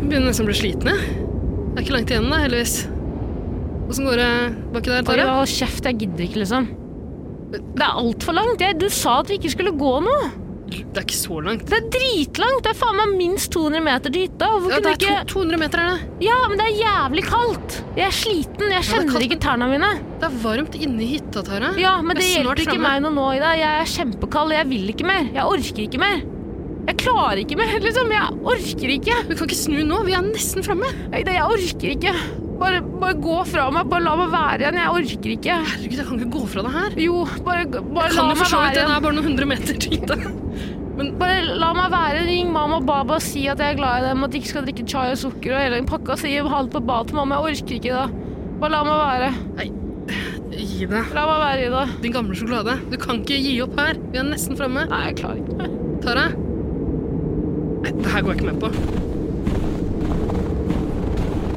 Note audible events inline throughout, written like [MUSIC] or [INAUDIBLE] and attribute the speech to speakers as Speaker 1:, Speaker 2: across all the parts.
Speaker 1: nesten blir liksom slitne. Det er ikke langt igjen, da, heldigvis. Åssen går det baki der,
Speaker 2: Bare
Speaker 1: Tara?
Speaker 2: hold kjeft, jeg gidder ikke, liksom. Det er altfor langt. Jeg, du sa at vi ikke skulle gå nå.
Speaker 1: Det er ikke så langt.
Speaker 2: Det er dritlangt. Det er faen meg minst 200 meter dit. da. Hvorfor
Speaker 1: Ja, det
Speaker 2: kunne
Speaker 1: er to,
Speaker 2: ikke...
Speaker 1: 200 meter, er det.
Speaker 2: Ja, men det er jævlig kaldt. Jeg er sliten. Jeg
Speaker 1: er kaldt,
Speaker 2: kjenner ikke tærne mine.
Speaker 1: Det er varmt inne i hytta, Tara.
Speaker 2: Ja, men
Speaker 1: Jeg
Speaker 2: det
Speaker 1: er snart
Speaker 2: hjelper ikke
Speaker 1: framme.
Speaker 2: meg noe nå, Ida. Jeg er kjempekald. Jeg vil ikke mer. Jeg orker ikke mer. Jeg klarer ikke mer, [LAUGHS] liksom. Jeg orker ikke.
Speaker 1: Vi kan ikke snu nå, vi er nesten framme.
Speaker 2: Ida, jeg orker ikke. Bare, bare gå fra meg. Bare la meg være igjen. Jeg orker ikke.
Speaker 1: Herregud, jeg kan ikke gå fra det her.
Speaker 2: Jo, bare, bare la
Speaker 1: Kan jo
Speaker 2: meg
Speaker 1: for så
Speaker 2: være
Speaker 1: vidt det,
Speaker 2: igjen.
Speaker 1: det er bare noen hundre meter dit. da.
Speaker 2: Bare la meg være, ring mamma og baba og si at jeg er glad i dem, at de ikke skal drikke chai og sukker og hele den pakka, og si ha det på badet til mamma, jeg orker ikke da. Bare la meg være.
Speaker 1: Gi deg,
Speaker 2: La meg være, Ida.
Speaker 1: din gamle sjokolade. Du kan ikke gi opp her. Vi er nesten framme.
Speaker 2: Nei, jeg klarer ikke. [LAUGHS]
Speaker 1: Tara? Nei, det her går jeg ikke med på.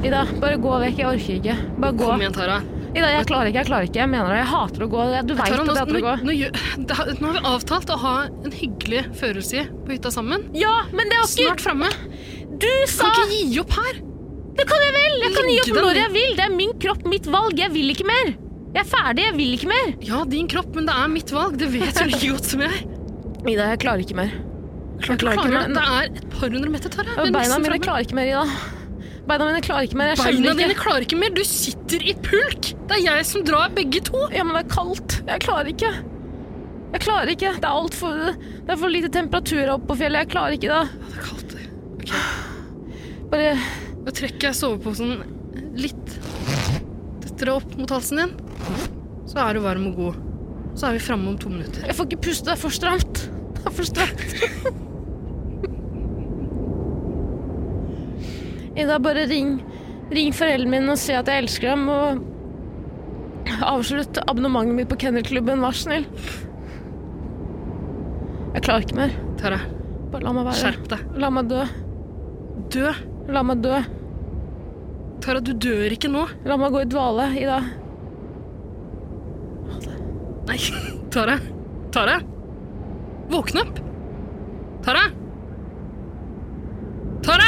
Speaker 2: Ida, bare gå vekk, jeg orker ikke. Bare gå.
Speaker 1: Kom igjen, Tara.
Speaker 2: Ida, jeg klarer ikke, jeg klarer ikke, jeg mener det. Jeg hater å gå, Jeg- du vet
Speaker 1: Tara,
Speaker 2: at
Speaker 1: nå,
Speaker 2: jeg
Speaker 1: nå,
Speaker 2: hater å gå.
Speaker 1: nå, gjør- det her- nå har vi avtalt å ha en hyggelig førelse på hytta sammen.
Speaker 2: Ja, men det er jo
Speaker 1: Snart framme.
Speaker 2: ikke... Du sa...
Speaker 1: Kan ikke gi opp her!
Speaker 2: Det kan jeg vel! Jeg kan gi
Speaker 1: Ligge
Speaker 2: opp
Speaker 1: der.
Speaker 2: når jeg vil. Det er min kropp, mitt valg. Jeg vil ikke mer. Jeg er ferdig, jeg vil ikke mer.
Speaker 1: Ja, din kropp, men det er mitt valg. Det vet du like godt som jeg.
Speaker 2: Ida, jeg klarer ikke mer. Jeg klarer ikke
Speaker 1: Klara,
Speaker 2: mer.
Speaker 1: det [LAUGHS] er et par hundre meter, Tara. Vi er
Speaker 2: Og Beina
Speaker 1: nesten
Speaker 2: mine
Speaker 1: framme.
Speaker 2: klarer ikke mer, Ida. Beina mine klarer ikke mer. Jeg
Speaker 1: Beina
Speaker 2: skjønner
Speaker 1: dine
Speaker 2: ikke.
Speaker 1: klarer ikke mer. Du sitter i pulk. Det er jeg som drar begge to.
Speaker 2: Ja, men det er kaldt. Jeg klarer ikke. Jeg klarer ikke. Det er alt for, det er for lite temperatur oppe på fjellet. Jeg klarer ikke det.
Speaker 1: Det er kaldt.
Speaker 2: Bare
Speaker 1: Nå trekker jeg soveposen litt tettere opp mot halsen din. Så er du varm og god. Så er vi framme om to minutter.
Speaker 2: Jeg får ikke puste. Det er for stramt. Det er for stramt. Ida, bare ring. Ring foreldrene mine og si at jeg elsker dem, og avslutt abonnementet mitt på kennelklubben, vær så snill. Jeg klarer ikke mer.
Speaker 1: Tara,
Speaker 2: Bare la meg være.
Speaker 1: skjerp deg.
Speaker 2: La meg dø.
Speaker 1: Dø.
Speaker 2: La meg dø.
Speaker 1: Tara, du dør ikke nå.
Speaker 2: La meg gå i dvale, Ida.
Speaker 1: Nei, Tara. Tara? Våkne opp! Tara? Tara!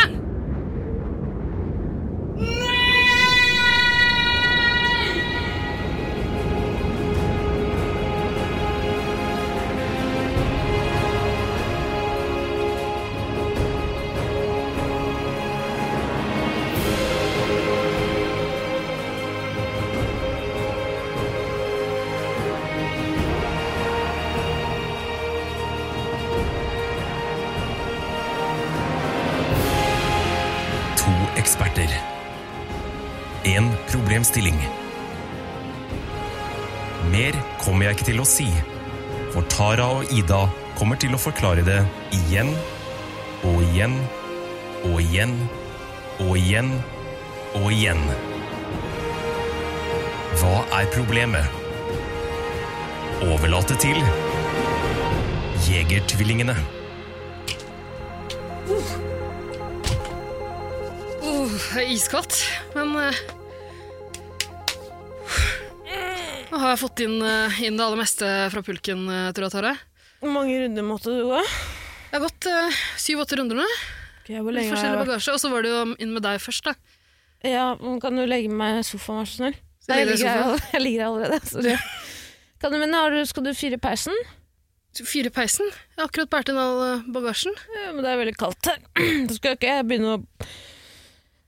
Speaker 3: To eksperter. En problemstilling. Mer kommer jeg ikke til å si, for Tara og Ida kommer til å forklare det igjen og igjen og igjen og igjen og igjen. Hva er problemet? Overlate til Jegertvillingene.
Speaker 1: Uh, det er iskaldt, men eh, Nå har jeg fått inn, eh, inn det aller meste fra pulken, eh, tror jeg, Tara.
Speaker 2: Hvor mange runder måtte du gå?
Speaker 1: Jeg har gått eh, syv-åtte runder nå.
Speaker 2: Okay, hvor
Speaker 1: Litt
Speaker 2: lenge har
Speaker 1: forskjellig
Speaker 2: jeg vært?
Speaker 1: bagasje. Og så var det jo inn med deg først, da.
Speaker 2: Ja, men kan du legge meg i sofaen, vær så snill?
Speaker 1: Skal
Speaker 2: Nei,
Speaker 1: jeg
Speaker 2: jeg,
Speaker 1: legge deg i
Speaker 2: ligger her, all- [LAUGHS] jeg ligger her allerede. Sorry. Kan du, men har du, skal du fyre peisen?
Speaker 1: Fyre i peisen. Jeg har akkurat båret inn all eh, bagasjen.
Speaker 2: Ja, men det er veldig kaldt [CLEARS THROAT] her. Da skal jeg ikke begynne å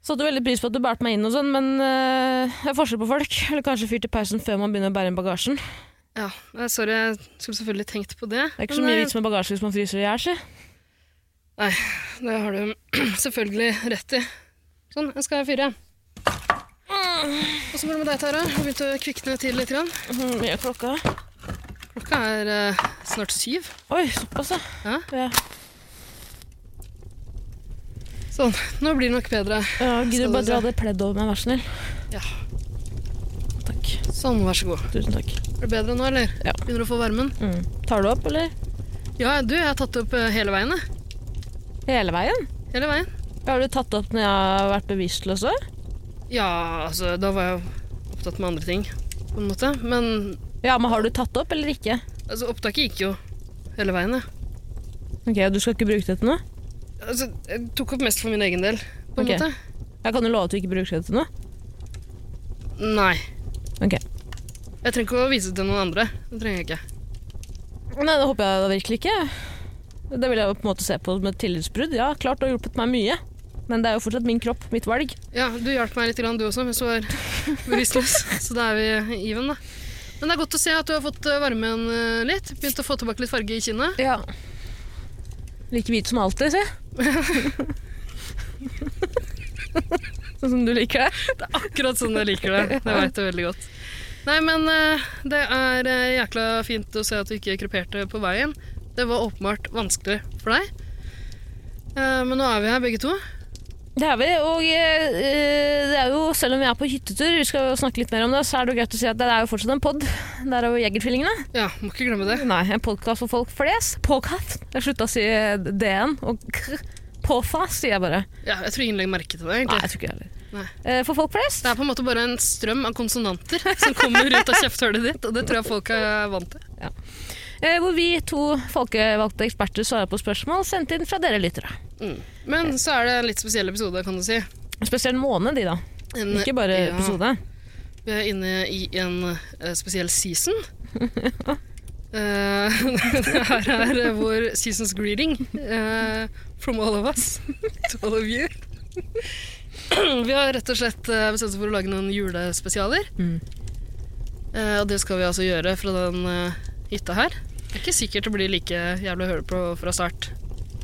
Speaker 2: Satte veldig pris på at du bærte meg inn og sånn, men øh, det er forskjell på folk. Eller kanskje fyr til peisen før man begynner å bære inn bagasjen. Det
Speaker 1: Ja, eh, sorry, jeg skulle selvfølgelig tenkt på det.
Speaker 2: er ikke så
Speaker 1: men,
Speaker 2: mye
Speaker 1: eh,
Speaker 2: vits med bagasje hvis man fryser i hjel, si.
Speaker 1: Det har du [CLEARS THROAT] selvfølgelig rett i. Sånn, jeg skal fyre.
Speaker 2: Mm,
Speaker 1: Åssen går det med deg, Tara? Har du begynt å kvikne til litt? Grann.
Speaker 2: Hvor mye er klokka?
Speaker 1: Klokka er eh, snart syv.
Speaker 2: Oi, såpass,
Speaker 1: Ja.
Speaker 2: ja.
Speaker 1: Sånn, nå blir det nok bedre.
Speaker 2: Ja,
Speaker 1: Skal
Speaker 2: Gidder
Speaker 1: du
Speaker 2: du bare
Speaker 1: se.
Speaker 2: dra det pleddet over meg, vær så snill?
Speaker 1: Ja.
Speaker 2: Takk.
Speaker 1: Sånn, vær så god.
Speaker 2: Tusen takk.
Speaker 1: Er det bedre nå, eller?
Speaker 2: Ja.
Speaker 1: Begynner du å få varmen?
Speaker 2: Mm. Tar du opp, eller?
Speaker 1: Ja, du, jeg har tatt det opp eh, hele veien, jeg.
Speaker 2: Hele veien?
Speaker 1: Hele veien.
Speaker 2: Har du tatt opp når jeg har vært bevisstløs òg?
Speaker 1: Ja, altså, da var jeg jo opptatt med andre ting, på en måte. Men
Speaker 2: Ja, men har du tatt opp eller ikke?
Speaker 1: altså, opptaket gikk jo hele veien, jeg.
Speaker 2: Ok, Du skal ikke bruke det til noe?
Speaker 1: Altså, jeg tok opp mest for min egen del. på en
Speaker 2: Ok.
Speaker 1: måte.
Speaker 2: Jeg kan jo love at du ikke bruker det til noe.
Speaker 1: Nei.
Speaker 2: Ok.
Speaker 1: Jeg trenger ikke å vise det til noen andre. Det trenger jeg ikke.
Speaker 2: Nei, det håper jeg da virkelig ikke. Det vil jeg jo på en måte se på som et tillitsbrudd. Ja, klart det har hjulpet meg mye. Men det er jo fortsatt min kropp, mitt valg.
Speaker 1: Ja, Du hjalp meg litt, grann, du også, mens du var bevisstløs. Så da er vi even, da. Men det er godt å se at du har fått eh, varmen eh, litt. Begynt å få tilbake litt farge i kinnet.
Speaker 2: Ja. Like hvit som alltid,
Speaker 1: [LAUGHS]
Speaker 2: si. sånn som du liker det.
Speaker 1: Det er akkurat sånn jeg liker det. Det veit jeg veldig godt. Nei, men eh, det er eh, jækla fint å se at du ikke kreperte på veien. Det var åpenbart vanskelig for deg. Eh, Men nå er vi her begge to.
Speaker 2: Det er vi, og eh, det er jo, selv om vi er på hyttetur, vi skal jo snakke litt mer om det, så er det jo greit å si at det er jo fortsatt en pod. Der er jo Jegertvillingene.
Speaker 1: Ja, må ikke glemme det.
Speaker 2: [LAUGHS] Nei, en podkast for folk flest. Påkatt. Jeg slutta å si DN og kr. Påfa, sier jeg bare.
Speaker 1: Ja, jeg tror ingen legger merke til det.
Speaker 2: Nei,
Speaker 1: egentlig.
Speaker 2: jeg tror ikke det heller.
Speaker 1: Nei.
Speaker 2: Eh, For folk flest.
Speaker 1: Det er på en måte bare en strøm av konsonanter som kommer ut av kjefthullet ditt, og det tror jeg folk er vant til.
Speaker 2: Eh, hvor vi to folkevalgte eksperter svarer på spørsmål sendt inn fra dere lyttere.
Speaker 1: Mm. Men så er det en litt spesiell episode, kan du si.
Speaker 2: Spesielt måned, de da.
Speaker 1: En,
Speaker 2: Ikke bare
Speaker 1: ja,
Speaker 2: episode.
Speaker 1: Vi er inne i en eh, spesiell
Speaker 2: [LAUGHS]
Speaker 1: season. Eh, [LAUGHS] det her er eh, vår seasons greeting eh, from all of us [LAUGHS] to all of you. [CLEARS THROAT] vi har rett og slett eh, bestemt oss for å lage noen julespesialer.
Speaker 2: Mm.
Speaker 1: Eh, og det skal vi altså gjøre fra den eh, hytta her. Det er ikke sikkert det blir like jævlig å høre på fra start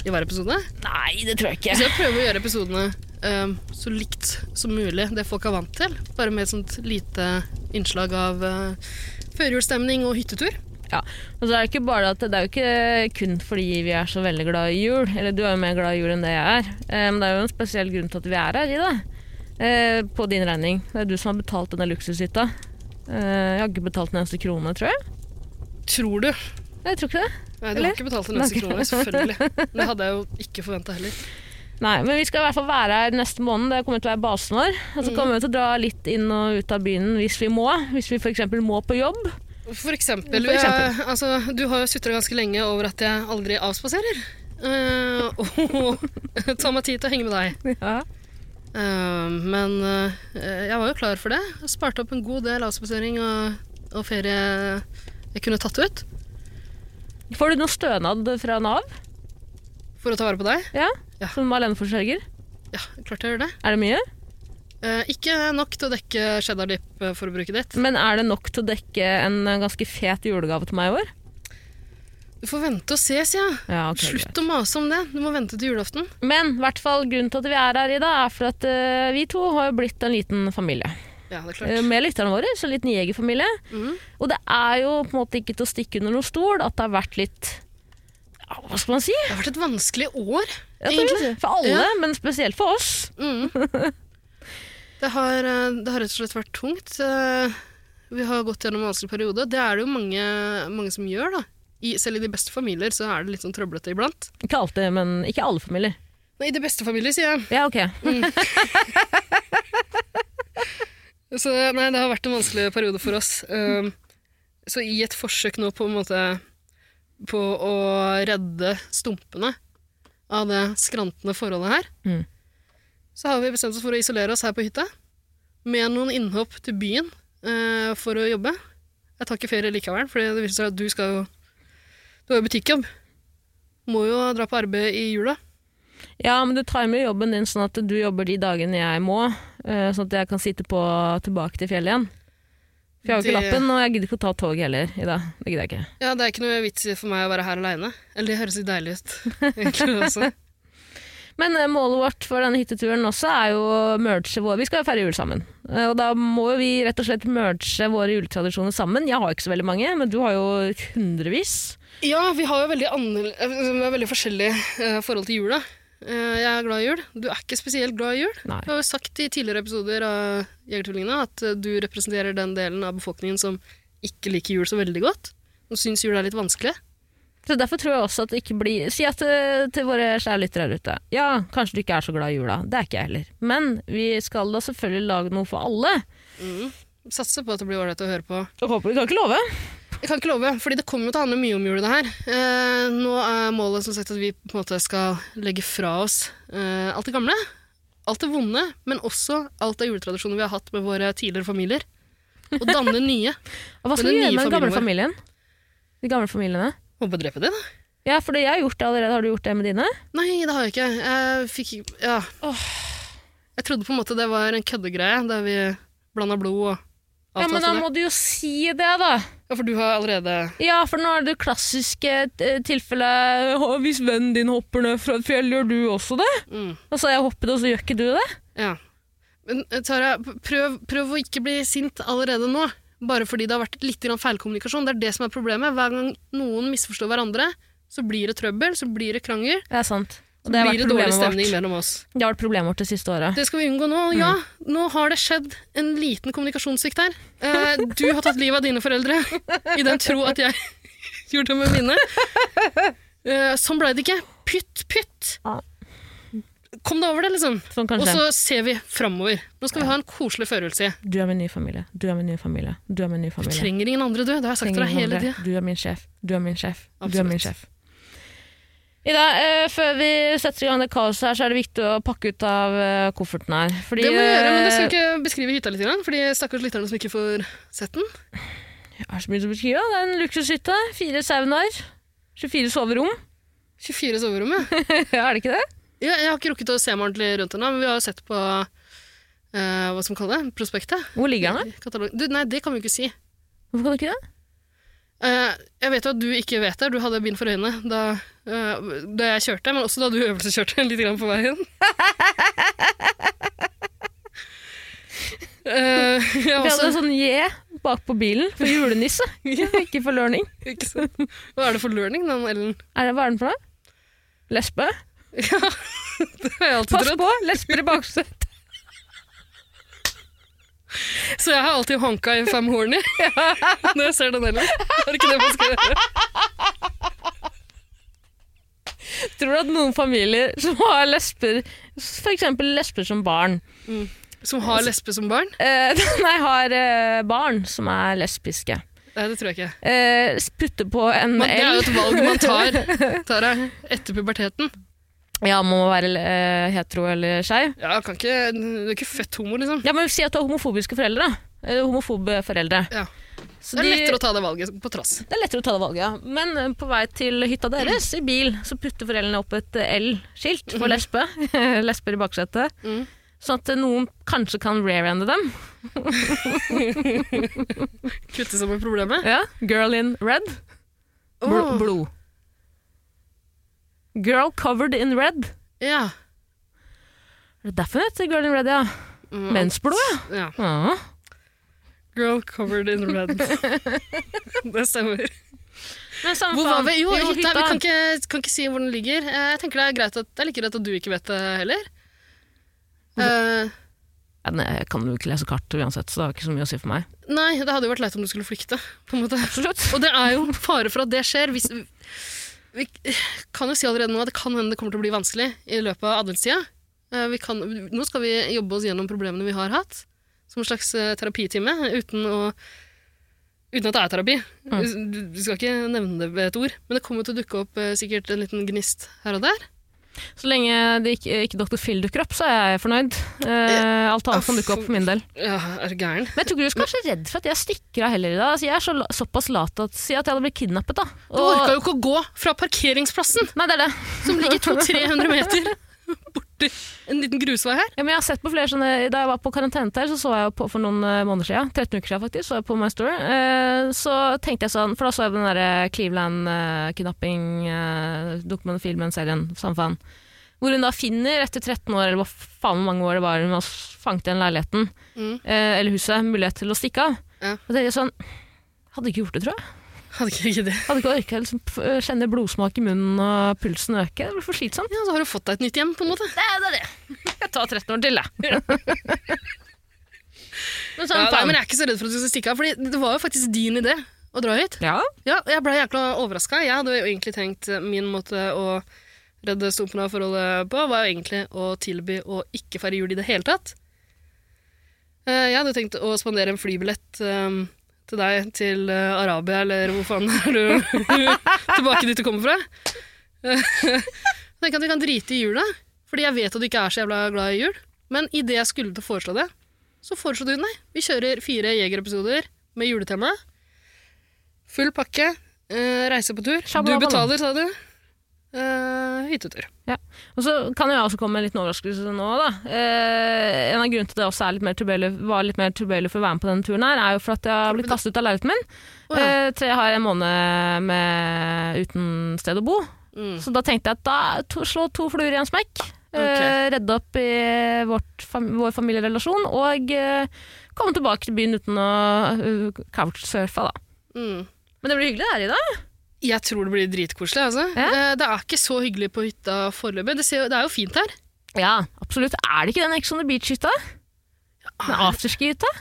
Speaker 1: i hver episode.
Speaker 2: Nei, det tror jeg ikke.
Speaker 1: Så jeg prøver å gjøre episodene eh, så likt som mulig det folk er vant til. Bare med et sånt lite innslag av eh, førjulsstemning og hyttetur.
Speaker 2: Ja, og så er det, ikke bare at det er jo ikke kun fordi vi er så veldig glad i jul, eller du er jo mer glad i jul enn det jeg er, Eh, men det er jo en spesiell grunn til at vi er her i det. Eh, På din regning. Det er du som har betalt denne luksushytta. Eh, Jeg har ikke betalt en eneste krone, tror jeg.
Speaker 1: Tror du?
Speaker 2: Nei, Jeg tror ikke det.
Speaker 1: Nei, du
Speaker 2: Eller?
Speaker 1: har ikke betalt en eneste
Speaker 2: Nei. [LAUGHS]
Speaker 1: krone, selvfølgelig. Det hadde jeg jo ikke forventa heller.
Speaker 2: Nei, men vi skal i hvert fall være her neste måned. Det kommer til å være basen vår. Og så kommer vi til å dra litt inn og ut av byen hvis vi må. Hvis vi f.eks. må på jobb.
Speaker 1: For eksempel,
Speaker 2: For eksempel.
Speaker 1: Jeg, altså, du har jo sutra ganske lenge over at jeg aldri avspaserer. Eh, og [LAUGHS] tar meg tid til å henge med deg.
Speaker 2: Ja.
Speaker 1: Eh, men eh, jeg var jo klar for det. Jeg sparte opp en god del avspasering og, og ferie jeg kunne tatt ut
Speaker 2: Får du noe stønad fra Nav?
Speaker 1: for å ta vare på deg.
Speaker 2: Ja?
Speaker 1: Ja.
Speaker 2: Som aleneforsørger?
Speaker 1: Ja, klart jeg gjør det.
Speaker 2: Er det mye?
Speaker 1: Eh, ikke nok til å dekke eh, cheddar-dip-forbruket ditt.
Speaker 2: Men er det nok til å dekke en ganske fet julegave til meg i år?
Speaker 1: Du får vente og se, sier jeg.
Speaker 2: Ja,
Speaker 1: Slutt å mase om det. Du må vente til julaften.
Speaker 2: Men i hvert fall grunnen til at vi er her i dag, er for at eh, vi to har jo blitt en liten familie.
Speaker 1: Ja, det er
Speaker 2: Eh,
Speaker 1: klart.
Speaker 2: med lytterne våre, så en liten jegerfamilie.
Speaker 1: Mhm.
Speaker 2: Og det er jo på en måte ikke til å stikke under noen stol at det har vært litt ja, Hva skal man si?
Speaker 1: Det har vært et vanskelig år,
Speaker 2: Ja, det
Speaker 1: egentlig.
Speaker 2: vet du. For alle,
Speaker 1: Ja.
Speaker 2: men spesielt for oss.
Speaker 1: Mm. [LAUGHS] Det har, eh, det har rett og slett vært tungt. Eh, Vi har gått gjennom en vanskelig periode. Det er det jo mange, mange som gjør, da. I, selv i de beste familier så er det litt sånn trøblete iblant.
Speaker 2: Ikke alltid, men ikke alle familier.
Speaker 1: Nei, i de beste familier, sier jeg.
Speaker 2: Ja, ok.
Speaker 1: Så nei, det har vært en vanskelig periode for oss. Um, så i et forsøk nå på en måte på å redde stumpene av det skrantende forholdet her,
Speaker 2: Mm.
Speaker 1: så har vi bestemt oss for å isolere oss her på hytta. Med noen innhopp til byen eh, for å jobbe. Jeg tar ikke ferie likevel, for det viser seg at du skal jo Du har jo butikkjobb. Må jo dra på arbeid i jula.
Speaker 2: Ja, men du timer jo jobben din sånn at du jobber de dagene jeg må, eh, sånn at jeg kan sitte på tilbake til fjellet igjen. For jeg har jo ikke
Speaker 1: Det-
Speaker 2: lappen, og jeg gidder ikke å ta tog heller i dag. Det gidder jeg ikke.
Speaker 1: Ja, det er ikke noe vits i for meg å være her aleine. Eller det høres litt deilig ut, [LAUGHS] egentlig også.
Speaker 2: Men eh, målet vårt for denne hytteturen også er jo å merge vår Vi skal jo feire jul sammen. Eh, Og da må jo vi rett og slett merge våre juletradisjoner sammen. Jeg har ikke så veldig mange, men du har jo hundrevis.
Speaker 1: Ja, vi har jo veldig, annerl- eh, vi har veldig forskjellige eh, forhold til jula. Eh, jeg er glad i jul. Du er ikke spesielt glad i jul.
Speaker 2: Nei.
Speaker 1: Jeg har jo sagt i tidligere episoder av Jegertvillingene at eh, du representerer den delen av befolkningen som ikke liker jul så veldig godt. Som syns jul er litt vanskelig.
Speaker 2: Så derfor tror jeg også at det ikke blir Si at eh, til våre kjære lyttere her ute Ja, kanskje du ikke er så glad i jula. Det er ikke jeg heller. Men vi skal da selvfølgelig lage noe for alle.
Speaker 1: Satser på at det blir ålreit å høre på.
Speaker 2: Jeg håper du kan ikke love.
Speaker 1: Jeg kan ikke love, fordi det kommer jo til å handle mye om jul, det her. Eh, nå er målet som sagt at vi på en måte skal legge fra oss eh, alt det gamle. alt det vonde, men også alt av juletradisjoner vi har hatt med våre tidligere familier. Og danne nye.
Speaker 2: Og hva
Speaker 1: Men
Speaker 2: skal vi
Speaker 1: den
Speaker 2: gjøre
Speaker 1: nye
Speaker 2: med den gamle familien?
Speaker 1: familien
Speaker 2: De gamle familiene?
Speaker 1: Må bare drepe det, da.
Speaker 2: Ja, for det jeg har gjort det allerede. Har du gjort det med dine?
Speaker 1: Nei, det har jeg ikke. Jeg fikk ikke- Ja. Jeg trodde på en måte det var en køddegreie, der vi blanda blod og
Speaker 2: Ja, men
Speaker 1: avtalte
Speaker 2: da
Speaker 1: det.
Speaker 2: må du jo si det, da.
Speaker 1: Ja, for du har allerede
Speaker 2: Ja, for nå er det klassiske eh, tilfellet «Å, Hvis vennen din hopper ned fra et fjell, gjør du også det?
Speaker 1: mm,
Speaker 2: Og så har jeg hoppet, og så gjør ikke du det?
Speaker 1: Ja. Men eh, Tara, p- prøv, prøv å ikke bli sint allerede nå. Bare fordi det har vært litt grann feilkommunikasjon. Det er det som er problemet. Hver gang noen misforstår hverandre, så blir det trøbbel, så blir det krangel.
Speaker 2: Det er sant. Og
Speaker 1: Så
Speaker 2: det har
Speaker 1: blir
Speaker 2: vært
Speaker 1: det dårlig
Speaker 2: problemet
Speaker 1: stemning
Speaker 2: vårt.
Speaker 1: mellom oss.
Speaker 2: Det har vært problemet vårt det siste året.
Speaker 1: Det skal vi unngå nå. Ja,
Speaker 2: Mm.
Speaker 1: nå har det skjedd en liten kommunikasjonssvikt her. Eh, du har tatt livet av dine foreldre i den tro at jeg [LAUGHS] gjorde det med mine. Eh, sånn ble det ikke. Pytt, pytt.
Speaker 2: Ja.
Speaker 1: Kom deg over det, liksom.
Speaker 2: Sånn kan
Speaker 1: Og
Speaker 2: skje.
Speaker 1: så ser vi framover. Nå skal vi ha en koselig førjulstid.
Speaker 2: Du er min nye familie. Du er min nye familie. Du er min nye familie.
Speaker 1: Trenger ingen andre, du. Det har jeg sagt til deg
Speaker 2: Trenger ingen
Speaker 1: hele
Speaker 2: andre.
Speaker 1: tida.
Speaker 2: Du er min sjef. Du er min sjef. Du er
Speaker 1: Absolutt.
Speaker 2: min sjef. Ida, eh, før vi setter i gang det kaoset her, så er det viktig å pakke ut av eh, kofferten her. Fordi,
Speaker 1: Det må vi gjøre, men det skal
Speaker 2: eh,
Speaker 1: ikke beskrive hytta litt, grann, for de stakkars lytterne som ikke får sett den.
Speaker 2: eh, jeg har så mye som beskriver. Det er en luksushytte. Fire saunaer. 24 soverom. [LAUGHS]
Speaker 1: 24 soverom, ja.
Speaker 2: er det ikke det?
Speaker 1: Ja, jeg har ikke rukket å se meg ordentlig rundt ennå, men vi har jo sett på eh, hva som kalles det? Prospektet?
Speaker 2: Hvor ligger den, da?
Speaker 1: Katalog. Du, nei, det kan vi ikke si.
Speaker 2: Hvorfor kan du ikke det?
Speaker 1: Eh, jeg vet jo at du ikke vet det. Du hadde bind for øynene da, eh, da jeg kjørte, men også da du øvelseskjørte [LAUGHS] litt grann på
Speaker 2: [LAUGHS]
Speaker 1: veien. Eh, jeg har
Speaker 2: Vi hadde
Speaker 1: også,
Speaker 2: en sånn J bak på bilen for julenisse, [LAUGHS] ikke for learning.
Speaker 1: ikke sant? Hva er det for learning, den Ellen? [LAUGHS]
Speaker 2: Er det, hva er den for noe? Lesbe?
Speaker 1: Det har jeg alltid
Speaker 2: Pass
Speaker 1: trodd.
Speaker 2: på, lesber i baksetet.
Speaker 1: Så jeg har alltid hånka i fem horn i [LAUGHS] når jeg ser den Ellen. Er det ikke det man skal gjøre?
Speaker 2: Tror du at noen familier som har lesber, f.eks. lesber som barn,
Speaker 1: Som har lesbe som barn?
Speaker 2: Eh, [LAUGHS] nei, har eh, barn som er lesbiske.
Speaker 1: Nei, det tror jeg ikke.
Speaker 2: Eh, putte på en
Speaker 1: Men det er jo
Speaker 2: L.
Speaker 1: et valg man tar [LAUGHS] Tara, etter puberteten.
Speaker 2: Ja, må man være eh, hetero eller skeiv.
Speaker 1: Ja, kan ikke, Du er ikke født homo, liksom.
Speaker 2: Ja, men si at du har homofobiske foreldre. da. Eh, homofobe foreldre.
Speaker 1: Ja.
Speaker 2: Så
Speaker 1: Det er
Speaker 2: de-
Speaker 1: lettere å ta det valget på trass.
Speaker 2: det er lettere å ta det valget, ja. Men eh, på vei til hytta deres i bil, så putter foreldrene opp et eh, L-skilt for lesbe. [LAUGHS] Lesber i baksetet.
Speaker 1: Mhm.
Speaker 2: Sånn at eh, noen kanskje kan rear-ende dem.
Speaker 1: Kutte seg med problemet.
Speaker 2: Ja, Girl in red. Bl
Speaker 1: Åh.
Speaker 2: Blod. Girl covered in red.
Speaker 1: Ja.
Speaker 2: Er det derfor hun heter Girl in Red, ja?
Speaker 1: Mm,
Speaker 2: Mensblod, ja.
Speaker 1: ja.
Speaker 2: ja.
Speaker 1: Girl covered in [LAUGHS] red. det stemmer.
Speaker 2: Men samme
Speaker 1: Hvor var
Speaker 2: faen.
Speaker 1: vi? Jo, hytta. Vi kan
Speaker 2: hytta.
Speaker 1: ikke, kan ikke si hvor den ligger. Eh, Jeg tenker det er greit at, det er like greit at du ikke vet det heller. Eh,
Speaker 2: Ja, nei, jeg kan jo ikke lese kart uansett, så det har ikke så mye å si for meg.
Speaker 1: nei, det hadde jo vært leit om du skulle flykte. På en måte.
Speaker 2: Absolutt.
Speaker 1: Og det er jo fare for at det skjer. Hvis, vi kan jo si allerede nå at det kan hende det kommer til å bli vanskelig i løpet av adventstida. Eh, Vi kan, nå skal vi jobbe oss gjennom problemene vi har hatt, som en slags eh, terapitime. Uten, å, uten at det er terapi. Du, du skal ikke nevne det ved et ord. Men det kommer til å dukke opp eh, sikkert en liten gnist her og der.
Speaker 2: Så lenge det ikke, ikke Dr. Phil dukker opp, så er jeg fornøyd. Eh, alt annet kan dukke opp for min del.
Speaker 1: Ja, er du gæren?
Speaker 2: Men jeg tror ikke du skal være så redd for at jeg stikker av heller i dag. Altså, jeg er så, la- såpass lat at si at jeg hadde blitt kidnappet, da.
Speaker 1: Du orka jo ikke å gå fra parkeringsplassen,
Speaker 2: Nei, det er det.
Speaker 1: som ligger 200-300 meter borti en liten grusvei her.
Speaker 2: Ja, men jeg har sett på flere sånne, Da jeg var på karantenetær, så så jeg jo på, for noen eh, måneder siden, 13 uker siden faktisk, så jeg på My Story. Eh, så tenkte jeg sånn, for da så jeg den der eh, Cleveland-kidnapping-dokumentfilmen, serien, samme faen. Hvor hun da finner, etter 13 år, eller hva faen hvor mange år det var, hun var fanget i den leiligheten,
Speaker 1: Mm.
Speaker 2: eh, eller huset, mulighet til å stikke av.
Speaker 1: Ja.
Speaker 2: Og tenkte jeg sånn, hadde ikke gjort det, tror jeg.
Speaker 1: Hadde ikke ikke det.
Speaker 2: Hadde ikke orket å liksom, f- kjenne blodsmak i munnen og pulsen øke. Det blir for slitsomt.
Speaker 1: Ja, så har du fått deg et nytt hjem, på en måte.
Speaker 2: Det er det. Jeg tar 13 år til, jeg. Men sånn,
Speaker 1: Ja, nei,
Speaker 2: faen.
Speaker 1: men jeg er ikke så redd for at du skal stikke av, Fordi det var jo faktisk din idé å dra hit.
Speaker 2: Ja.
Speaker 1: Ja, og jeg ble jækla overraska. Jeg hadde jo egentlig tenkt eh, min måte å redde stumpen av forholdet på, var jo egentlig å tilby å ikke feire jul i det hele tatt. Eh, Jeg hadde jo tenkt å spandere en flybillett eh, til deg til eh, Arabia, eller hvor faen [LAUGHS] er du tilbake dit du kommer fra. [LAUGHS] Eh, Jeg tenker at vi kan drite i jula, fordi jeg vet at du ikke er så jævla glad i jul. Men idet jeg skulle til å foreslå det, så foreslo du nei. Vi kjører fire Jeger-episoder med juletema. Full pakke. Eh, reise på tur. Du
Speaker 2: Shabba-dabba.
Speaker 1: betaler, sa du. Eh, hyttetur.
Speaker 2: Og så kan jeg også komme med en liten overraskelse nå. da. Eh, en av grunnene til at jeg også er litt mer turbøyelig, var litt mer turbøyelig for å være med på denne turen, her, er jo for at jeg har blitt kastet ut av leiligheten min.
Speaker 1: Å, ja.
Speaker 2: Eh, tre har en måned med, uten sted å bo.
Speaker 1: Mm.
Speaker 2: Så da tenkte jeg at da to, slå to fluer i en smekk. Eh,
Speaker 1: Ok.
Speaker 2: redde opp i vårt, fam vår familierelasjon og eh, komme tilbake til byen uten å uh, couchsurfe. Da.
Speaker 1: Mm.
Speaker 2: Men det blir hyggelig der i dag.
Speaker 1: Jeg tror det blir dritkoselig. Altså.
Speaker 2: Ja.
Speaker 1: Eh, Det er ikke så hyggelig på hytta foreløpig. Det, ser, jo- det er jo fint her.
Speaker 2: Ja, absolutt. Er det ikke den Ex on the Beach-hytta? Den afterski-hytta?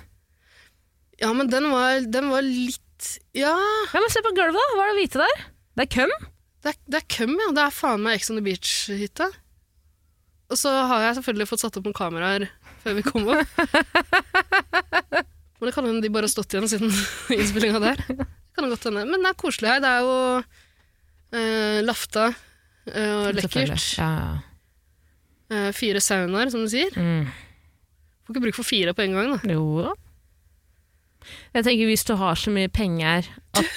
Speaker 1: Ja, men den var, den var litt Ja,
Speaker 2: Ja, men se på gulvet, da. Hva er det hvite der? Det er køm.
Speaker 1: det er, det er køm, ja. Det er faen meg Ex on the Beach-hytta. Og så har jeg selvfølgelig fått satt opp noen kameraer før vi kom [LAUGHS] opp. Men det kan hende de bare har stått igjen siden [LAUGHS] innspillinga der. Det kan godt hende. Men det er koselig her. Det er jo eh, lafta eh, og lekkert.
Speaker 2: Selvfølgelig. Ja, ja.
Speaker 1: Eh, fire saunaer, som du sier.
Speaker 2: Mm.
Speaker 1: Får ikke bruk for fire på en gang, da.
Speaker 2: Jo da. Jeg tenker hvis du har så mye penger at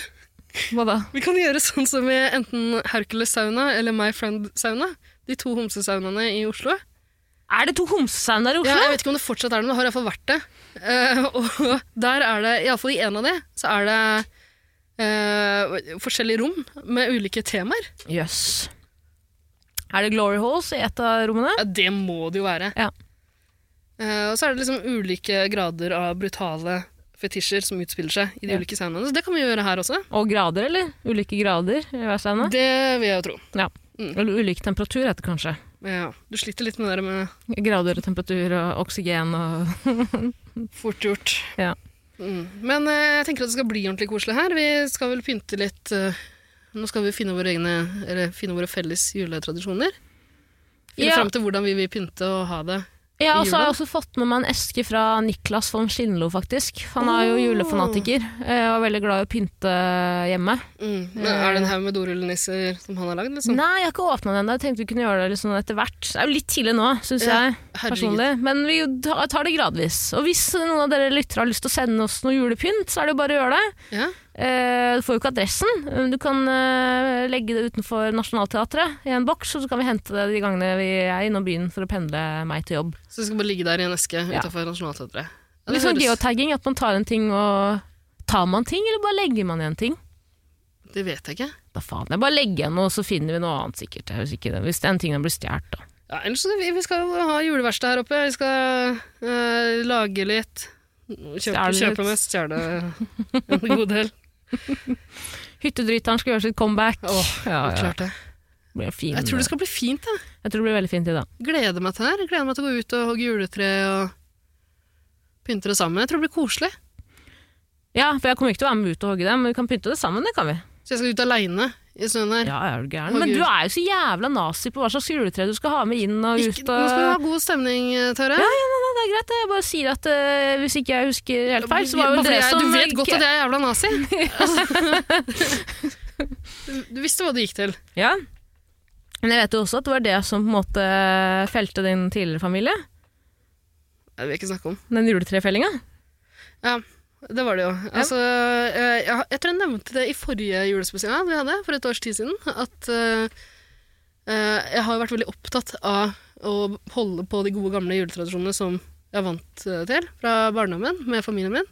Speaker 2: Hva da?
Speaker 1: Vi kan gjøre sånn som i enten Hercules sauna eller My Friend sauna. De to homsesaunaene i Oslo.
Speaker 2: Er det to homsesaunaer i Oslo?
Speaker 1: Ja, jeg vet ikke om det fortsatt er det, men det har iallfall vært det. Eh, og [LAUGHS] der er det, iallfall i en av de, så er det eh, forskjellige rom med ulike temaer.
Speaker 2: Jøss. Er det glory holes i et av rommene?
Speaker 1: Ja, det må det jo være.
Speaker 2: Ja.
Speaker 1: Eh, og så er det liksom ulike grader av brutale fetisjer som utspiller seg i de
Speaker 2: Ja.
Speaker 1: ulike saunaene. Så det kan vi gjøre her også.
Speaker 2: Og grader, eller? Ulike grader i hver sauna?
Speaker 1: Det vil jeg jo tro.
Speaker 2: Ja.
Speaker 1: Mm.
Speaker 2: Eller ulik temperatur heter det kanskje.
Speaker 1: Ja, du sliter litt med det der med
Speaker 2: Grader og temperatur og oksygen og
Speaker 1: fort gjort.
Speaker 2: Ja.
Speaker 1: Mm. Men eh, jeg tenker at det skal bli ordentlig koselig her. Vi skal vel pynte litt eh, Nå skal vi finne våre, egne, eller finne våre felles juletradisjoner. Finne
Speaker 2: Ja.
Speaker 1: fram til hvordan vi vil pynte og ha det.
Speaker 2: Jeg har også,
Speaker 1: Jula?
Speaker 2: har også fått med meg en eske fra Niklas von Schindlo, faktisk. Han er jo
Speaker 1: Åh.
Speaker 2: julefanatiker eh, og er veldig glad i å pynte hjemme.
Speaker 1: Mm. Men er det en haug med dorullnisser som han har lagd? Liksom?
Speaker 2: Nei, jeg har ikke åpna den ennå. Jeg tenkte vi kunne gjøre det liksom etter hvert. Det er jo litt tidlig nå, syns
Speaker 1: Ja,
Speaker 2: jeg. personlig. Men vi ta- tar det gradvis. Og hvis noen av dere lyttere har lyst til å sende oss noe julepynt, så er det jo bare å gjøre det.
Speaker 1: Ja.
Speaker 2: Eh, Du får jo ikke adressen, men du kan eh, legge det utenfor Nationaltheatret i en boks, og så kan vi hente det de gangene vi er innom byen for å pendle meg til jobb.
Speaker 1: Så det skal bare ligge der i en eske
Speaker 2: Ja.
Speaker 1: utenfor Nationaltheatret. Ja,
Speaker 2: Litt sånn geotagging, at man tar en ting og Tar man ting, eller bare legger man igjen ting?
Speaker 1: det vet jeg ikke.
Speaker 2: Da faen, jeg bare legger igjen noe, så finner vi noe annet sikkert. Hvis, ikke, hvis den tingen blir stjålet, da.
Speaker 1: Ja, ellers så vi, vi skal jo ha juleverksted her oppe. Vi skal eh, lage litt. Kjøpe,
Speaker 2: Stjele litt.
Speaker 1: kjøpe mest, stjele en god del.
Speaker 2: Hyttedryteren skal gjøre sitt comeback.
Speaker 1: Åh,
Speaker 2: [LAUGHS] ja, ja.
Speaker 1: Klart det.
Speaker 2: Det blir en fin,
Speaker 1: Jeg tror det skal bli fint. Jeg.
Speaker 2: blir veldig fint i dag.
Speaker 1: Gleder meg til det her. Jeg Gleder meg til å gå ut og hogge juletre og pynte det sammen. Jeg tror det blir koselig.
Speaker 2: Ja, for jeg kommer ikke til å være med ut og hogge det, men vi kan pynte det sammen, det kan vi.
Speaker 1: Så jeg skal ut aleine i snøen her.
Speaker 2: Ja, er du gæren?
Speaker 1: Å,
Speaker 2: Men
Speaker 1: Gud.
Speaker 2: du er jo så jævla nazi på hva slags juletre du skal ha med inn og
Speaker 1: Ikke,
Speaker 2: ut
Speaker 1: nå skal vi ha
Speaker 2: og
Speaker 1: god stemning, eh, Tare.
Speaker 2: Ja, det er greit, det. jeg bare sier at eh, hvis ikke jeg husker helt feil, så var jo
Speaker 1: Bare fordi
Speaker 2: det
Speaker 1: jeg-
Speaker 2: som
Speaker 1: Du vet godt at jeg er jævla
Speaker 2: [LAUGHS]
Speaker 1: nazi. [LAUGHS] Altså, du visste hva det gikk til.
Speaker 2: Ja. Men jeg vet jo også at det var det som på en måte felte din tidligere familie.
Speaker 1: Det vil jeg ikke snakke om.
Speaker 2: Den juletrefellinga.
Speaker 1: Ja, det var det jo. Altså, eh, jeg, jeg tror jeg nevnte det i forrige julespesial vi hadde, for et års tid siden, at eh, eh, jeg har vært veldig opptatt av å holde på de gode gamle juletradisjonene som jeg er vant eh, til fra barndommen med familien min.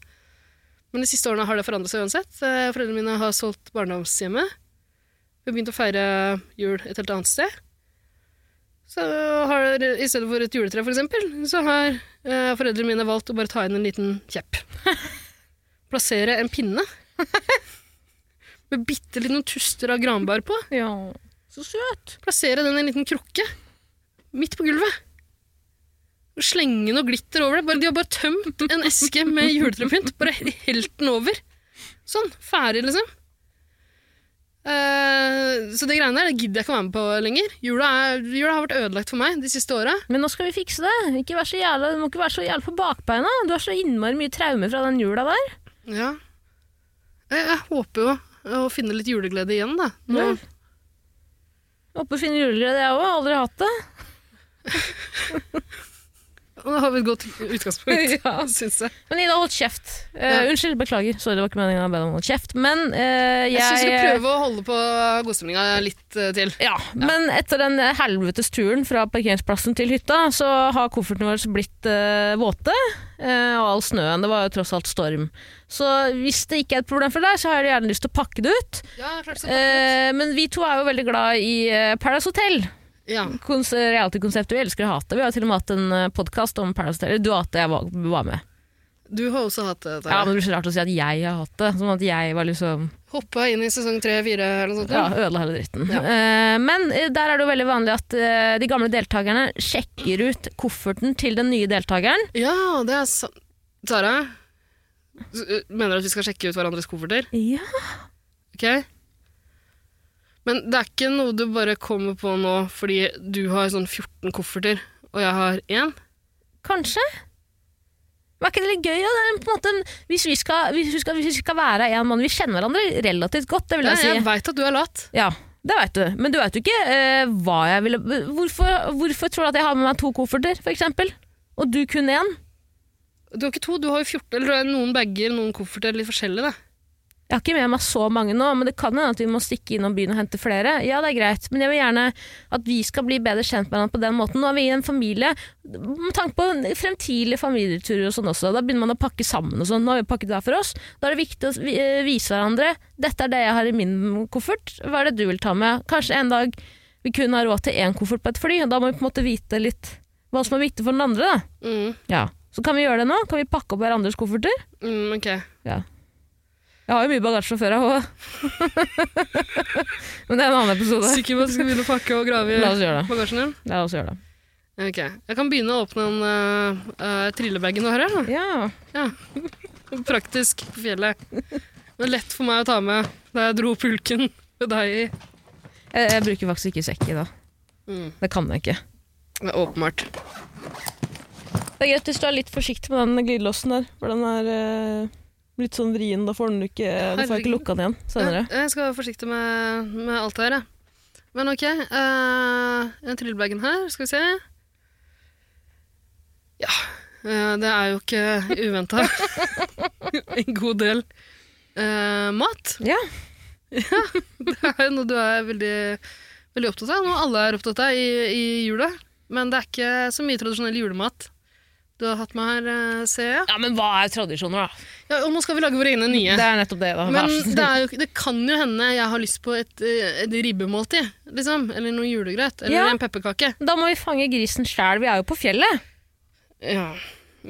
Speaker 1: Men de siste årene har det forandret seg uansett. Eh, Foreldrene mine har solgt barndomshjemmet. Vi har begynt å feire jul et helt annet sted. Så har, I stedet for et juletre, for eksempel, så har eh, foreldrene mine valgt å bare ta inn en liten kjepp plassere en pinne [LAUGHS] med bitte litt noen tuster av granbar på.
Speaker 2: Ja. Så søt.
Speaker 1: Plassere den i en liten krukke midt på gulvet. Og slenge noe glitter over det. Bare, de har bare tømt en eske med juletrepynt. Bare helt den over. Sånn. Ferdig, liksom. Eh, så det greiene der det gidder jeg ikke å være med på lenger. Jula, er, jula har vært ødelagt for meg de siste åra.
Speaker 2: Men nå skal vi fikse det. Ikke vær så jævla, du må ikke være så jævla på bakbeina. Du har så innmari mye traumer fra den jula der.
Speaker 1: Ja. Jeg, jeg håper jo å finne litt juleglede igjen, da. Nå
Speaker 2: Ja. Oppe finner juleglede, jeg òg. Aldri hatt det.
Speaker 1: Og da har vi et godt
Speaker 2: [LAUGHS]
Speaker 1: utgangspunkt, [LAUGHS]
Speaker 2: Ja.
Speaker 1: syns jeg.
Speaker 2: Men Ida, holdt kjeft. Eh,
Speaker 1: Ja.
Speaker 2: Unnskyld, beklager. Sorry, det var ikke meningen å be deg om å holde kjeft. Men eh, jeg,
Speaker 1: Jeg syns vi skal prøve å holde på godstemninga litt eh, til.
Speaker 2: Ja, men etter den eh, helvetes turen fra parkeringsplassen til hytta, så har koffertene våre blitt eh, våte, eh, og all snøen, det var jo tross alt storm. Så hvis det ikke er et problem for deg, så har jeg gjerne lyst til å pakke det ut.
Speaker 1: Ja, klart
Speaker 2: Eh, men vi to er jo veldig glad i eh, Paradise Hotel,
Speaker 1: ja.
Speaker 2: Kons- reality-konseptet vi elsker å hate. Vi har til og med hatt en podkast om Paradise Hotel, Eller du og jeg var, var med.
Speaker 1: Du har også hatt det.
Speaker 2: Ja,
Speaker 1: Tara.
Speaker 2: men det blir så rart å si at jeg har hatt det, sånn at jeg var liksom
Speaker 1: Hoppa inn i sesong tre-fire eller noe sånt.
Speaker 2: Ja,
Speaker 1: Ja.
Speaker 2: ødela hele dritten.
Speaker 1: Ja.
Speaker 2: Eh, men eh, der er det jo veldig vanlig at eh, de gamle deltakerne sjekker ut kofferten til den nye deltakeren.
Speaker 1: ja, det er sant. Tara, s- ø, mener du at vi skal sjekke ut hverandres kofferter?
Speaker 2: Ja.
Speaker 1: Ok? Men det er ikke noe du bare kommer på nå fordi du har sånn 14 kofferter, og jeg har én?
Speaker 2: Kanskje? Men er ikke det litt gøy? da? Det er på en måte, en- hvis, vi skal, hvis, vi skal, hvis vi skal være en mann Vi kjenner hverandre relativt godt, det vil
Speaker 1: Ja,
Speaker 2: jeg si.
Speaker 1: jeg veit at du er lat.
Speaker 2: Ja, det veit du. Men du veit jo ikke eh, hva jeg ville hvorfor, hvorfor tror du at jeg har med meg to kofferter, f.eks.? Og du kun én?
Speaker 1: Du har ikke to, du har jo 14. Eller du har noen bager, noen kofferter, litt forskjellig, da.
Speaker 2: Jeg har ikke med meg så mange nå, men det kan hende at vi må stikke innom byen og hente flere. Ja, det er greit, men jeg vil gjerne at vi skal bli bedre kjent med hverandre på den måten. Nå er vi i en familie, med tanke på fremtidige familieturer og sånn også. Da begynner man å pakke sammen og sånn. Nå har vi pakket hver for oss. Da er det viktig å vi- eh, vise hverandre. Dette er det jeg har i min koffert. Hva er det du vil ta med? Kanskje en dag vi kun har råd til én koffert på et fly, og da må vi på en måte vite litt hva som er viktig for den andre, da.
Speaker 1: Mm,
Speaker 2: Ja. Så kan vi gjøre det nå? Kan vi pakke opp hverandres kofferter?
Speaker 1: mm, ok.
Speaker 2: Ja. Jeg har jo mye bagasje fra før av òg. [LAUGHS] Men det er en annen episode.
Speaker 1: Sikker på at du skal begynne å pakke og grave
Speaker 2: La oss
Speaker 1: i
Speaker 2: gjøre det.
Speaker 1: bagasjen din?
Speaker 2: La oss gjøre det.
Speaker 1: Ok, Jeg kan begynne å åpne den eh, eh, trillebagen du har her. da.
Speaker 2: Ja.
Speaker 1: Praktisk på fjellet. Det var lett for meg å ta med da jeg dro pulken med deg i.
Speaker 2: Jeg, jeg bruker faktisk ikke sekk i dag.
Speaker 1: Mm.
Speaker 2: Det kan jeg ikke.
Speaker 1: Det er åpenbart.
Speaker 2: Det er greit hvis du er litt forsiktig med den glidelåsen der, for den er eh, litt sånn vrien. Da får den ikke, da får jeg ikke lukka den igjen senere.
Speaker 1: Jeg, jeg skal være forsiktig med, med alt det her, jeg. Men ok, eh, den trillebagen her, skal vi se. Ja, eh, det er jo ikke uventa. [LAUGHS] en god del eh, mat.
Speaker 2: Ja.
Speaker 1: Det er jo noe du er veldig, veldig opptatt av, noe alle er opptatt av i, i jula. Men det er ikke så mye tradisjonell julemat du har hatt med her, eh, ser jeg.
Speaker 2: ja, men hva er tradisjoner, da?
Speaker 1: Ja, og nå skal vi lage våre egne nye.
Speaker 2: Det er nettopp det, da.
Speaker 1: Men
Speaker 2: Vær så snill.
Speaker 1: det, er jo, ikke- det kan jo hende jeg har lyst på et, eh, et ribbemåltid, liksom. Eller noe julegrøt. Eller
Speaker 2: Ja.
Speaker 1: en pepperkake.
Speaker 2: Da må vi fange grisen sjæl. Vi er jo på fjellet.
Speaker 1: Ja.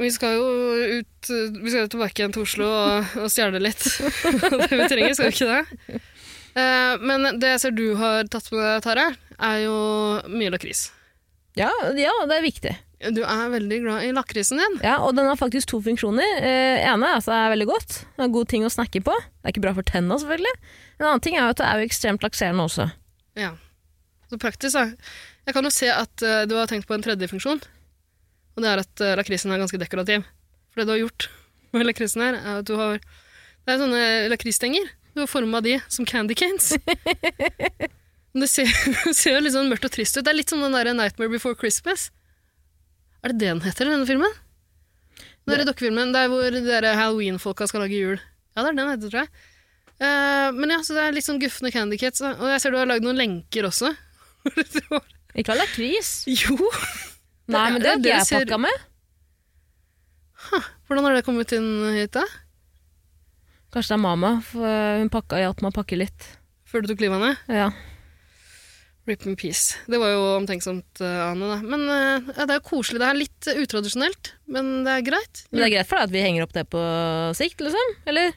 Speaker 1: Vi skal jo ut eh, Vi skal jo tilbake igjen til Oslo og, og stjele litt. [LAUGHS] det vi trenger, skal vi ikke det? Eh, men det jeg ser du har tatt med deg, Tare, er jo mye lakris.
Speaker 2: Ja, ja, det er viktig.
Speaker 1: Du er veldig glad i lakrisen din.
Speaker 2: Ja, og den har faktisk to funksjoner. Eh, ene er at det er veldig godt. Det er god ting å snakke på. Det er ikke bra for tenna, selvfølgelig. En annen ting er jo at det er jo ekstremt lakserende også.
Speaker 1: Ja. Så praktisk, da. Jeg kan jo se at eh, du har tenkt på en tredje funksjon. Og det er at eh, lakrisen er ganske dekorativ. For det du har gjort med lakrisen her, er at du har Det er sånne lakrisstenger. Du har forma de som candy canes. Men det ser, [LAUGHS] det ser jo litt sånn mørkt og trist ut. Det er litt som den der Nightmare Before Christmas. Er det det den heter, denne filmen? Den derre dokkefilmen der hvor de der halloween-folka skal lage jul. Ja, det er den den heter, tror jeg. Eh, men ja, så det er litt sånn gufne Candy Cats. da. Og jeg ser du har lagd noen lenker også.
Speaker 2: Ikke all lakris.
Speaker 1: [LAUGHS] jo!
Speaker 2: Nei, men det
Speaker 1: Ja, det
Speaker 2: har ikke jeg
Speaker 1: ser-
Speaker 2: pakka med.
Speaker 1: Hvordan har det kommet inn hit, da?
Speaker 2: Kanskje det er mamma. For hun pakka, hjalp meg å pakke litt.
Speaker 1: Før du tok livet av henne?
Speaker 2: Ja.
Speaker 1: Rip in peace. Det var jo omtenksomt, eh, Ane. da. Men eh, ja, det er jo koselig. Det er litt eh, utradisjonelt, men det er greit.
Speaker 2: Men det er greit for deg at vi henger opp det på sikt, liksom? Eller?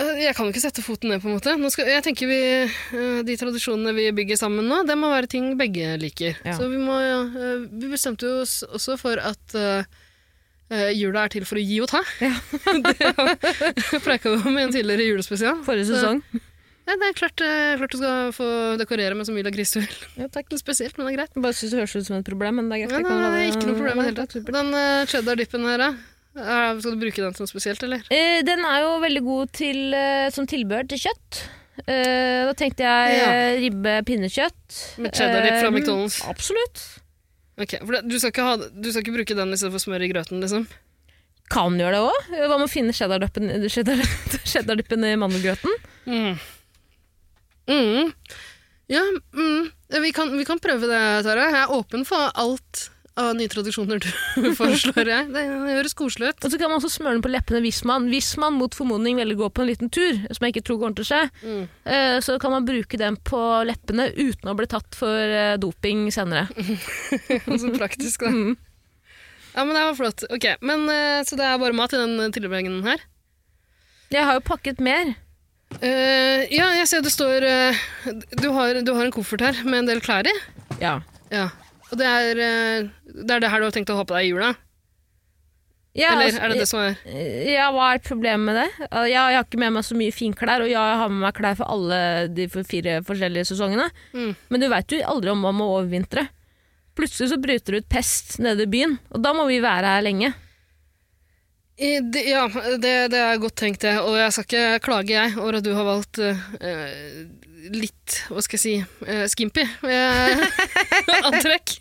Speaker 1: Eh, Jeg kan jo ikke sette foten ned, på en måte. Nå skal, jeg tenker vi, eh, De tradisjonene vi bygger sammen nå, det må være ting begge liker.
Speaker 2: Ja.
Speaker 1: Så vi, må, eh, vi bestemte jo oss også for at eh, eh, jula er til for å gi og ta. [LAUGHS] det har- preika vi [LAUGHS] om i en tidligere julespesial.
Speaker 2: Forrige
Speaker 1: Så-
Speaker 2: sesong.
Speaker 1: Nei, det er klart, eh, klart du skal få dekorere med så mye lakris du vil.
Speaker 2: Ja, takk.
Speaker 1: Noe Spesielt, men det er greit.
Speaker 2: Jeg bare syns det høres ut som et problem, men det er greit.
Speaker 1: Nei, nei,
Speaker 2: jeg kan la
Speaker 1: nei,
Speaker 2: det-
Speaker 1: ikke noe problem i det hele
Speaker 2: Nei,
Speaker 1: tatt.
Speaker 2: takk, supert.
Speaker 1: Den eh, cheddar-dippen her, da. Er- Skal du bruke den til noe spesielt, eller?
Speaker 2: Eh, den er jo veldig god til, eh, som tilbehør til kjøtt. Eh, da tenkte jeg eh, ribbe, pinnekjøtt.
Speaker 1: Med cheddar dip fra
Speaker 2: Eh,
Speaker 1: McDonald's.
Speaker 2: Absolutt.
Speaker 1: Ok, for det, du, skal ikke ha, du skal ikke bruke den istedenfor smør i grøten, liksom?
Speaker 2: Kan gjøre det òg. Hva med å finne cheddarduppen [LAUGHS] cheddar, cheddarduppen i mandelgrøten?
Speaker 1: Mm. Mm. Ja, mm. Vi, kan, vi kan prøve det, Tara. Jeg er åpen for alt av nye tradisjoner du [LAUGHS] foreslår. Jeg. Det høres koselig ut. [LAUGHS]
Speaker 2: Og så kan man også smøre den på leppene hvis man, hvis man mot formodning velger å gå på en liten tur, som jeg ikke tror kommer til å skje,
Speaker 1: Mm.
Speaker 2: eh, så kan man bruke den på leppene uten å bli tatt for eh, doping senere.
Speaker 1: Så Altså praktisk, da. Ja, men det var flott. Ok, men eh, Så det er bare mat i den tilbehøringen her?
Speaker 2: Jeg har jo pakket mer.
Speaker 1: Eh, ja, jeg ser det står eh, du, har, du har en koffert her med en del klær i.
Speaker 2: Ja.
Speaker 1: Ja. Og det er, eh, det er det her du har tenkt å ha på deg i jula?
Speaker 2: Ja,
Speaker 1: Eller
Speaker 2: altså,
Speaker 1: er det det som er
Speaker 2: ja, hva er problemet med det? Ja, jeg har ikke med meg så mye finklær, og ja, jeg har med meg klær for alle de for- fire forskjellige sesongene.
Speaker 1: Mm.
Speaker 2: Men du veit jo aldri om man må overvintre. Plutselig så bryter det ut pest nede i byen, og da må vi være her lenge.
Speaker 1: I, det, ja, det, det er godt tenkt, det. Og jeg skal ikke klage, jeg, over at du har valgt eh, litt, hva skal jeg si, eh, skimpy eh, [LAUGHS] antrekk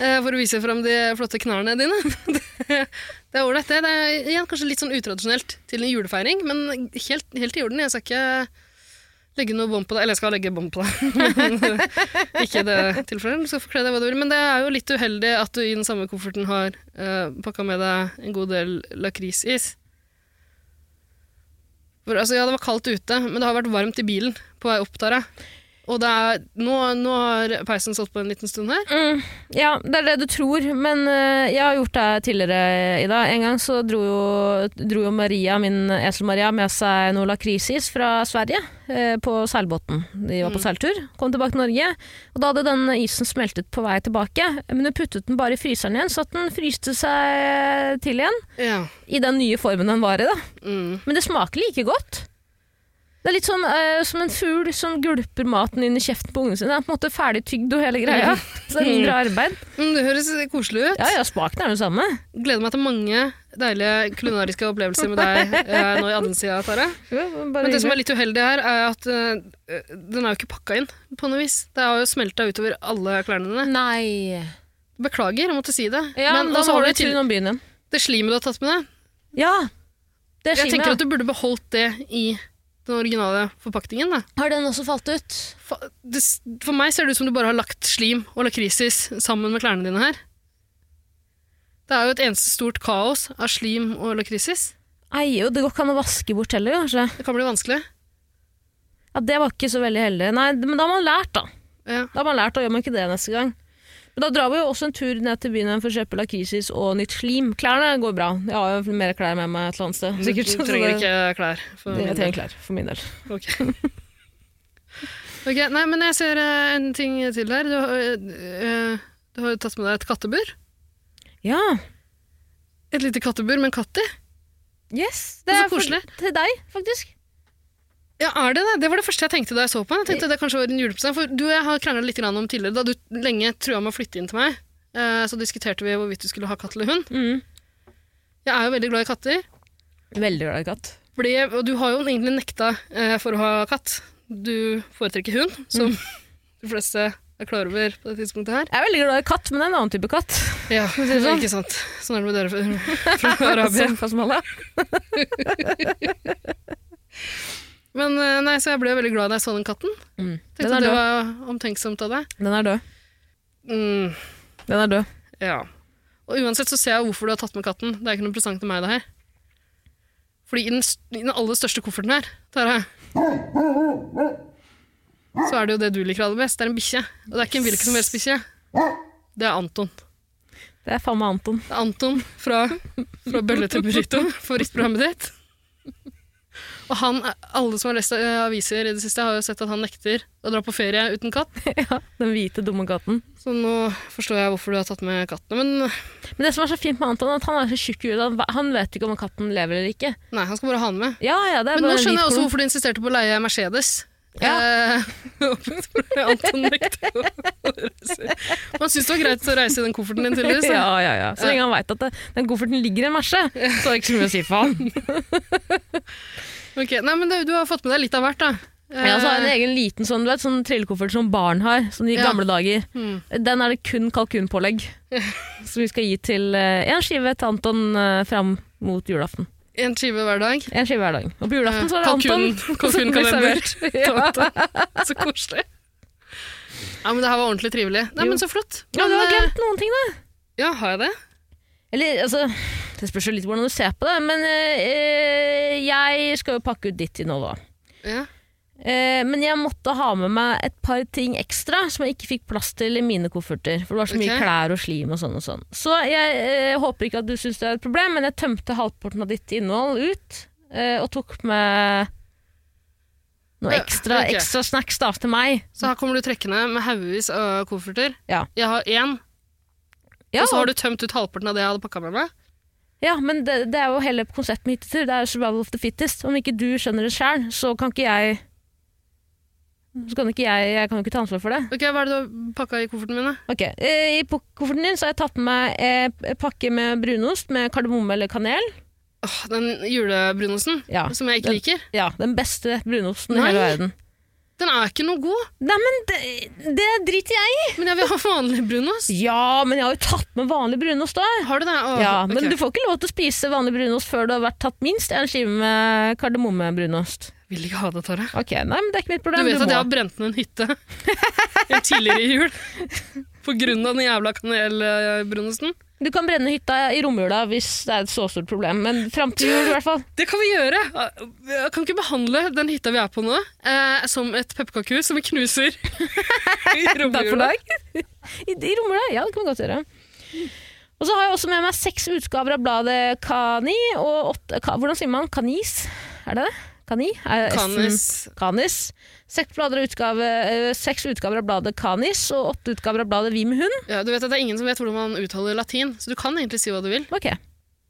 Speaker 1: eh, for å vise fram de flotte knærne dine. [LAUGHS] det det er ålreit, det. Det er igjen kanskje litt sånn utradisjonelt til en julefeiring, men helt, helt i orden. Jeg skal ikke legge noe bånd på deg. Eller jeg skal legge bånd på deg. Men, eh, ikke i det tilfellet. Du skal få kle deg hva du vil. Men det er jo litt uheldig at du i den samme kofferten har eh, pakka med deg en god del lakrisis. For, altså, ja, det var kaldt ute, men det har vært varmt i bilen på vei opp der. ja. Og det er, nå, nå har peisen stått på en liten stund her.
Speaker 2: Mm, ja, det er det du tror, men eh, jeg har gjort det tidligere, Ida. En gang så dro jo, dro jo Maria, min esel-Maria med seg noe lakrisis fra Sverige eh, på seilbåten. De var på seiltur, kom tilbake til Norge, og da hadde den isen smeltet på vei tilbake. Men hun puttet den bare i fryseren igjen, så at den fryste seg til igjen.
Speaker 1: Ja.
Speaker 2: I den nye formen den var i, da.
Speaker 1: Mm.
Speaker 2: Men det smaker like godt. Det er litt sånn eh, som en fugl som gulper maten inn i kjeften på ungene sine. Den er på en måte ferdig tygd og hele greia. Så det er mindre arbeid.
Speaker 1: Mm, det høres koselig ut.
Speaker 2: Ja, ja, smaken er den samme.
Speaker 1: Gleder meg til mange deilige kulinariske opplevelser med deg eh, nå i adventstida, Tara. Men det som er litt uheldig her, er at eh, den er jo ikke pakka inn på noe vis. Det har jo smelta utover alle klærne dine.
Speaker 2: Nei.
Speaker 1: Beklager, jeg måtte si det.
Speaker 2: Ja, men da
Speaker 1: også
Speaker 2: må
Speaker 1: har
Speaker 2: du
Speaker 1: du
Speaker 2: til
Speaker 1: til
Speaker 2: noen byen igjen.
Speaker 1: det slimet du har tatt med deg.
Speaker 2: Ja. Det er
Speaker 1: Jeg tenker
Speaker 2: skimet.
Speaker 1: at du burde beholdt det i den originale forpakningen. da.
Speaker 2: Har den også falt ut?
Speaker 1: For, det, s- for meg ser det ut som du bare har lagt slim og lakrisis sammen med klærne dine her. Det er jo et eneste stort kaos av slim og lakrisis.
Speaker 2: Nei, jo, det går ikke an å vaske bort heller, kanskje.
Speaker 1: Det kan bli vanskelig.
Speaker 2: Ja, det var ikke så veldig heldig. Nei, men da har man lært, da.
Speaker 1: Ja.
Speaker 2: Da har man lært, da gjør man ikke det neste gang. Men da drar vi jo også en tur ned til byen igjen for å kjøpe lakrisis og nytt slim. Klærne går bra. Jeg har jo mer klær med meg et eller annet sted.
Speaker 1: Du,
Speaker 2: Sikkert, [LAUGHS]
Speaker 1: du
Speaker 2: så
Speaker 1: trenger
Speaker 2: det-
Speaker 1: ikke klær. For min
Speaker 2: Jeg
Speaker 1: del.
Speaker 2: trenger klær, for min del.
Speaker 1: Ok. Ok, Nei, men jeg ser eh, en ting til her. Du, har, eh, du har jo tatt med deg et kattebur.
Speaker 2: Ja.
Speaker 1: Et lite kattebur med en katt i.
Speaker 2: Yes.
Speaker 1: Det er
Speaker 2: for-
Speaker 1: koselig.
Speaker 2: Til deg, faktisk.
Speaker 1: Ja, er det det? Det var det første jeg tenkte da jeg så på den. Jeg tenkte det kanskje var en julepresang, for du og jeg har kranglet litt grann om tidligere, da du lenge trua med å flytte inn til meg, eh, så diskuterte vi hvorvidt du skulle ha katt eller hund.
Speaker 2: Mm.
Speaker 1: Jeg er jo veldig glad i katter,
Speaker 2: Veldig glad i katt.
Speaker 1: fordi, og du har jo egentlig nekta eh, for å ha katt. Du foretrekker hund, som [LAUGHS] de fleste er klar over på det tidspunktet her.
Speaker 2: Jeg er veldig glad i katt, men det er en annen type katt.
Speaker 1: [LAUGHS] Ja,
Speaker 2: det sånn?
Speaker 1: ikke sant. Sånn er det med dere fra- [LAUGHS] fra Arabia.
Speaker 2: Som fra Somalia.
Speaker 1: Men eh, nei, så jeg ble veldig glad da jeg så den katten.
Speaker 2: Mm. Den,
Speaker 1: Tenkte
Speaker 2: er
Speaker 1: det
Speaker 2: død.
Speaker 1: var omtenksomt av deg.
Speaker 2: den er død.
Speaker 1: Mm.
Speaker 2: Den er død.
Speaker 1: Ja. Og uansett så ser jeg hvorfor du har tatt med katten. Det er ikke noen presang til meg, det her. Fordi i den, st- i den aller største kofferten her, Tara, så er det jo det du liker aller best. Det er en bikkje. Og det er ikke en hvilken som helst bikkje. Det er Anton.
Speaker 2: Det er faen meg Anton.
Speaker 1: Det er Anton fra, fra Bølle til Burrito, favorittprogrammet ditt. Og han, er- alle som har lest eh, aviser i det siste, har jo sett at han nekter å dra på ferie uten katt.
Speaker 2: ja, den hvite, dumme katten.
Speaker 1: Så nå forstår jeg hvorfor du har tatt med kattene. Men
Speaker 2: Men det som er så fint med Anton, er at han er så tjukk i huet. Han- Han vet ikke om katten lever eller ikke.
Speaker 1: nei, han skal bare ha den med.
Speaker 2: Ja, ja, det er
Speaker 1: Men nå
Speaker 2: bare en hvit
Speaker 1: skjønner jeg også
Speaker 2: klump.
Speaker 1: hvorfor du insisterte på å leie Mercedes.
Speaker 2: Ja.
Speaker 1: Eh, [LAUGHS] Anton nekter å reise. Man syns det var greit å reise i den kofferten din tydeligvis. da.
Speaker 2: [LAUGHS] Ja, ja, ja. Så lenge han veit at det, den kofferten ligger i en merse,
Speaker 1: [LAUGHS]
Speaker 2: så er det ikke så mye å si for han.
Speaker 1: Ok, Nei, men det, du har fått med deg litt av hvert, da.
Speaker 2: Ja, så har jeg altså, en egen liten sånn, du vet, sånn trillekoffert som barn har, sånn i
Speaker 1: Ja.
Speaker 2: gamle dager.
Speaker 1: Mm.
Speaker 2: Den er det kun
Speaker 1: [LAUGHS]
Speaker 2: kalkunpålegg som vi skal gi til eh, en skive til Anton eh, fram mot julaften.
Speaker 1: Eh, En skive hver dag.
Speaker 2: En skive hver dag. Og på julaften så er det Anton.
Speaker 1: Kalkun, kalkun
Speaker 2: som blir
Speaker 1: kan være
Speaker 2: servert.
Speaker 1: [LAUGHS] bult. [LAUGHS]
Speaker 2: Ja.
Speaker 1: Så koselig. Ja, men Det her var ordentlig trivelig. Nei,
Speaker 2: Jo.
Speaker 1: men Så flott.
Speaker 2: Ja, du
Speaker 1: Men,
Speaker 2: har
Speaker 1: eh,
Speaker 2: glemt noen ting, da.
Speaker 1: ja, har jeg det?
Speaker 2: Eller, altså, det spørs jo litt hvordan du ser på det, men eh, jeg skal jo pakke ut ditt til nå, da.
Speaker 1: Ja.
Speaker 2: Eh, men jeg måtte ha med meg et par ting ekstra som jeg ikke fikk plass til i mine kofferter. For det var så mye
Speaker 1: Ok.
Speaker 2: klær og slim og sånn og sånn. Så jeg eh, håper ikke at du syns det er et problem, men jeg tømte halvparten av ditt innhold ut. eh, og tok med noe
Speaker 1: Ja,
Speaker 2: ekstra,
Speaker 1: ok.
Speaker 2: ekstra snacks da, til meg.
Speaker 1: Så her kommer du trekkende med haugevis av kofferter.
Speaker 2: Ja.
Speaker 1: Jeg har én,
Speaker 2: Ja,
Speaker 1: og så har du tømt ut halvparten av det jeg hadde pakka med meg.
Speaker 2: ja men det, det er jo hele konseptet med hyttetur. Det er survival of the fittest. Om ikke du skjønner det sjøl, så kan ikke jeg så kan ikke jeg, jeg kan jo ikke ta ansvar for det.
Speaker 1: Ok, Hva er det du har pakka i kofferten min? da?
Speaker 2: Ok, eh, I pok- kofferten din så har jeg tatt med meg eh, p- pakke med brunost med kardemomme eller kanel.
Speaker 1: Åh, Den julebrunosten
Speaker 2: Ja,
Speaker 1: som jeg ikke
Speaker 2: den-
Speaker 1: liker,
Speaker 2: ja Den beste brunosten i
Speaker 1: Nei.
Speaker 2: hele verden.
Speaker 1: den er ikke noe god.
Speaker 2: Nei, men det, det driter jeg i!
Speaker 1: Men jeg vil ha vanlig brunost.
Speaker 2: Ja, men jeg har jo tatt med vanlig brunost da.
Speaker 1: Har du det? Åh,
Speaker 2: Ja,
Speaker 1: ok.
Speaker 2: Men du får ikke lov til å spise vanlig brunost før du har vært tatt minst en skive med kardemommebrunost.
Speaker 1: Vil ikke ha det, Tara.
Speaker 2: Ok, nei, men det er ikke mitt
Speaker 1: Du
Speaker 2: problem.
Speaker 1: vet at jeg har
Speaker 2: må.
Speaker 1: brent ned en hytte [LAUGHS] en tidligere jul på grunn av den jævla kanelbrunosten.
Speaker 2: Du kan brenne hytta i romjula hvis det er et så stort problem, men fram til jul i hvert fall.
Speaker 1: Det kan vi gjøre! Jeg kan ikke behandle den hytta vi er på nå, eh, som et pepperkakehus som vi knuser [LAUGHS] i
Speaker 2: Takk for
Speaker 1: [LAUGHS] romjula.
Speaker 2: dag. [LAUGHS] I, i romjula, ja, det kan vi godt gjøre. Og så har jeg også med meg seks utgaver av bladet Kani og åtte ka, Hvordan sier man Kanis? Er det det? Kani? Er S-en-
Speaker 1: Kanis.
Speaker 2: Kanis. Seks, blader av utgave, eh, seks utgaver av bladet Kanis og åtte utgaver av bladet Vi med hund.
Speaker 1: Ja, du vet at Det er ingen som vet hvordan man uttaler latin, så du kan egentlig si hva du vil.
Speaker 2: Ok.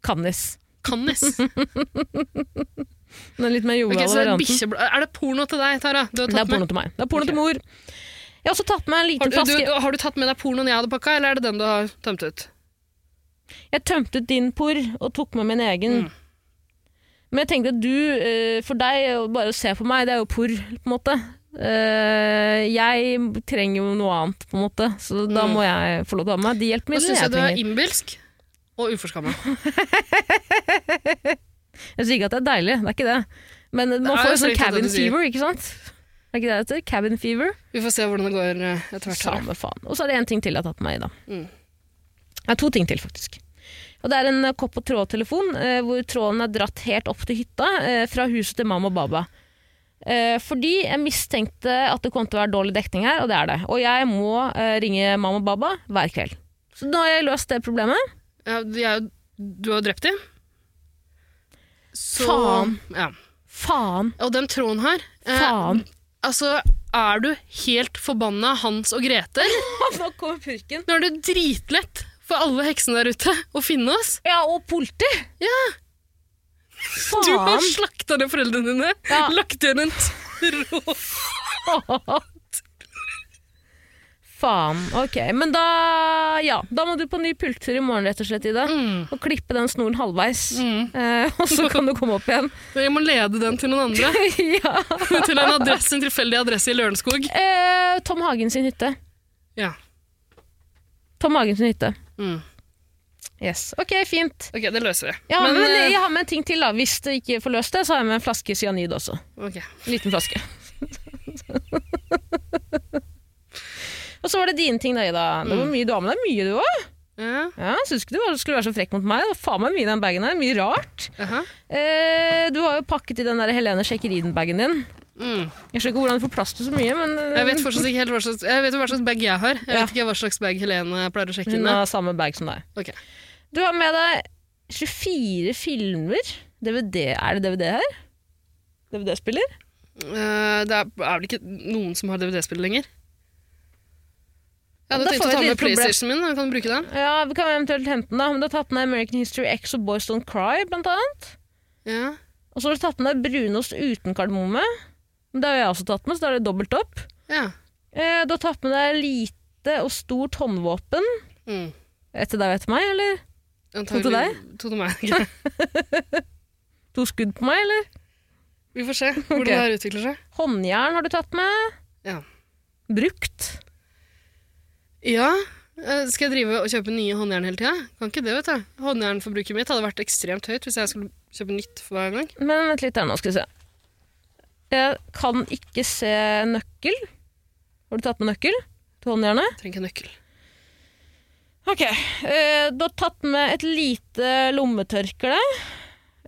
Speaker 2: Kanis. [LAUGHS]
Speaker 1: Canis.
Speaker 2: Den litt mer
Speaker 1: Ok,
Speaker 2: joviale
Speaker 1: så det er,
Speaker 2: varianten.
Speaker 1: bikkjebla- er det porno til deg, Tara? Du har,
Speaker 2: Det er
Speaker 1: tatt
Speaker 2: porno
Speaker 1: med.
Speaker 2: til meg. Det er porno til mor. Jeg har også tatt med en
Speaker 1: Har,
Speaker 2: liten
Speaker 1: du, du,
Speaker 2: flaske
Speaker 1: har du tatt med deg pornoen jeg hadde pakka, eller er det den du har tømt ut?
Speaker 2: Jeg tømte ut din por og tok med min egen.
Speaker 1: Mm.
Speaker 2: Men jeg tenkte at du, eh, for deg, å bare å se på meg, det er jo por, på en måte. Eh, Jeg trenger jo noe annet, på en måte, så da
Speaker 1: Mm.
Speaker 2: må jeg få lov til å ha med meg de
Speaker 1: Nå
Speaker 2: hjelpemidlene
Speaker 1: syns
Speaker 2: jeg
Speaker 1: jeg du er
Speaker 2: trenger.
Speaker 1: innbilsk og uforskamma.
Speaker 2: Jeg sier ikke at det er deilig, det er ikke det. Men
Speaker 1: er
Speaker 2: man får
Speaker 1: jo
Speaker 2: jo sånn
Speaker 1: strengt tatt det
Speaker 2: cabin
Speaker 1: du sier.
Speaker 2: fever, ikke sant? Er ikke det det heter? Cabin fever?
Speaker 1: Vi får se hvordan det går eh, etter hvert. Tara.
Speaker 2: Samme faen. Og så er det en ting til jeg har tatt med meg i, da.
Speaker 1: Mm.
Speaker 2: Nei, to ting til, faktisk. Og det er en eh, kopp- og trådtelefon eh, hvor tråden er dratt helt opp til hytta, eh, fra huset til mamma og baba. Eh, fordi jeg mistenkte at det kom til å være dårlig dekning her, og det er det. Og jeg må eh, ringe mamma og baba hver kveld. Så da har jeg løst det problemet.
Speaker 1: Ja, de er, jo- du har jo drept dem. Så,
Speaker 2: Faen.
Speaker 1: Ja.
Speaker 2: Faen,
Speaker 1: Og den tråden her eh,
Speaker 2: faen. [LAUGHS]
Speaker 1: Altså, er du helt forbanna Hans og Grete?
Speaker 2: Nå kommer purken.
Speaker 1: Nå er det dritlett for alle heksene der ute å finne oss.
Speaker 2: Ja, og politi!
Speaker 1: Du har
Speaker 2: Faen!
Speaker 1: slakta ned foreldrene dine,
Speaker 2: Ja.
Speaker 1: lagt igjen en tråd.
Speaker 2: Faen. Ok, men da Ja, da må du på ny pulttur i morgen, rett og slett, Ida.
Speaker 1: Mm.
Speaker 2: Og klippe den snoren halvveis.
Speaker 1: Mm.
Speaker 2: Eh, og så kan du komme opp igjen. [LAUGHS]
Speaker 1: Jeg må lede den til noen andre.
Speaker 2: ja.
Speaker 1: [LAUGHS] Til en, adresse, en tilfeldig adresse i Lørenskog.
Speaker 2: eh, Tom Hagen sin hytte.
Speaker 1: Ja.
Speaker 2: Tom Hagen sin hytte.
Speaker 1: Mm.
Speaker 2: Yes. Ok, fint.
Speaker 1: Ok, det løser vi.
Speaker 2: Jeg har,
Speaker 1: Men,
Speaker 2: med,
Speaker 1: eh,
Speaker 2: jeg har med en ting til, da. Hvis det ikke får løst det, så har jeg med en flaske cyanid også.
Speaker 1: ok.
Speaker 2: En liten flaske. [LAUGHS] og så var det dine ting, da, Ida. Det
Speaker 1: Mm.
Speaker 2: var mye du har med deg. Mye, du òg.
Speaker 1: Ja,
Speaker 2: Ja, Syns ikke du var- skulle være så frekk mot meg. Det var faen meg mye i den bagen her. Mye rart.
Speaker 1: aha.
Speaker 2: Eh, du har jo pakket i den der Helene Sjekkeriden-bagen din.
Speaker 1: Mm.
Speaker 2: Jeg skjønner ikke hvordan du får plass til så mye, men eh,
Speaker 1: Jeg vet fortsatt ikke helt hva slags, jeg vet jo hva slags bag jeg har. Jeg
Speaker 2: Ja.
Speaker 1: vet ikke hva slags bag Helene pleier å sjekke inn
Speaker 2: hun
Speaker 1: i.
Speaker 2: har samme bag som deg.
Speaker 1: Ok.
Speaker 2: Du har med deg 24 filmer. DVD, er det DVD her? DVD-spiller?
Speaker 1: Eh, det er, er vel ikke noen som har DVD-spill lenger? Jeg
Speaker 2: Da
Speaker 1: hadde tenkt
Speaker 2: får
Speaker 1: å
Speaker 2: vi
Speaker 1: ta
Speaker 2: et
Speaker 1: med
Speaker 2: lite problem.
Speaker 1: PlayStation min. Jeg kan bruke den.
Speaker 2: Ja, vi kan eventuelt hente den da, men du har tatt med American History X og Boys Don't Cry, blant annet.
Speaker 1: Ja.
Speaker 2: Og så har du tatt med brunost uten kardemomme. Men Det har jeg også tatt med, så da er det dobbelt opp.
Speaker 1: ja.
Speaker 2: Eh, du har tatt med deg lite og stort håndvåpen.
Speaker 1: Mm.
Speaker 2: Etter deg og etter meg, eller?
Speaker 1: Antagelig- [LAUGHS]
Speaker 2: deg?
Speaker 1: To til meg. ok.
Speaker 2: To skudd på meg, eller?
Speaker 1: Vi får se hvordan
Speaker 2: Ok.
Speaker 1: det her utvikler seg.
Speaker 2: Håndjern har du tatt med.
Speaker 1: Ja.
Speaker 2: Brukt.
Speaker 1: Ja, eh, skal jeg drive og kjøpe nye håndjern hele tida? Kan ikke det, vet du. Håndjernforbruket mitt hadde vært ekstremt høyt hvis jeg skulle kjøpe nytt for hver gang.
Speaker 2: Men vent litt her nå, skal vi se. Jeg kan ikke se nøkkel. Har du tatt med nøkkel til håndjernet?
Speaker 1: Jeg trenger ikke nøkkel.
Speaker 2: Ok. eh, Du har tatt med et lite lommetørkle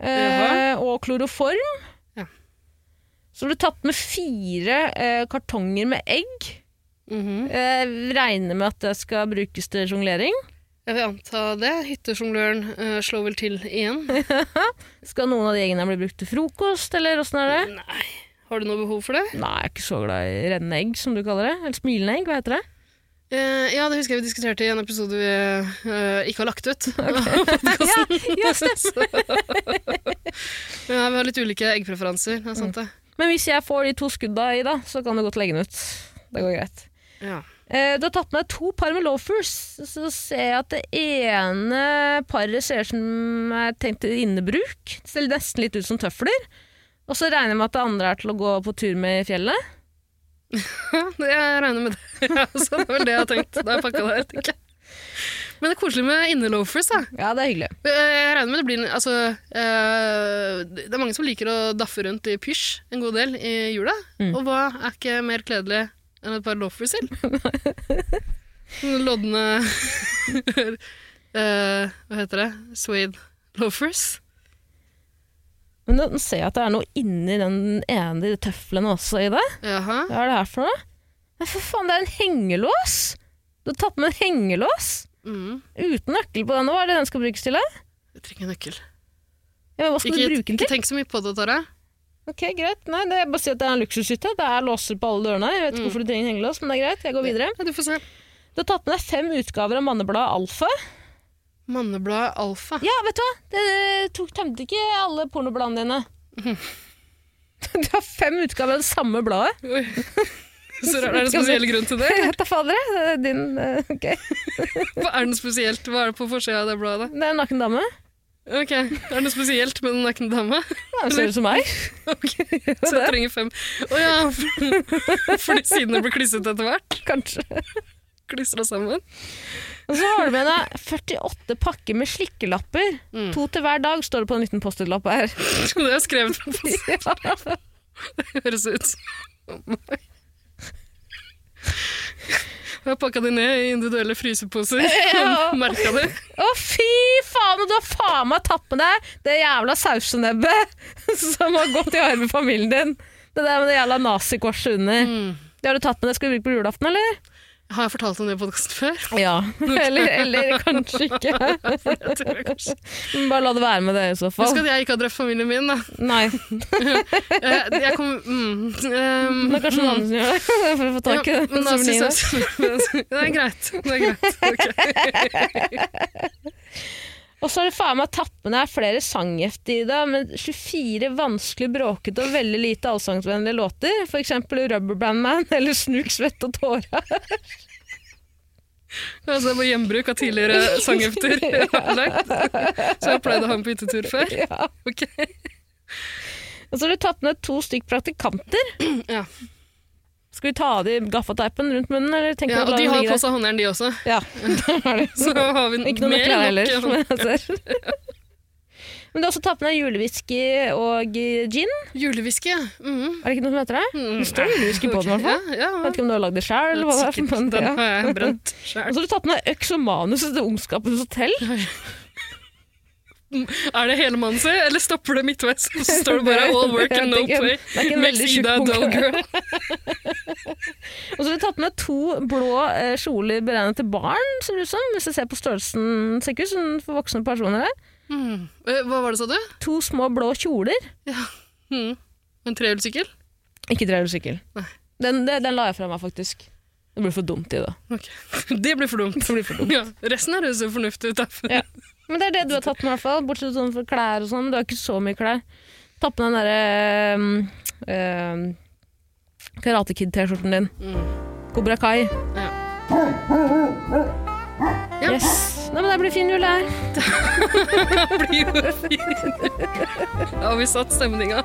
Speaker 2: eh, og kloroform.
Speaker 1: Ja.
Speaker 2: Så har du tatt med fire eh, kartonger med egg.
Speaker 1: Mhm.
Speaker 2: Jeg regner med at det skal brukes til jonglering.
Speaker 1: Jeg vil anta det. Hyttesjongløren eh, slår vel til
Speaker 2: [LAUGHS]
Speaker 1: igjen.
Speaker 2: Skal noen av de eggene bli brukt til frokost, eller åssen er det?
Speaker 1: Nei. Har du noe behov for det?
Speaker 2: Nei, jeg er ikke så glad i rennende egg, som du kaller det. Eller smilende egg, hva heter det?
Speaker 1: Eh, ja, det husker jeg vi diskuterte i en episode vi eh, ikke har lagt ut. [LAUGHS]
Speaker 2: Ja, ja, stemmer.
Speaker 1: Så- ja, vi har litt ulike eggpreferanser. Det er sant, det.
Speaker 2: Men hvis jeg får de to skudda i, da, så kan du godt legge den ut. Det går greit.
Speaker 1: Ja.
Speaker 2: Eh, Du har tatt med to par med loafers. Så ser jeg at det ene paret ser ut som er tenkt til innebruk. Det ser nesten litt ut som tøfler. Og så regner jeg med at det andre er til å gå på tur med i fjellet.
Speaker 1: Jeg regner med det. [LAUGHS] Ja, så det er vel det jeg har tenkt da jeg pakka det her. tenker jeg. Men det er koselig med innerloafers. da.
Speaker 2: Ja, det er hyggelig.
Speaker 1: Jeg regner med det blir en- altså, eh, Det er mange som liker å daffe rundt i pysj en god del i jula.
Speaker 2: Mm.
Speaker 1: Og hva er ikke mer kledelig enn et par loafers
Speaker 2: [LAUGHS]
Speaker 1: til? Sånne lodne [LAUGHS] eh, Hva heter det? Suede loafers.
Speaker 2: Men nå ser jeg at det er noe inni den ene de tøflene også i det.
Speaker 1: Jaha.
Speaker 2: Hva er det her for noe? Nei, for faen, det er en hengelås! Du har tatt med en hengelås!
Speaker 1: Mm.
Speaker 2: Uten nøkkel på den, hva er det den skal brukes til? da?
Speaker 1: Jeg trenger nøkkel.
Speaker 2: Ja, men hva skal
Speaker 1: Ikke,
Speaker 2: du bruke den
Speaker 1: ikke
Speaker 2: til?
Speaker 1: tenk så mye på det, Tara.
Speaker 2: Ok, greit. Nei, det er bare å si at det er en luksushytte. Det er låser på alle dørene. Jeg vet ikke hvorfor du trenger hengelås, men det er greit. Jeg går videre.
Speaker 1: Ja, du får se.
Speaker 2: Du har tatt med deg fem utgaver av Mannebladet Alfa.
Speaker 1: Mannebladet
Speaker 2: [LAUGHS]
Speaker 1: Alfa.
Speaker 2: Ja, vet du hva? Det det tok, tømte ikke alle pornobladene dine. [LAUGHS] Du har fem utgaver av det samme bladet.
Speaker 1: Oi. Så er det en spesiell grunn til det?
Speaker 2: [LAUGHS] Jeg vet da fader, jeg. det er din eh, Ok.
Speaker 1: Hva er den spesielt? Hva er det på forsida av det bladet?
Speaker 2: Det er en naken dame.
Speaker 1: Ok, Er det noe spesielt med den nakne dama?
Speaker 2: Ja, Ser ut som meg.
Speaker 1: Så jeg trenger fem. Å ja, for- fordi sidene blir klissete etter hvert?
Speaker 2: [LAUGHS] Kanskje.
Speaker 1: Klistra sammen?
Speaker 2: Og så har du med deg 48 pakker med slikkelapper. To til hver dag, står det på en liten Post-It-lapp her.
Speaker 1: Det har jeg skrevet på på-
Speaker 2: [LAUGHS] Ja.
Speaker 1: høres ut som meg. Jeg har pakka de ned i individuelle fryseposer. [LAUGHS]
Speaker 2: Ja.
Speaker 1: Merka det.
Speaker 2: Å, fy faen! og Du har faen meg tatt med deg det jævla sausenebbet [LAUGHS] som har gått i arv med familien din. Det der med det jævla nazikorset under.
Speaker 1: Mm.
Speaker 2: Det har du tatt med deg. Skal du bruke på julaften, eller?
Speaker 1: Har jeg fortalt om det i podkasten før? [LAUGHS]
Speaker 2: Ja. [LAUGHS] Eller, eller kanskje ikke.
Speaker 1: Jeg tror jeg kanskje.
Speaker 2: Men Bare la det være med det i så
Speaker 1: Husk
Speaker 2: fall.
Speaker 1: at jeg ikke har drept familien min, da.
Speaker 2: Nei.
Speaker 1: Eh, Jeg kom mm, ehm,
Speaker 2: Det er kanskje noen andre som gjør det, [LAUGHS] for å få tak i
Speaker 1: Ja,
Speaker 2: det.
Speaker 1: men altså, da synes
Speaker 2: souveniret.
Speaker 1: jeg- [LAUGHS] Det er greit. Det er greit. Ok.
Speaker 2: Og så har du faen meg tatt med deg flere sanghefter i dag, med 24 vanskelig bråkete og veldig lite allsangsvennlige låter. For eksempel Rubber Band Man eller Snuk, Svett og Tårer.
Speaker 1: Altså, det var gjenbruk av
Speaker 2: [LAUGHS]
Speaker 1: tidligere sanghefter [LAUGHS] jeg har lagt. Så jeg pleide å ha med på hyttetur før.
Speaker 2: Ja.
Speaker 1: Ok.
Speaker 2: Og så har du tatt med to stykk praktikanter.
Speaker 1: [CLEARS THROAT] Ja.
Speaker 2: Skal vi ta av de gaffateipen rundt munnen, eller tenker
Speaker 1: Ja,
Speaker 2: du
Speaker 1: og
Speaker 2: å la
Speaker 1: de
Speaker 2: den
Speaker 1: har på
Speaker 2: ligge der?
Speaker 1: seg håndjern, de også.
Speaker 2: Ja, der har du.
Speaker 1: Så har vi
Speaker 2: Ikke noe
Speaker 1: mer
Speaker 2: nøkler
Speaker 1: enn
Speaker 2: heller,
Speaker 1: nok. sånn
Speaker 2: som jeg ser. [LAUGHS] Men du har også tatt med deg julewhisky og gin.
Speaker 1: Julewhisky, ja.
Speaker 2: [LAUGHS]
Speaker 1: Mhm.
Speaker 2: Er det ikke noe som heter det?
Speaker 1: Mm.
Speaker 2: Det står julewhisky på den, i hvert fall.
Speaker 1: Ja,
Speaker 2: Jeg
Speaker 1: ja.
Speaker 2: vet ikke om du har lagd det sjøl, eller hva det er.
Speaker 1: Sikkert.
Speaker 2: men-
Speaker 1: Den
Speaker 2: ja.
Speaker 1: har jeg brent sjøl.
Speaker 2: Og så har du tatt med deg øks og manus til Ondskapens hotell.
Speaker 1: Er det hele mannen sin, eller stopper det midtveis? Så står det
Speaker 2: [LAUGHS]
Speaker 1: bare 'all work and no
Speaker 2: Det er ikke-
Speaker 1: play'.
Speaker 2: det er ikke en
Speaker 1: Makes
Speaker 2: veldig tjukk
Speaker 1: Ida a dull
Speaker 2: bok. [LAUGHS]
Speaker 1: girl.
Speaker 2: Og så har du tatt med to blå eh, kjoler beregnet til barn, ser det ut som. Hvis jeg ser på størrelsen, ser ikke ut som for voksne personer. det.
Speaker 1: Mm. Eh, Hva var det, sa du?
Speaker 2: To små blå kjoler.
Speaker 1: Mm. En trehjulssykkel?
Speaker 2: Ikke trehjulssykkel.
Speaker 1: Nei.
Speaker 2: Den, den, den la jeg fra meg, faktisk. Det blir for dumt i det.
Speaker 1: Ok. [LAUGHS] Det blir for dumt.
Speaker 2: det blir for dumt.
Speaker 1: Ja, resten her høres jo fornuftig ut. derfor.
Speaker 2: Ja. Men det er det du har tatt med, i hvert fall. Bortsett sånn for klær og sånn. Du har ikke så mye klær. Ta på den derre ehm, øh, Karate Kid-T-skjorten din. Kobra Kai.
Speaker 1: Ja. Ja.
Speaker 2: Yes. Nei, men det blir fin jul, det her.
Speaker 1: Det blir jo fint. Ja, vi satt stemninga.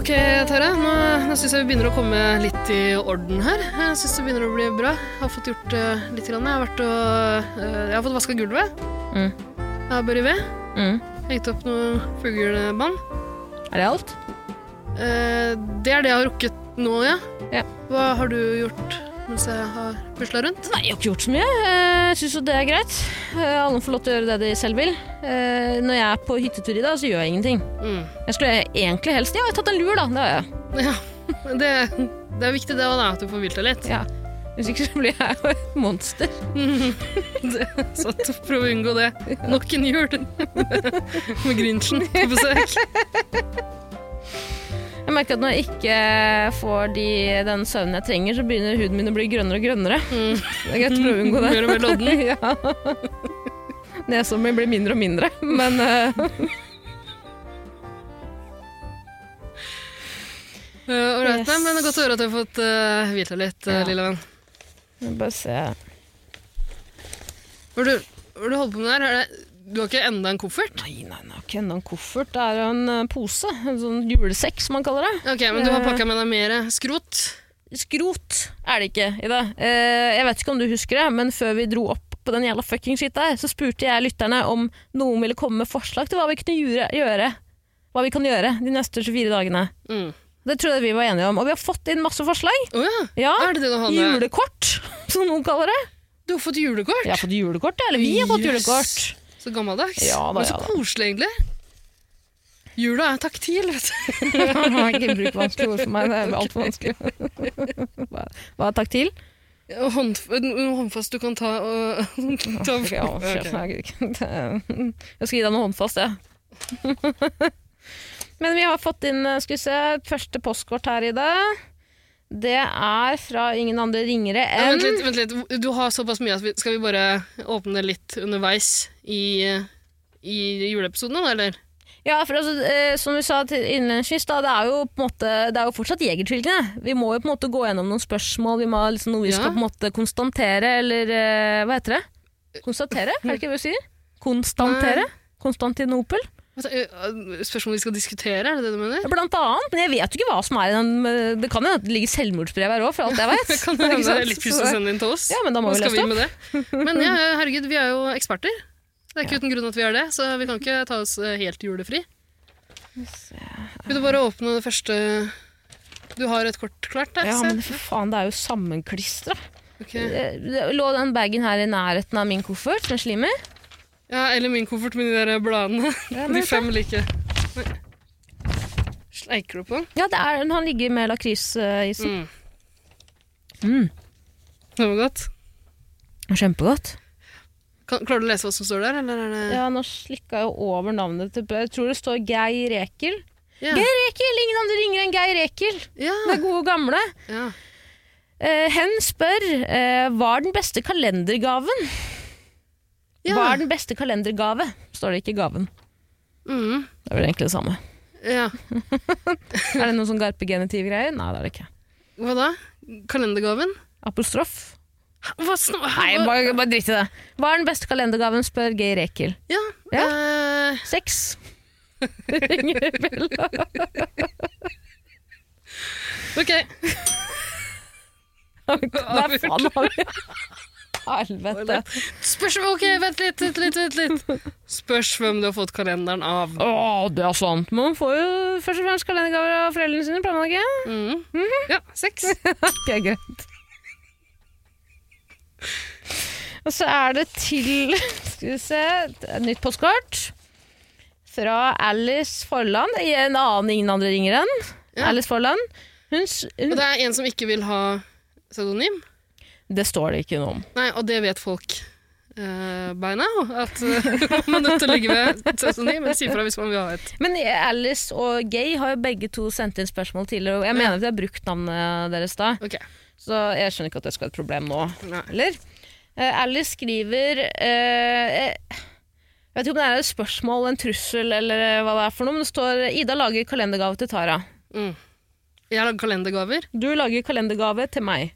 Speaker 1: Nå syns jeg vi begynner å komme litt i orden her. Jeg syns det begynner å bli bra. Jeg har fått gjort eh, litt. Grann. Jeg, har vært og, eh, jeg har fått vaska gulvet.
Speaker 2: Mm.
Speaker 1: Jeg har børi ved.
Speaker 2: Mm.
Speaker 1: Hengt opp noe fuglebånd.
Speaker 2: Er det alt?
Speaker 1: Eh, det er det jeg har rukket nå, ja.
Speaker 2: Ja.
Speaker 1: Hva har du gjort mens jeg har pusla rundt?
Speaker 2: Nei, jeg har ikke gjort så mye. Eh, Jeg syns jo det er greit. Eh, Alle får lov til å gjøre det de selv vil. Eh, Når jeg er på hyttetur i dag, så gjør jeg ingenting.
Speaker 1: Mm.
Speaker 2: Jeg skulle egentlig helst Ja, jeg har tatt en lur, da. Det har jeg.
Speaker 1: Ja. Det, det er viktig det også, da, at du får hvilt deg litt.
Speaker 2: Ja. Hvis ikke så blir jeg jo et monster.
Speaker 1: Det, så at du prøver å unngå det. Nok en jul [LAUGHS] med Grinchen på besøk.
Speaker 2: Jeg merker at når jeg ikke får de, den søvnen jeg trenger, så begynner huden min å bli grønnere og grønnere. [LAUGHS]
Speaker 1: Mm.
Speaker 2: Det er greit å prøve å unngå det.
Speaker 1: [LAUGHS] Mer og mer
Speaker 2: [LAUGHS]
Speaker 1: lodden.
Speaker 2: ja. Nesa mi blir mindre og mindre, men eh,
Speaker 1: Eh, ålreit,
Speaker 2: Yes.
Speaker 1: nei, men det er godt å høre at du har fått eh, hvilt deg litt, eh,
Speaker 2: Ja.
Speaker 1: lille venn.
Speaker 2: jeg Bare se.
Speaker 1: Hva er det hva er det du holder på med der? Er det, du har ikke enda en koffert?
Speaker 2: Nei, nei, nei, ikke enda en sånn koffert. Det er jo en eh, pose. En sånn julesekk, som man kaller det.
Speaker 1: Ok, Men du har
Speaker 2: Eh.
Speaker 1: pakka med deg mer skrot?
Speaker 2: Skrot er det ikke, Ida. Eh, jeg vet ikke om du husker det, men før vi dro opp på den jævla fucking shit der, så spurte jeg lytterne om noen ville komme med forslag til hva vi kunne gjøre, gjøre, hva vi kan gjøre de neste 24 dagene.
Speaker 1: Å mm.
Speaker 2: Det tror jeg vi var enige om. Og vi har fått inn masse forslag.
Speaker 1: Å ja.
Speaker 2: Ja,
Speaker 1: Er det det du
Speaker 2: sånn,
Speaker 1: har
Speaker 2: eh?
Speaker 1: med?
Speaker 2: Julekort, som noen kaller det.
Speaker 1: Du har fått julekort?
Speaker 2: Jeg har fått julekort, ja, eller vi har fått
Speaker 1: Yes.
Speaker 2: julekort.
Speaker 1: Så gammeldags.
Speaker 2: Ja da,
Speaker 1: Men så
Speaker 2: ja da.
Speaker 1: koselig, egentlig. Jula er taktil, vet du.
Speaker 2: [LAUGHS] Ikke bruk vanskelige ord for meg, det er altfor vanskelig. [LAUGHS] Hva- Hva er taktil?
Speaker 1: Og håndf noe håndfast du kan ta og [LAUGHS] ta
Speaker 2: Ok, [LAUGHS] ja, sjef,
Speaker 1: Ok.
Speaker 2: nei, jeg gidder ikke. [LAUGHS] Jeg skal gi deg noe håndfast, jeg. [LAUGHS] Men vi har fått inn eh, skal vi se, første postkort her i dag. Det er fra ingen andre ringere
Speaker 1: Ja,
Speaker 2: enn
Speaker 1: vent, litt, vent litt, du har såpass mye at vi, skal vi bare åpne litt underveis i, i juleepisoden, da, eller?
Speaker 2: Ja, for altså, eh, som vi sa til- innledningsvis, da, det er jo på en måte, det er jo fortsatt Jegertvillingene. Vi må jo på en måte gå gjennom noen spørsmål, vi må ha liksom noe vi
Speaker 1: Ja.
Speaker 2: skal på en måte konstatere, eller eh, hva heter det? Konstatere, er det ikke det vi sier? Konstantere? Konstantinopel?
Speaker 1: Hva sa- eh, Spørsmål vi skal diskutere, er det det du mener?
Speaker 2: Blant annet, men jeg vet jo ikke hva som er i den Det kan jo at det ligger selvmordsbrev her òg, for alt jeg vet.
Speaker 1: Kan [LAUGHS]
Speaker 2: [LAUGHS]
Speaker 1: det
Speaker 2: Ikke
Speaker 1: hende
Speaker 2: sant?
Speaker 1: det er litt pust å sende inn til oss?
Speaker 2: Ja, men da må
Speaker 1: Hva
Speaker 2: vi
Speaker 1: skal vi
Speaker 2: lese det opp.
Speaker 1: med det? Men ja, herregud, vi er jo eksperter. Det er ikke uten grunn at vi er det, så vi kan ikke ta oss eh, helt julefri. Vil du bare åpne det første Du har et kort klart der?
Speaker 2: Ja,
Speaker 1: se.
Speaker 2: men for faen, det er jo sammenklistra.
Speaker 1: Ok.
Speaker 2: Det Lå den bagen her i nærheten av min koffert med slimer?
Speaker 1: ja, eller min koffert med de der bladene.
Speaker 2: Ja,
Speaker 1: De
Speaker 2: men se.
Speaker 1: fem like. Oi. Sleiker du på den?
Speaker 2: Ja, det er, han ligger med lakrisisen.
Speaker 1: Mm.
Speaker 2: Mm.
Speaker 1: Det var godt.
Speaker 2: Kjempegodt.
Speaker 1: Kan, klarer du å lese hva som står der, eller er det
Speaker 2: Ja, nå slikka jeg jo over navnet til Jeg tror det står Geir Ekel.
Speaker 1: Ja.
Speaker 2: Geir Ekel! Ingen andre ringer enn Geir Ekel!
Speaker 1: Ja.
Speaker 2: Den er gode og gamle.
Speaker 1: ja.
Speaker 2: Eh, hen spør eh, hva er den beste kalendergaven.
Speaker 1: ja.
Speaker 2: Hva er den beste kalendergave? Står det ikke i gaven.
Speaker 1: Mm.
Speaker 2: Det er vel egentlig det samme.
Speaker 1: ja.
Speaker 2: [LAUGHS] Er det noe sånn garpegenitiv-greier? Nei, det er det ikke.
Speaker 1: Hva da? Kalendergaven?
Speaker 2: Apostrof?
Speaker 1: Hva snak-
Speaker 2: Nei,
Speaker 1: hva-
Speaker 2: bare, bare drit i det. Hva er den beste kalendergaven, spør Geir Ekel.
Speaker 1: Ja.
Speaker 2: Ja.
Speaker 1: eh,
Speaker 2: [LAUGHS] Sex? Ringer Bella.
Speaker 1: ok.
Speaker 2: Nei, faen, da [LAUGHS] har vi Helvete.
Speaker 1: Spørs Ok, vent litt, vent litt, vent litt. Spørs hvem du har fått kalenderen av.
Speaker 2: Å, det er sant. Man får jo først og fremst kalendergaver av foreldrene sine, planlegger jeg.
Speaker 1: Mm.
Speaker 2: Mhm.
Speaker 1: Ja,
Speaker 2: [LAUGHS]
Speaker 1: seks.
Speaker 2: Det er greit. Og så er det til Skal vi se et Nytt postkort. Fra Alice Forland. I En annen ingen andre ringer enn.
Speaker 1: Ja.
Speaker 2: Alice Forland. Hun, s-
Speaker 1: Og
Speaker 2: hun,
Speaker 1: det er en som ikke vil ha pseudonym.
Speaker 2: det står det ikke noe om.
Speaker 1: Nei, og det vet folk eh, by now. At eh, [LAUGHS] man er nødt til å ligge ved pseudonym, men si fra hvis man vil ha et.
Speaker 2: Men Alice og Gay har jo begge to sendt inn spørsmål tidligere. Og jeg mener at de har brukt navnet deres da,
Speaker 1: Ok,
Speaker 2: så jeg skjønner ikke at det skal være et problem nå.
Speaker 1: nei.
Speaker 2: Eller? Eh, Alice skriver eh, eh, Jeg vet ikke om det er et spørsmål, en trussel eller eh, hva det er for noe, men det står Ida lager kalendergave til Tara.
Speaker 1: Mm. Jeg lager kalendergaver.
Speaker 2: Du lager kalendergave til meg.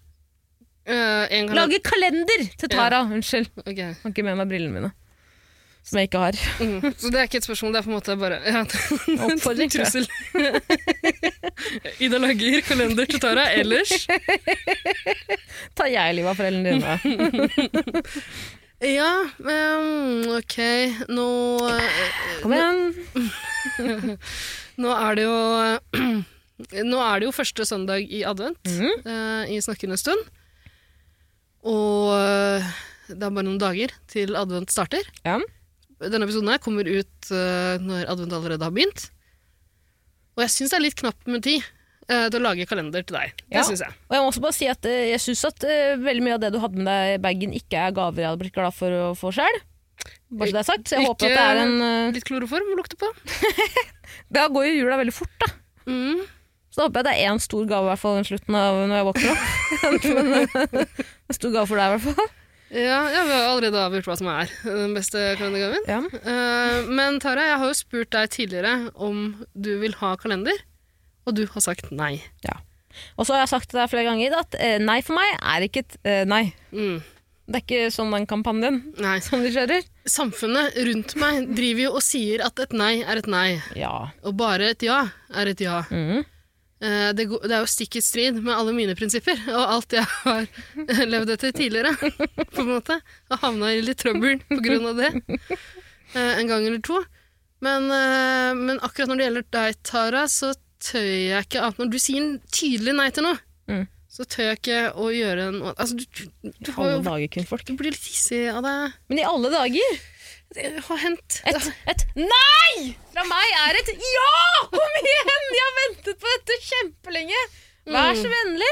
Speaker 1: Eh, en kalender...
Speaker 2: Lager kalender til Tara! Unnskyld, jeg
Speaker 1: Ok.
Speaker 2: har ikke med meg brillene mine. som jeg ikke [LAUGHS] har.
Speaker 1: Mm. Så det er ikke et spørsmål, det er på en måte bare [LAUGHS] ja,
Speaker 2: Oppfordring, tror jeg.
Speaker 1: Trussel. Ida lager kalender til Tara ellers.
Speaker 2: Tar jeg livet av foreldrene [LAUGHS] dine?
Speaker 1: Ja, ehm, ok. Nå, eh,
Speaker 2: Kom igjen.
Speaker 1: nå er det jo [CLEARS THROAT] Nå er det jo første søndag i advent
Speaker 2: Mhm.
Speaker 1: eh, i snakkende stund. Og eh, det er bare noen dager til advent starter.
Speaker 2: Ja.
Speaker 1: Denne episoden her kommer ut eh, når advent allerede har begynt. Og jeg syns det er litt knapt med tid eh, til å lage kalender til deg. Det
Speaker 2: Ja.
Speaker 1: synes jeg.
Speaker 2: Og jeg må også bare si at eh, jeg syns at eh, veldig mye av det du hadde med deg i bagen, ikke er gaver jeg hadde blitt glad for å få sjøl. Bare så det er sagt. Så jeg håper at det er en eh,
Speaker 1: Litt kloroform å lukte på.
Speaker 2: Da går jo jula veldig fort, da.
Speaker 1: Mm.
Speaker 2: Så da håper jeg det er én stor gave i hvert fall i slutten av når jeg våkner opp.
Speaker 1: [LAUGHS]
Speaker 2: Men, eh, en stor gave for deg, i hvert fall.
Speaker 1: Ja, ja, vi har allerede avgjort hva som er den beste kalendergaven.
Speaker 2: Ja.
Speaker 1: Eh, men Tara, jeg har jo spurt deg tidligere om du vil ha kalender, og du har sagt nei.
Speaker 2: Og så har jeg sagt til deg flere ganger at eh, nei for meg er ikke et eh, nei.
Speaker 1: Mm,
Speaker 2: Det er ikke sånn den kampanjen [LAUGHS]
Speaker 1: nei.
Speaker 2: som de kjører.
Speaker 1: Samfunnet rundt meg driver jo og sier at et nei er et nei,
Speaker 2: Ja.
Speaker 1: og bare et ja er et ja.
Speaker 2: Mhm.
Speaker 1: Eh, det, går- det er jo stikk i strid med alle mine prinsipper, og alt jeg har [LAUGHS] levd etter tidligere, [LAUGHS] på en måte. Og havna i litt trøbbel på grunn av det, eh, en gang eller to. Men, eh, men akkurat når det gjelder deg, Tara, så tør jeg ikke annet Når du sier en tydelig nei til noe,
Speaker 2: Mm.
Speaker 1: så tør jeg ikke å gjøre noe Altså, du, du, du, får
Speaker 2: Alle
Speaker 1: jo-
Speaker 2: dager, kvinnfolk.
Speaker 1: du blir litt hissig av det.
Speaker 2: Men i alle dager!
Speaker 1: Det har hendt.
Speaker 2: Et, et nei fra meg er et ja! Kom igjen! Jeg har ventet på dette kjempelenge! Vær så vennlig!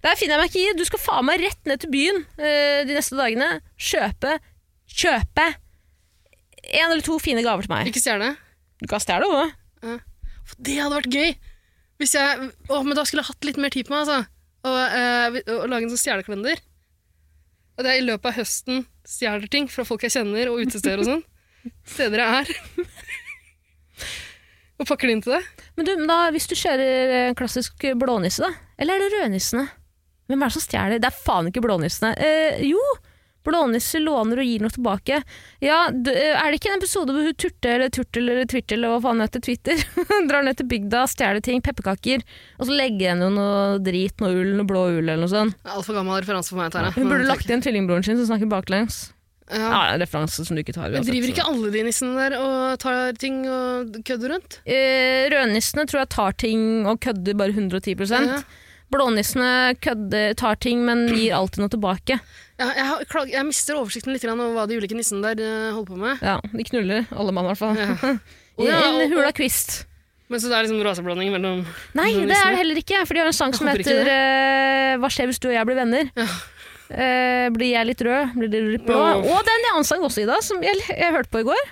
Speaker 2: Det her finner jeg meg ikke i. Du skal faen meg rett ned til byen eh, de neste dagene. Kjøpe Kjøpe en eller to fine gaver til
Speaker 1: [LAUGHS]
Speaker 2: meg.
Speaker 1: Ikke stjerne.
Speaker 2: Du kan stjele noe.
Speaker 1: For det hadde vært gøy! Hvis jeg, å, men da skulle jeg hatt litt mer tid på meg, altså. Og, eh, vi- og lage en sånn stjernekalender. Og det er i løpet av høsten stjeler ting fra folk jeg kjenner, og utesteder og [LAUGHS] sånn. Steder jeg er. og pakker det inn til deg.
Speaker 2: Men du, men da, hvis du kjører eh, klassisk blånisse, da? Eller er det rødnissene? Hvem er det som stjeler? Det er faen ikke blånissene. Eh, jo! Blånisser låner og gir noe tilbake. Ja, d eh, er det ikke en episode hvor hun turte eller turtel eller twirtel eller hva faen hun heter, Twitter? [LAUGHS] Drar ned til bygda, stjeler ting, pepperkaker, og så legger hun jo noe drit, noe ull, noe blå ull eller noe sånt.
Speaker 1: Det er Altfor gammel referanse for meg, Tara.
Speaker 2: Hun burde lagt igjen tvillingbroren sin som snakker baklengs.
Speaker 1: ja.
Speaker 2: Ja, en referanse som du ikke tar.
Speaker 1: Men
Speaker 2: uansett,
Speaker 1: Driver
Speaker 2: så-
Speaker 1: ikke alle de nissene der og tar ting og kødder rundt?
Speaker 2: Eh, Rødnissene tror jeg tar ting og kødder bare 110
Speaker 1: Ja.
Speaker 2: Blånissene kødder, tar ting, men gir alltid noe tilbake.
Speaker 1: Ja, jeg, har, klag- jeg mister oversikten litt grann over hva de ulike nissene der eh, holder på [LAUGHS] med.
Speaker 2: Ja, De knuller, alle mann i hvert fall.
Speaker 1: Ja.
Speaker 2: I
Speaker 1: Ja, og-
Speaker 2: en hula kvist.
Speaker 1: Men så det er liksom raseblanding mellom
Speaker 2: Nei, det
Speaker 1: Blånissene?
Speaker 2: er det heller ikke, for de har en sang
Speaker 1: Jeg
Speaker 2: som
Speaker 1: håper ikke
Speaker 2: heter eh, Hva skjer hvis du og jeg blir venner? Eh, blir jeg litt rød? Blir du litt blå?
Speaker 1: Wow.
Speaker 2: Og det er en annen sang også, Ida, som jeg, jeg hørte på i går.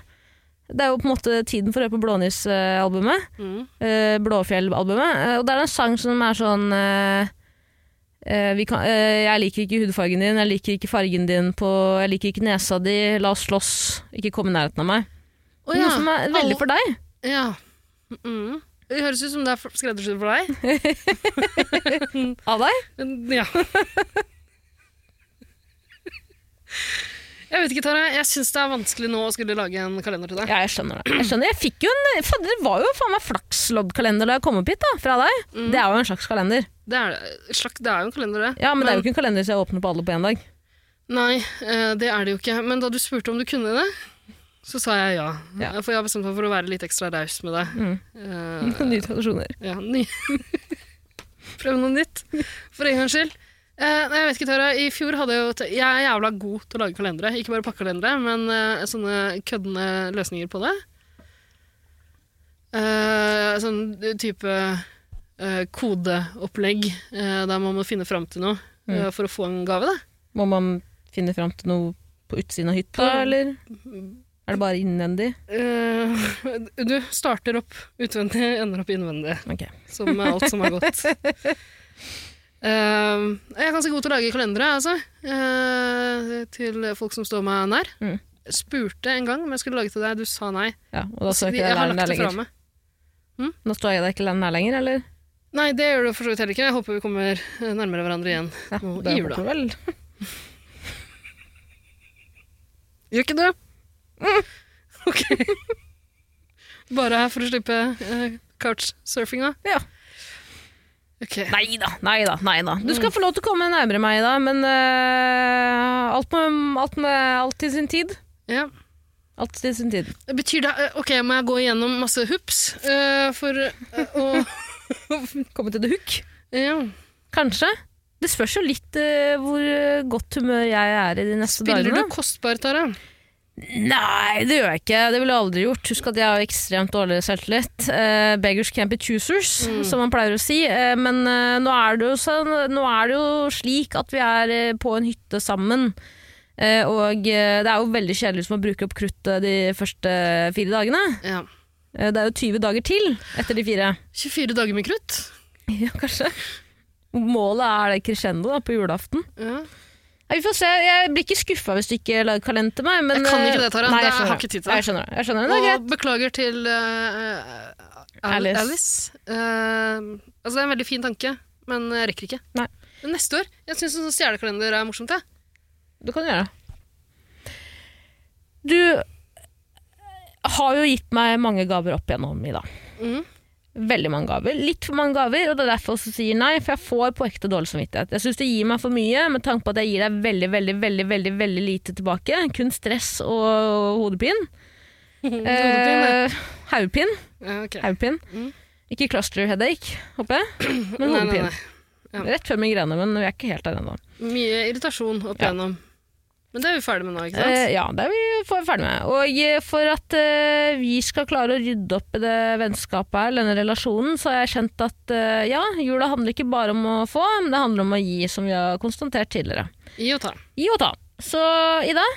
Speaker 2: Det er jo på en måte tiden for å høre på Blånis-albumet.
Speaker 1: mm.
Speaker 2: eh, Blåfjell-albumet. eh, og det er en sang som er sånn eh, eh, vi kan, eh, Jeg liker ikke hudfargen din, jeg liker ikke fargen din på Jeg liker ikke nesa di, la oss slåss, ikke kom i nærheten av meg.
Speaker 1: Å ja,
Speaker 2: Noe som er
Speaker 1: alle-
Speaker 2: veldig for deg.
Speaker 1: Ja. Mm. Det høres ut som det er for- skreddersydd for deg.
Speaker 2: Av deg?
Speaker 1: Men, Ja. Jeg vet ikke, Tara. Jeg syns det er vanskelig nå å skulle lage en kalender til deg.
Speaker 2: Ja, jeg skjønner det. Jeg skjønner, jeg fikk jo en, fader, Det var jo faen meg flaksloddkalender da jeg kom opp hit, da, fra deg.
Speaker 1: Mm.
Speaker 2: Det er jo en slags kalender.
Speaker 1: Det er, slakt, det er jo en kalender, det.
Speaker 2: Ja, Men, det er jo ikke en kalender som jeg åpner på alle på én dag.
Speaker 1: Nei, eh, det er det jo ikke. Men da du spurte om du kunne det, så sa jeg ja.
Speaker 2: Ja.
Speaker 1: For jeg har bestemt meg for å være litt ekstra raus med deg.
Speaker 2: Mm.
Speaker 1: Eh,
Speaker 2: [LAUGHS] Nye tradisjoner.
Speaker 1: Ja, ny. [LAUGHS] Prøv noe nytt, for en gangs skyld. Eh, nei, jeg vet ikke, Tara, I fjor hadde jeg jo t Jeg er jævla god til å lage kalendere. Ikke bare pakkekalendere, men eh, sånne køddende løsninger på det. Eh, sånn type eh, kodeopplegg eh, der man må finne fram til noe eh, for å få en gave. Da.
Speaker 2: Må man finne fram til noe på utsiden av hytta,
Speaker 1: Ja. Mm.
Speaker 2: eller? Er det bare innvendig?
Speaker 1: Eh, du starter opp utvendig, ender opp innvendig.
Speaker 2: Ok.
Speaker 1: som med alt som er
Speaker 2: [LAUGHS]
Speaker 1: godt. Ehm, jeg er ganske god til å lage kalendere, altså. eh, til folk som står meg nær.
Speaker 2: Mm.
Speaker 1: Spurte en gang om jeg skulle lage til deg, du sa nei.
Speaker 2: Ja, og da står
Speaker 1: Så
Speaker 2: ikke
Speaker 1: jeg
Speaker 2: jeg
Speaker 1: har
Speaker 2: der
Speaker 1: lagt
Speaker 2: nær
Speaker 1: det fra
Speaker 2: lenger.
Speaker 1: meg.
Speaker 2: Nå står jeg der ikke nær lenger, eller?
Speaker 1: Nei, det gjør du for så vidt heller ikke. Jeg håper vi kommer eh, nærmere hverandre igjen
Speaker 2: Ja,
Speaker 1: nå
Speaker 2: det
Speaker 1: i
Speaker 2: håper
Speaker 1: jula.
Speaker 2: jeg vel.
Speaker 1: Gjør ikke det? Mm. [LAUGHS] Ok. Bare her for å slippe eh, couchsurfing, da?
Speaker 2: Ja.
Speaker 1: Ok.
Speaker 2: Nei da, nei da. nei da. Du
Speaker 1: Mm.
Speaker 2: skal få lov til å komme nærmere meg, da, men eh, alt, med, alt, med, alt til sin tid.
Speaker 1: Ja.
Speaker 2: Alt til sin
Speaker 1: [LAUGHS]
Speaker 2: tid.
Speaker 1: Betyr det eh, Ok, må jeg gå igjennom masse hoops eh, for eh, å [LAUGHS]
Speaker 2: Komme til the hook.
Speaker 1: Ja.
Speaker 2: Kanskje. Det spørs jo litt eh, hvor eh, godt humør jeg er i de neste
Speaker 1: Spiller
Speaker 2: dagene.
Speaker 1: du kostbar, Tara?
Speaker 2: Nei, det gjør jeg ikke. Det ville jeg aldri gjort. Husk at jeg har ekstremt dårlig selvtillit. Eh, beggars can't be choosers,
Speaker 1: Mm.
Speaker 2: som man pleier å si. Eh, men eh, nå, er det jo sånn, nå er det jo slik at vi er eh, på en hytte sammen. Eh, og eh, det er jo veldig kjedelig som å bruke opp kruttet de første fire dagene.
Speaker 1: Ja.
Speaker 2: Eh, det er jo 20 dager til etter de fire.
Speaker 1: 24 dager med krutt?
Speaker 2: Ja, kanskje. Målet er det crescendo da, på julaften.
Speaker 1: Ja.
Speaker 2: Nei, vi får se. Jeg blir ikke skuffa hvis du ikke lager kalender til meg. Men,
Speaker 1: Jeg kan
Speaker 2: eh,
Speaker 1: ikke det, Tara.
Speaker 2: Nei,
Speaker 1: Det-
Speaker 2: jeg skjønner
Speaker 1: jeg har ikke tid til det.
Speaker 2: Jeg skjønner det. Jeg skjønner det. det er greit.
Speaker 1: Og beklager til eh, Al-
Speaker 2: Alice.
Speaker 1: Alice. Eh, altså, det er en veldig fin tanke, men jeg rekker ikke.
Speaker 2: Nei.
Speaker 1: Men neste år Jeg syns sånn stjernekalender er morsomt. Jeg.
Speaker 2: Du kan gjøre det. Du har jo gitt meg mange gaver opp igjennom i dag.
Speaker 1: Mhm.
Speaker 2: Veldig mange gaver. Litt for mange gaver, og det er derfor jeg også sier nei, for jeg får på ekte dårlig samvittighet. Jeg syns det gir meg for mye, med tanke på at jeg gir deg veldig, veldig, veldig, veldig, veldig lite tilbake. Kun stress og hodepin.
Speaker 1: [LAUGHS] ja.
Speaker 2: Eh, Haugpin.
Speaker 1: Ja, ok.
Speaker 2: Haugpin.
Speaker 1: Mm.
Speaker 2: Ikke cluster headache, håper jeg, men
Speaker 1: Nei, nei,
Speaker 2: hodepin.
Speaker 1: nei. ja.
Speaker 2: Rett før migrene, men vi er ikke helt der ennå.
Speaker 1: Mye irritasjon opp
Speaker 2: Ja.
Speaker 1: igjennom. Men det er vi ferdig med nå, ikke sant?
Speaker 2: Eh, ja, det er vi for- ferdig med. Og eh, for at eh, vi skal klare å rydde opp i det vennskapet her, eller denne relasjonen, så har jeg kjent at eh, ja, jula handler ikke bare om å få, men det handler om å gi, som vi har konstatert tidligere.
Speaker 1: Gi og ta.
Speaker 2: Gi og ta. Så Ida,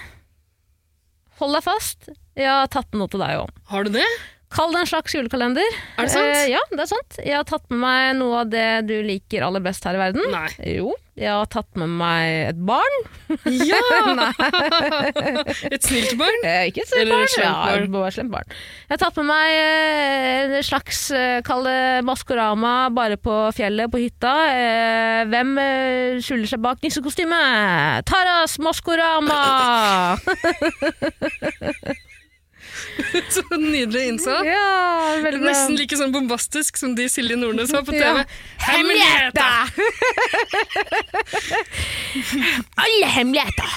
Speaker 2: hold deg fast. Jeg har tatt med noe til deg òg.
Speaker 1: Har du det?
Speaker 2: Kall det en slags julekalender.
Speaker 1: Er det sant?
Speaker 2: Eh, ja, det er sant. Jeg har tatt med meg noe av det du liker aller best her i verden. [LAUGHS]
Speaker 1: Nei.
Speaker 2: Jo, jeg har tatt med meg et barn.
Speaker 1: Ja! [LAUGHS] Et snilt barn?
Speaker 2: Eh, ikke så
Speaker 1: Eller
Speaker 2: barn.
Speaker 1: slemt
Speaker 2: Ja,
Speaker 1: barn.
Speaker 2: bare slemt barn. Jeg har tatt med meg eh, en slags eh, kall det Maskorama bare på fjellet, på hytta. Eh, hvem eh, skjuler seg bak nissekostyme? Taras Maskorama! [LAUGHS]
Speaker 1: [LAUGHS] Så nydelig innsatt.
Speaker 2: ja, veldig bra.
Speaker 1: Nesten like sånn bombastisk som de Silje Nordnes var på TV.
Speaker 2: Ja. [LAUGHS] Alle hemmeligheter!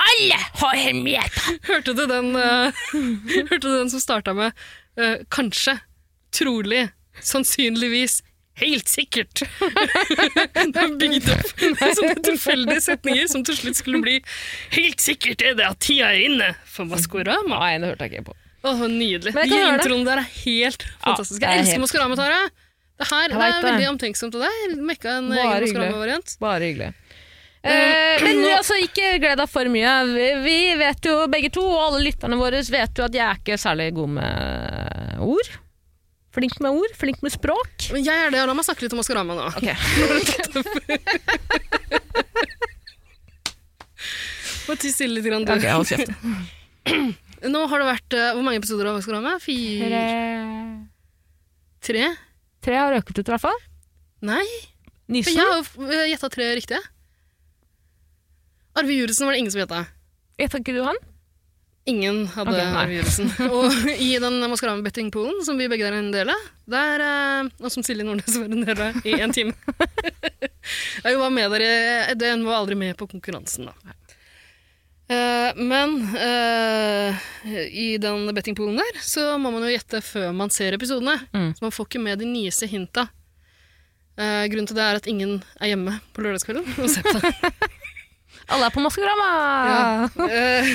Speaker 2: Alle har hemmeligheter!
Speaker 1: [LAUGHS] Hørte du den, eh, [LAUGHS] hørte du den som starta med eh, kanskje, trolig, sannsynligvis, helt sikkert? [LAUGHS] Den er bygd opp med sånne tilfeldige setninger som til slutt skulle bli helt sikkert er det at tida er inne for Maskorama.
Speaker 2: Nei, det hørte jeg ikke på.
Speaker 1: Åh, nydelig.
Speaker 2: Men
Speaker 1: De
Speaker 2: jeg kan høre det.
Speaker 1: introene der er helt fantastiske.
Speaker 2: det er
Speaker 1: Jeg elsker
Speaker 2: helt-
Speaker 1: Maskorama, Tara. Det her
Speaker 2: Jeg
Speaker 1: det
Speaker 2: vet
Speaker 1: er
Speaker 2: det.
Speaker 1: veldig omtenksomt av deg. Mekka en
Speaker 2: Bare
Speaker 1: egen
Speaker 2: hyggelig.
Speaker 1: Maskorama-variant.
Speaker 2: Bare hyggelig. Eh, men altså, ikke gled deg for mye. Vi, vi vet jo begge to, og alle lytterne våre vet jo at jeg er ikke særlig god med ord. Flink med ord, flink med språk.
Speaker 1: Men jeg er det, og la meg snakke litt om Maskorama nå.
Speaker 2: Ok.
Speaker 1: [LAUGHS] Må tie stille litt, grann, du.
Speaker 2: hold kjeft.
Speaker 1: Nå har det vært eh, Hvor mange episoder av Maskorama? Fire?
Speaker 2: Tre,
Speaker 1: Tre?
Speaker 2: tre har røket ut, i hvert fall.
Speaker 1: Nei, for jeg
Speaker 2: Nissen.
Speaker 1: har jo eh, gjetta tre riktige. Arve Juritzen var det ingen som gjetta.
Speaker 2: Gjetta ikke du han?
Speaker 1: Ingen hadde
Speaker 2: Ok, nei.
Speaker 1: Arve
Speaker 2: [LAUGHS]
Speaker 1: Juritzen. Og i den Maskorama-bettingpoolen, som vi begge er en del av, der, eh, og som Silje Nordnes var en del av i en
Speaker 2: [LAUGHS]
Speaker 1: time Jeg var med der i et døgn, var aldri med på konkurransen, da. Eh, men eh, i den bettingpoolen der, så må man jo gjette før man ser episodene.
Speaker 2: Mm.
Speaker 1: Så man får ikke med de nyeste hinta. Eh, grunnen til det er at ingen er hjemme på lørdagskvelden og ser på det.
Speaker 2: Alle er på Maskorama!
Speaker 1: Ja. Eh,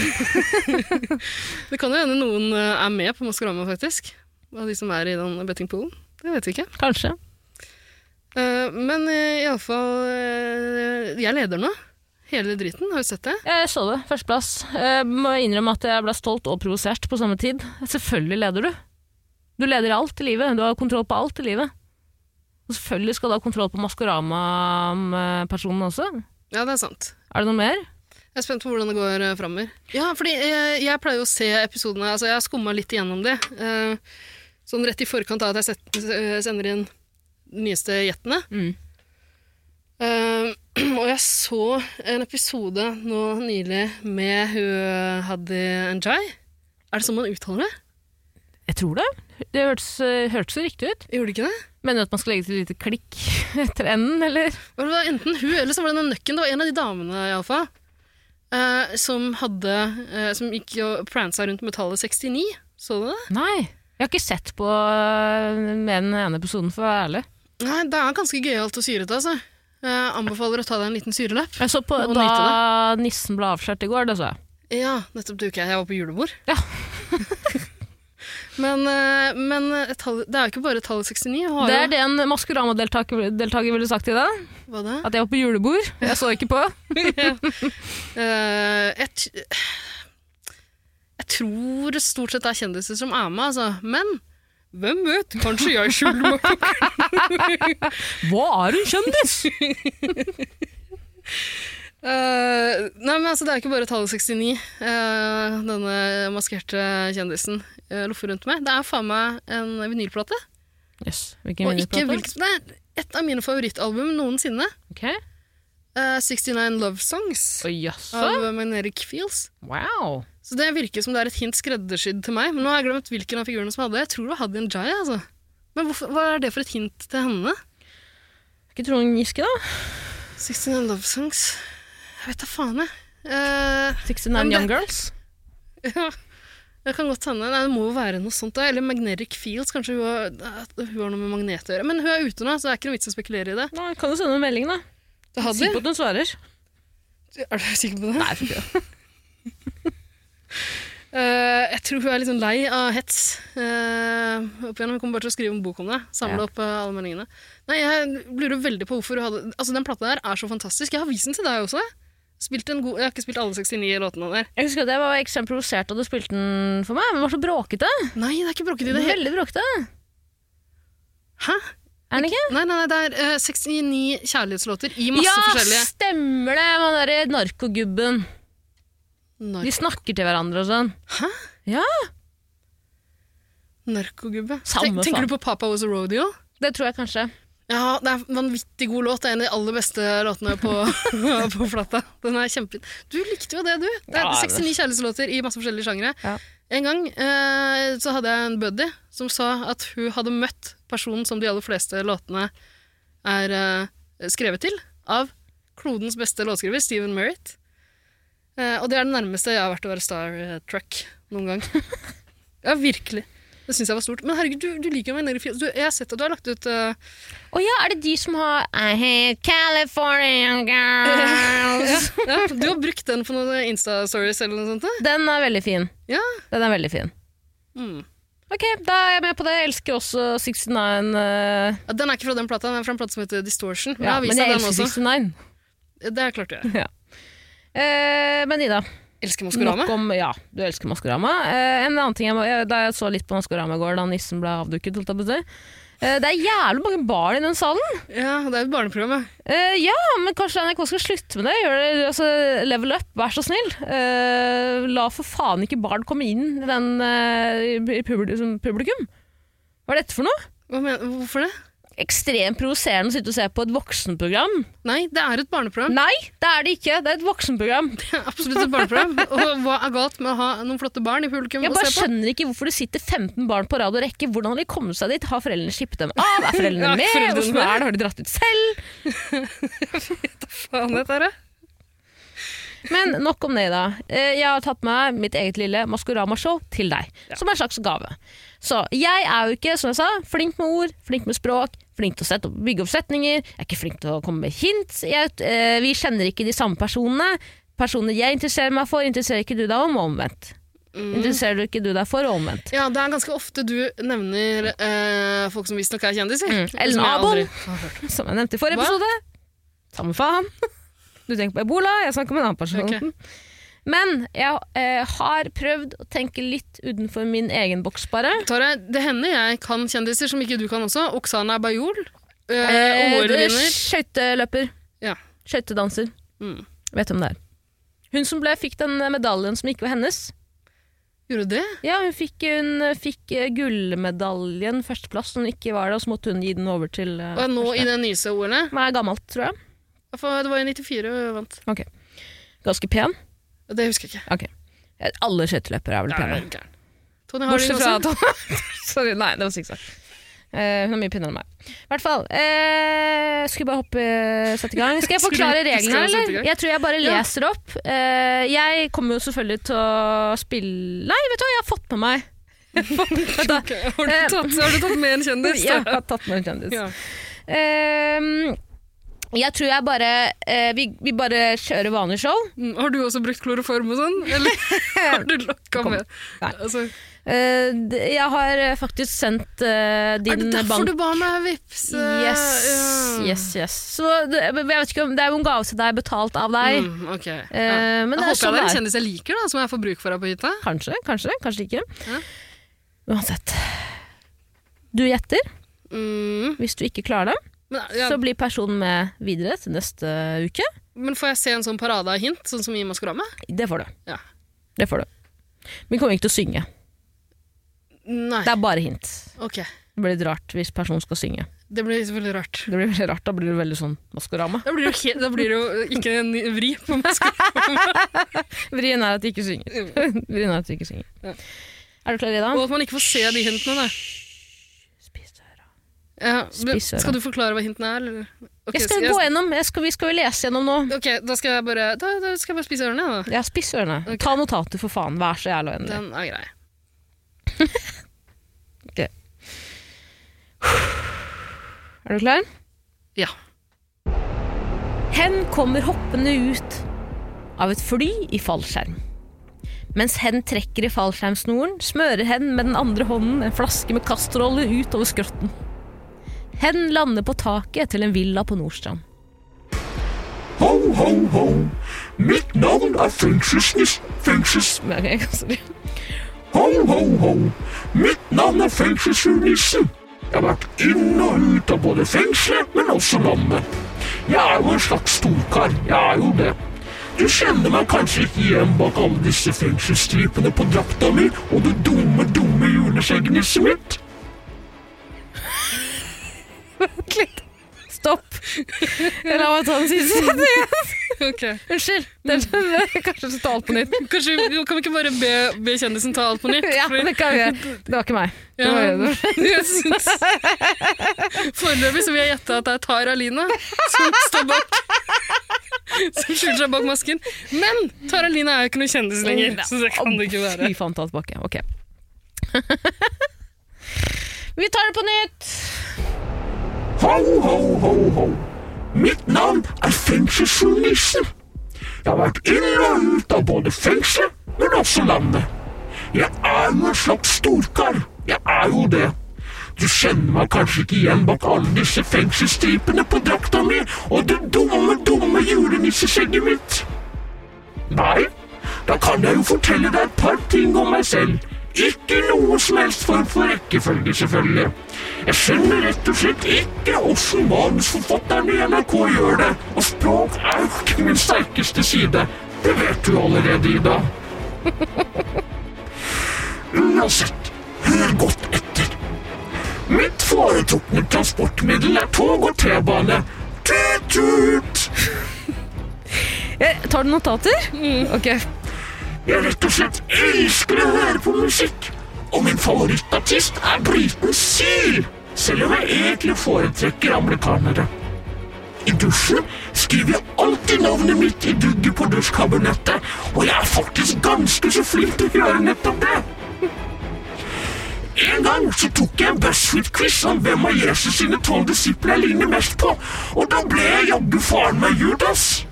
Speaker 1: [LAUGHS] det kan jo hende noen eh, er med på Maskorama, faktisk. Av de som er i den bettingpoolen. Det vet vi ikke.
Speaker 2: Kanskje.
Speaker 1: Eh, men eh, i alle iallfall uh, Jeg leder nå. Hele driten. Har du sett det?
Speaker 2: Jeg så det. Førsteplass. Eh, må jeg innrømme at jeg ble stolt og provosert på samme tid. Selvfølgelig leder du. Du leder i alt i livet. Du har kontroll på alt i livet. Og selvfølgelig skal du ha kontroll på Maskorama-personen også.
Speaker 1: Ja, det er sant.
Speaker 2: Er det noe mer?
Speaker 1: Jeg er spent på hvordan det går eh, framover. Ja, fordi eh, jeg pleier jo å se episodene Altså, jeg har skumma litt igjennom det. eh, sånn rett i forkant av at jeg set, eh, sender inn de nyeste gjettene. Eh, [CLEARS THROAT] og jeg så en episode nå nylig med hun Hadi Njay. Er det sånn man uttaler det?
Speaker 2: Jeg tror det. Det hørtes, eh, hørtes jo riktig ut.
Speaker 1: Gjorde det ikke det?
Speaker 2: Mener du at man skal legge til et lite klikk [LAUGHS] etter enden, eller?
Speaker 1: Det var enten hun, eller så var det den nøkken. Det var en av de damene, iallfall. Uh, som hadde eh, Som gikk og pransa rundt med tallet 69. Så du det?
Speaker 2: Nei. Jeg har ikke sett på eh, mer enn den ene episoden, for å være ærlig.
Speaker 1: Nei, det er ganske gøyalt og syrete, altså. Jeg anbefaler å ta deg en liten syrelapp.
Speaker 2: Jeg så på
Speaker 1: Og
Speaker 2: da nissen ble avslørt i går, det så jeg.
Speaker 1: Ja, nettopp det gjorde ikke jeg. Jeg var på julebord.
Speaker 2: Ja.
Speaker 1: [LAUGHS] men eh, men tallet, det er jo ikke bare tallet 69. Hun har
Speaker 2: Det
Speaker 1: jo
Speaker 2: er det en Maskorama-deltaker deltaker ville sagt i dag.
Speaker 1: Hva da? [LAUGHS]
Speaker 2: At jeg var på julebord. Jeg så ikke på.
Speaker 1: [LAUGHS] Eh, jeg, t- jeg tror det stort sett er kjendiser som er med, altså. Men hvem vet? Kanskje jeg skylder meg
Speaker 2: Hva er en kjendis?
Speaker 1: Eh, nei, men altså, det er ikke bare tallet 69, eh, denne maskerte kjendisen uh, loffer rundt meg. Det er faen meg en vinylplate.
Speaker 2: Yes. Hvilken
Speaker 1: Og ikke hvilket
Speaker 2: vinnerplate?
Speaker 1: Det er et av mine favorittalbum noensinne.
Speaker 2: Ok.
Speaker 1: Eh, 69 Love Songs
Speaker 2: Å, jaså.
Speaker 1: av Magneric Fields.
Speaker 2: Wow.
Speaker 1: Så det virker som det er et hint skreddersydd til meg. Men nå har jeg glemt hvilken av figurene som hadde. Jeg tror det var Hadian Jai, altså. Men hvorfor, hva er det for et hint til henne?
Speaker 2: Ikke Trond Giske, da?
Speaker 1: 69 Love Songs. Jeg vet da faen, jeg. Eh,
Speaker 2: 69
Speaker 1: Men det-
Speaker 2: Young Girls?
Speaker 1: [LAUGHS] Ja, det kan godt hende. Nei, det må jo være noe sånt. da. Eller Magnetic Fields, kanskje hun har, at hun har noe med magnet å gjøre. Men hun er ute nå, så det er ikke noe vits å spekulere i det.
Speaker 2: Nei, kan du sende en melding, da?
Speaker 1: Det
Speaker 2: Si på at hun svarer.
Speaker 1: Er du sikker på det?
Speaker 2: Nei, for ikke.
Speaker 1: [LAUGHS] Eh, jeg tror hun er litt sånn lei av hets. Eh, opp igjennom, Hun kommer bare til å skrive en bok om det. Samle
Speaker 2: Ja.
Speaker 1: opp eh, alle meningene. Nei, Jeg lurer veldig på hvorfor hun hadde Altså, Den plata der er så fantastisk. Jeg har vist den til deg også. Spilt en god, jeg har ikke spilt alle 69 låtene der.
Speaker 2: Jeg husker at jeg var ekstremt provosert da du spilte den for meg. Men det var så bråkete.
Speaker 1: Nei, det er ikke bråkete i det hele
Speaker 2: Veldig bråkete.
Speaker 1: Hæ?
Speaker 2: Er den ikke?
Speaker 1: Nei, nei, nei, det er eh, 69 kjærlighetslåter i masse
Speaker 2: ja,
Speaker 1: forskjellige
Speaker 2: stemmer det! Han derre narkogubben.
Speaker 1: Nar
Speaker 2: De snakker til hverandre og sånn.
Speaker 1: Hæ?
Speaker 2: Ja,
Speaker 1: Narkogubbe.
Speaker 2: Samme
Speaker 1: Tenk, tenker
Speaker 2: faen.
Speaker 1: du på Papa Was a Rodeo?
Speaker 2: det tror jeg kanskje.
Speaker 1: Ja, det er en vanvittig god låt. Det er en av de aller beste låtene på, [LAUGHS] på plata. Den er kjempefin. Du likte jo det, du. Det er
Speaker 2: Ja, det-
Speaker 1: 69 kjærlighetslåter i masse forskjellige sjangre.
Speaker 2: Ja.
Speaker 1: En gang eh, så hadde jeg en buddy som sa at hun hadde møtt personen som de aller fleste låtene er eh, skrevet til, av klodens beste låtskriver, Stephen Merritt. Eh, og det er det nærmeste jeg har vært å være Star Trek noen gang. ja, virkelig. Det syns jeg var stort. Men herregud, du, du liker jo meg nede i fjellet. Du, Jeg har sett at du har lagt ut eh,
Speaker 2: Å ja, er det de som har I hate [LAUGHS] California girls?
Speaker 1: [LAUGHS] Ja, du har brukt den på noen Insta-stories eller noe sånt? da?
Speaker 2: Den er veldig fin.
Speaker 1: Ja.
Speaker 2: Den er veldig fin.
Speaker 1: Mm.
Speaker 2: Ok, da er jeg med på det. Jeg elsker også 69. eh,
Speaker 1: ja. Den er ikke fra den plata, den er fra en plate som heter Distortion. Men
Speaker 2: ja,
Speaker 1: jeg har
Speaker 2: men
Speaker 1: vist
Speaker 2: jeg
Speaker 1: deg den
Speaker 2: elsker
Speaker 1: også.
Speaker 2: 69.
Speaker 1: Det er klart du gjør.
Speaker 2: Eh, men Ida,
Speaker 1: Elsker
Speaker 2: nok
Speaker 1: Maskorama.
Speaker 2: om Ja, du elsker Maskorama. Eh, en annen ting jeg må, jeg, Da jeg så litt på Maskorama i går, da nissen ble avduket, holdt jeg på å si. Eh, det er jævlig mange barn i den salen.
Speaker 1: Ja, det er jo et barneprogram, ja.
Speaker 2: Eh, ja, men kanskje NRK skal slutte med det. Gjør det altså, level up, vær så snill. Eh, la for faen ikke barn komme inn i den, eh, i publi- som publikum. Hva er dette for noe?
Speaker 1: Hva mener, hvorfor det?
Speaker 2: Ekstremt provoserende å sitte og se på et voksenprogram.
Speaker 1: Nei, det er et barneprogram.
Speaker 2: Nei, det er det ikke. Det er et voksenprogram.
Speaker 1: Det er [LAUGHS] Absolutt et barneprogram. Og hva er galt med å ha noen flotte barn i publikum
Speaker 2: Jeg
Speaker 1: å
Speaker 2: bare
Speaker 1: se på?
Speaker 2: skjønner ikke hvorfor det sitter 15 barn på rad og rekke. Hvordan har de kommet seg dit? Har foreldrene skippet dem av? Er
Speaker 1: [LAUGHS]
Speaker 2: foreldrene
Speaker 1: Ja,
Speaker 2: med?
Speaker 1: foreldrene
Speaker 2: Hvordan
Speaker 1: med.
Speaker 2: er det? Har de dratt ut selv?
Speaker 1: Faen, dette er det.
Speaker 2: Men nok om det, da. Eh, Jeg har tatt med mitt eget lille Maskorama-show til deg, som en slags gave. Så jeg er jo ikke, som jeg sa, flink med ord, flink med språk, flink til å sette opp, bygge opp setninger. Jeg er ikke flink til å komme med hint. Jeg, eh, vi kjenner ikke de samme personene. Personer jeg interesserer meg for, interesserer ikke du deg om, og omvendt.
Speaker 1: Mm.
Speaker 2: Interesserer du ikke du deg for, og omvendt.
Speaker 1: Ja, det er ganske ofte du nevner eh, folk som visstnok er kjendiser.
Speaker 2: Mm.
Speaker 1: Som
Speaker 2: Ellen
Speaker 1: jeg aldri
Speaker 2: Abel.
Speaker 1: har hørt.
Speaker 2: Som jeg nevnte i forrige
Speaker 1: Hva?
Speaker 2: episode. Samme faen. Du tenker på ebola, jeg snakker om en annen person. Men jeg eh, har prøvd å tenke litt utenfor min egen boks, bare.
Speaker 1: Tara, det hender jeg kan kjendiser som ikke du kan også. Oksana Bajol. Eh,
Speaker 2: Eh,
Speaker 1: OL-vinner.
Speaker 2: Skøyteløper.
Speaker 1: Ja.
Speaker 2: Skøytedanser.
Speaker 1: Mm.
Speaker 2: Vet hvem det er. Hun som ble, fikk den medaljen som ikke var hennes.
Speaker 1: Gjorde det?
Speaker 2: Ja, Hun fikk, hun fikk eh, gullmedaljen førsteplass, som ikke var det, og så måtte hun gi den over til eh,
Speaker 1: Og nå
Speaker 2: første.
Speaker 1: i det nyeste OL-et.
Speaker 2: Hun er gammelt, tror jeg.
Speaker 1: For Det var jo 94 hun vant.
Speaker 2: Ganske pen.
Speaker 1: Det husker jeg ikke.
Speaker 2: Alle skøyteløpere er vel
Speaker 1: Det
Speaker 2: pene.
Speaker 1: er gæren. Tony Harding
Speaker 2: Bortsett fra
Speaker 1: også.
Speaker 2: Tom. [LAUGHS] Sorry, nei, det var sikksakk. Eh, hun er mye pinnere enn meg. I hvert fall. eh, skulle bare hoppe eh, sette i gang. Skal jeg
Speaker 1: [LAUGHS] Skulle-
Speaker 2: forklare
Speaker 1: skal jeg
Speaker 2: reglene,
Speaker 1: sette i
Speaker 2: eller?
Speaker 1: gang?
Speaker 2: Jeg tror jeg bare
Speaker 1: Ja.
Speaker 2: leser opp. Eh, jeg kommer jo selvfølgelig til å spille Nei, vet du hva, jeg har fått med meg [LAUGHS] Vent da.
Speaker 1: [LAUGHS] Ok, Har du tatt, Eh, har du tatt med en kjendis?
Speaker 2: Jeg har tatt med en kjendis.
Speaker 1: Ja.
Speaker 2: Eh, jeg tror jeg bare eh, vi, vi bare kjører vanlig show.
Speaker 1: Mm, Har du også brukt kloroform og sånn? [LAUGHS] Eller har du lokka
Speaker 2: Kom.
Speaker 1: med?
Speaker 2: Nei.
Speaker 1: Altså,
Speaker 2: Eh, d- jeg har eh, faktisk sendt eh,
Speaker 1: er det
Speaker 2: din
Speaker 1: derfor
Speaker 2: bank
Speaker 1: du ba meg vips? eh,
Speaker 2: Yes,
Speaker 1: ja.
Speaker 2: yes, yes. Så det, jeg vet ikke om, det er jo en gave til deg, betalt av deg.
Speaker 1: Mm, ok.
Speaker 2: Eh,
Speaker 1: ja.
Speaker 2: men det
Speaker 1: jeg
Speaker 2: er
Speaker 1: håper jeg det er
Speaker 2: sånn det
Speaker 1: en
Speaker 2: er.
Speaker 1: kjendis jeg liker, da, som jeg får bruk for her på hytta.
Speaker 2: Kanskje, kanskje, kanskje ikke.
Speaker 1: Ja.
Speaker 2: Uansett. Du gjetter.
Speaker 1: Mm.
Speaker 2: Hvis du ikke klarer det,
Speaker 1: Men, ja,
Speaker 2: så blir personen med videre til neste uke.
Speaker 1: men får jeg se en sånn parade av hint, sånn som i Maskorama?
Speaker 2: Det får du.
Speaker 1: Ja.
Speaker 2: Det får du. Vi kommer ikke til å synge.
Speaker 1: Nei.
Speaker 2: Det er bare hint.
Speaker 1: Ok.
Speaker 2: Det blir litt rart hvis personen skal synge.
Speaker 1: Det blir selvfølgelig rart.
Speaker 2: Det blir veldig rart, Da blir det veldig sånn Maskorama.
Speaker 1: Da blir det jo, he- da blir det jo ikke en ny- vri på Maskorama.
Speaker 2: Vrien er at de ikke synger. [LAUGHS] Vrien er at de ikke synger.
Speaker 1: Mm. Ja.
Speaker 2: Er du klar, Ida?
Speaker 1: Og at man ikke får se de hintene, da.
Speaker 2: Spis døra.
Speaker 1: Ja, men,
Speaker 2: Spissøra.
Speaker 1: skal du forklare hva hintene er? Eller? Ok,
Speaker 2: jeg skal gå gjennom, jeg skal, vi skal jo lese gjennom nå.
Speaker 1: Ok, da skal jeg bare, da, da skal jeg bare spise ørene, da.
Speaker 2: Ja, spiss ørene.
Speaker 1: Ok.
Speaker 2: Ta notater, for faen. Vær så jævla vennlig.
Speaker 1: Den er grei.
Speaker 2: Er du klar?
Speaker 1: Ja.
Speaker 2: Hen kommer hoppende ut av et fly i fallskjerm. Mens hen trekker i fallskjermsnoren, smører hen med den andre hånden en flaske med kastrolle ut over skrotten. Hen lander på taket til en villa på Nordstrand.
Speaker 4: Ho, ho, ho. Mit navn er fengselsnissen. Fengsels...
Speaker 2: Men jeg [LAUGHS] kan ikke-
Speaker 4: Ho, ho, ho. Mitt navn er fengselsnissen. Jeg har vært inn og ut av både fengselet, men også landet. Jeg er jo en slags storkar. Jeg er jo det. Du kjenner meg kanskje ikke igjen bak alle disse fengselstripene på drakta mi og det dumme, dumme juleskjeggnisset mitt.
Speaker 2: Vent litt. [LAUGHS] Stopp. La meg ta den siste [LAUGHS] setningen.
Speaker 1: Ok.
Speaker 2: Unnskyld. Den, kanskje jeg skal ta alt på nytt.
Speaker 1: Kanskje vi, kan vi ikke bare be, be kjendisen ta alt på nytt?
Speaker 2: [LAUGHS] Ja,
Speaker 1: Fordi-
Speaker 2: det kan vi gjøre. Det var ikke meg. Det var
Speaker 1: Ja,
Speaker 2: det.
Speaker 1: jeg syns Foreløpig så vil jeg gjette at det er Tara Lina som står bak. Som skjuler seg bak masken. Men Tara Lina er jo ikke noen kjendis lenger, så det kan det ikke være.
Speaker 2: Fy faen, ta det tilbake. Ok. [LAUGHS] Vi tar det på nytt.
Speaker 4: Ho, ho, ho, ho. Mitt navn er fengselsjournalisten. Jeg har vært inn og ut av både fengselet, men også landet. Jeg er jo en slags storkar. Jeg er jo det. Du kjenner meg kanskje ikke igjen bak alle disse fengselstripene på drakta mi og det dumme, dumme julenisseskjegget mitt. Nei, da kan jeg jo fortelle deg et par ting om meg selv. Ikke noe som helst form for rekkefølge, selvfølgelig. Jeg skjønner rett og slett ikke åssen manusforfatterne i NRK gjør det. Og språk er jo ikke min sterkeste side. Det vet du allerede, Ida. Uansett, hør godt etter. Mitt foretrukne transportmiddel er tog og T-bane. Tut-tut!
Speaker 2: Jeg tar du notater?
Speaker 1: Mm.
Speaker 2: Ok.
Speaker 4: Jeg rett og slett elsker å høre på musikk. Og min favorittartist er briten Seal, selv om jeg egentlig foretrekker amerikanere. I dusjen skriver jeg alltid navnet mitt i dugget på dusjkabinettet, og jeg er faktisk ganske så flink til å gjøre nettopp det. En gang så tok jeg en BuzzFeed-quiz om hvem av Jesus sine tolv disipler jeg ligner mest på, og da ble jeg jaggu faren meg Judas.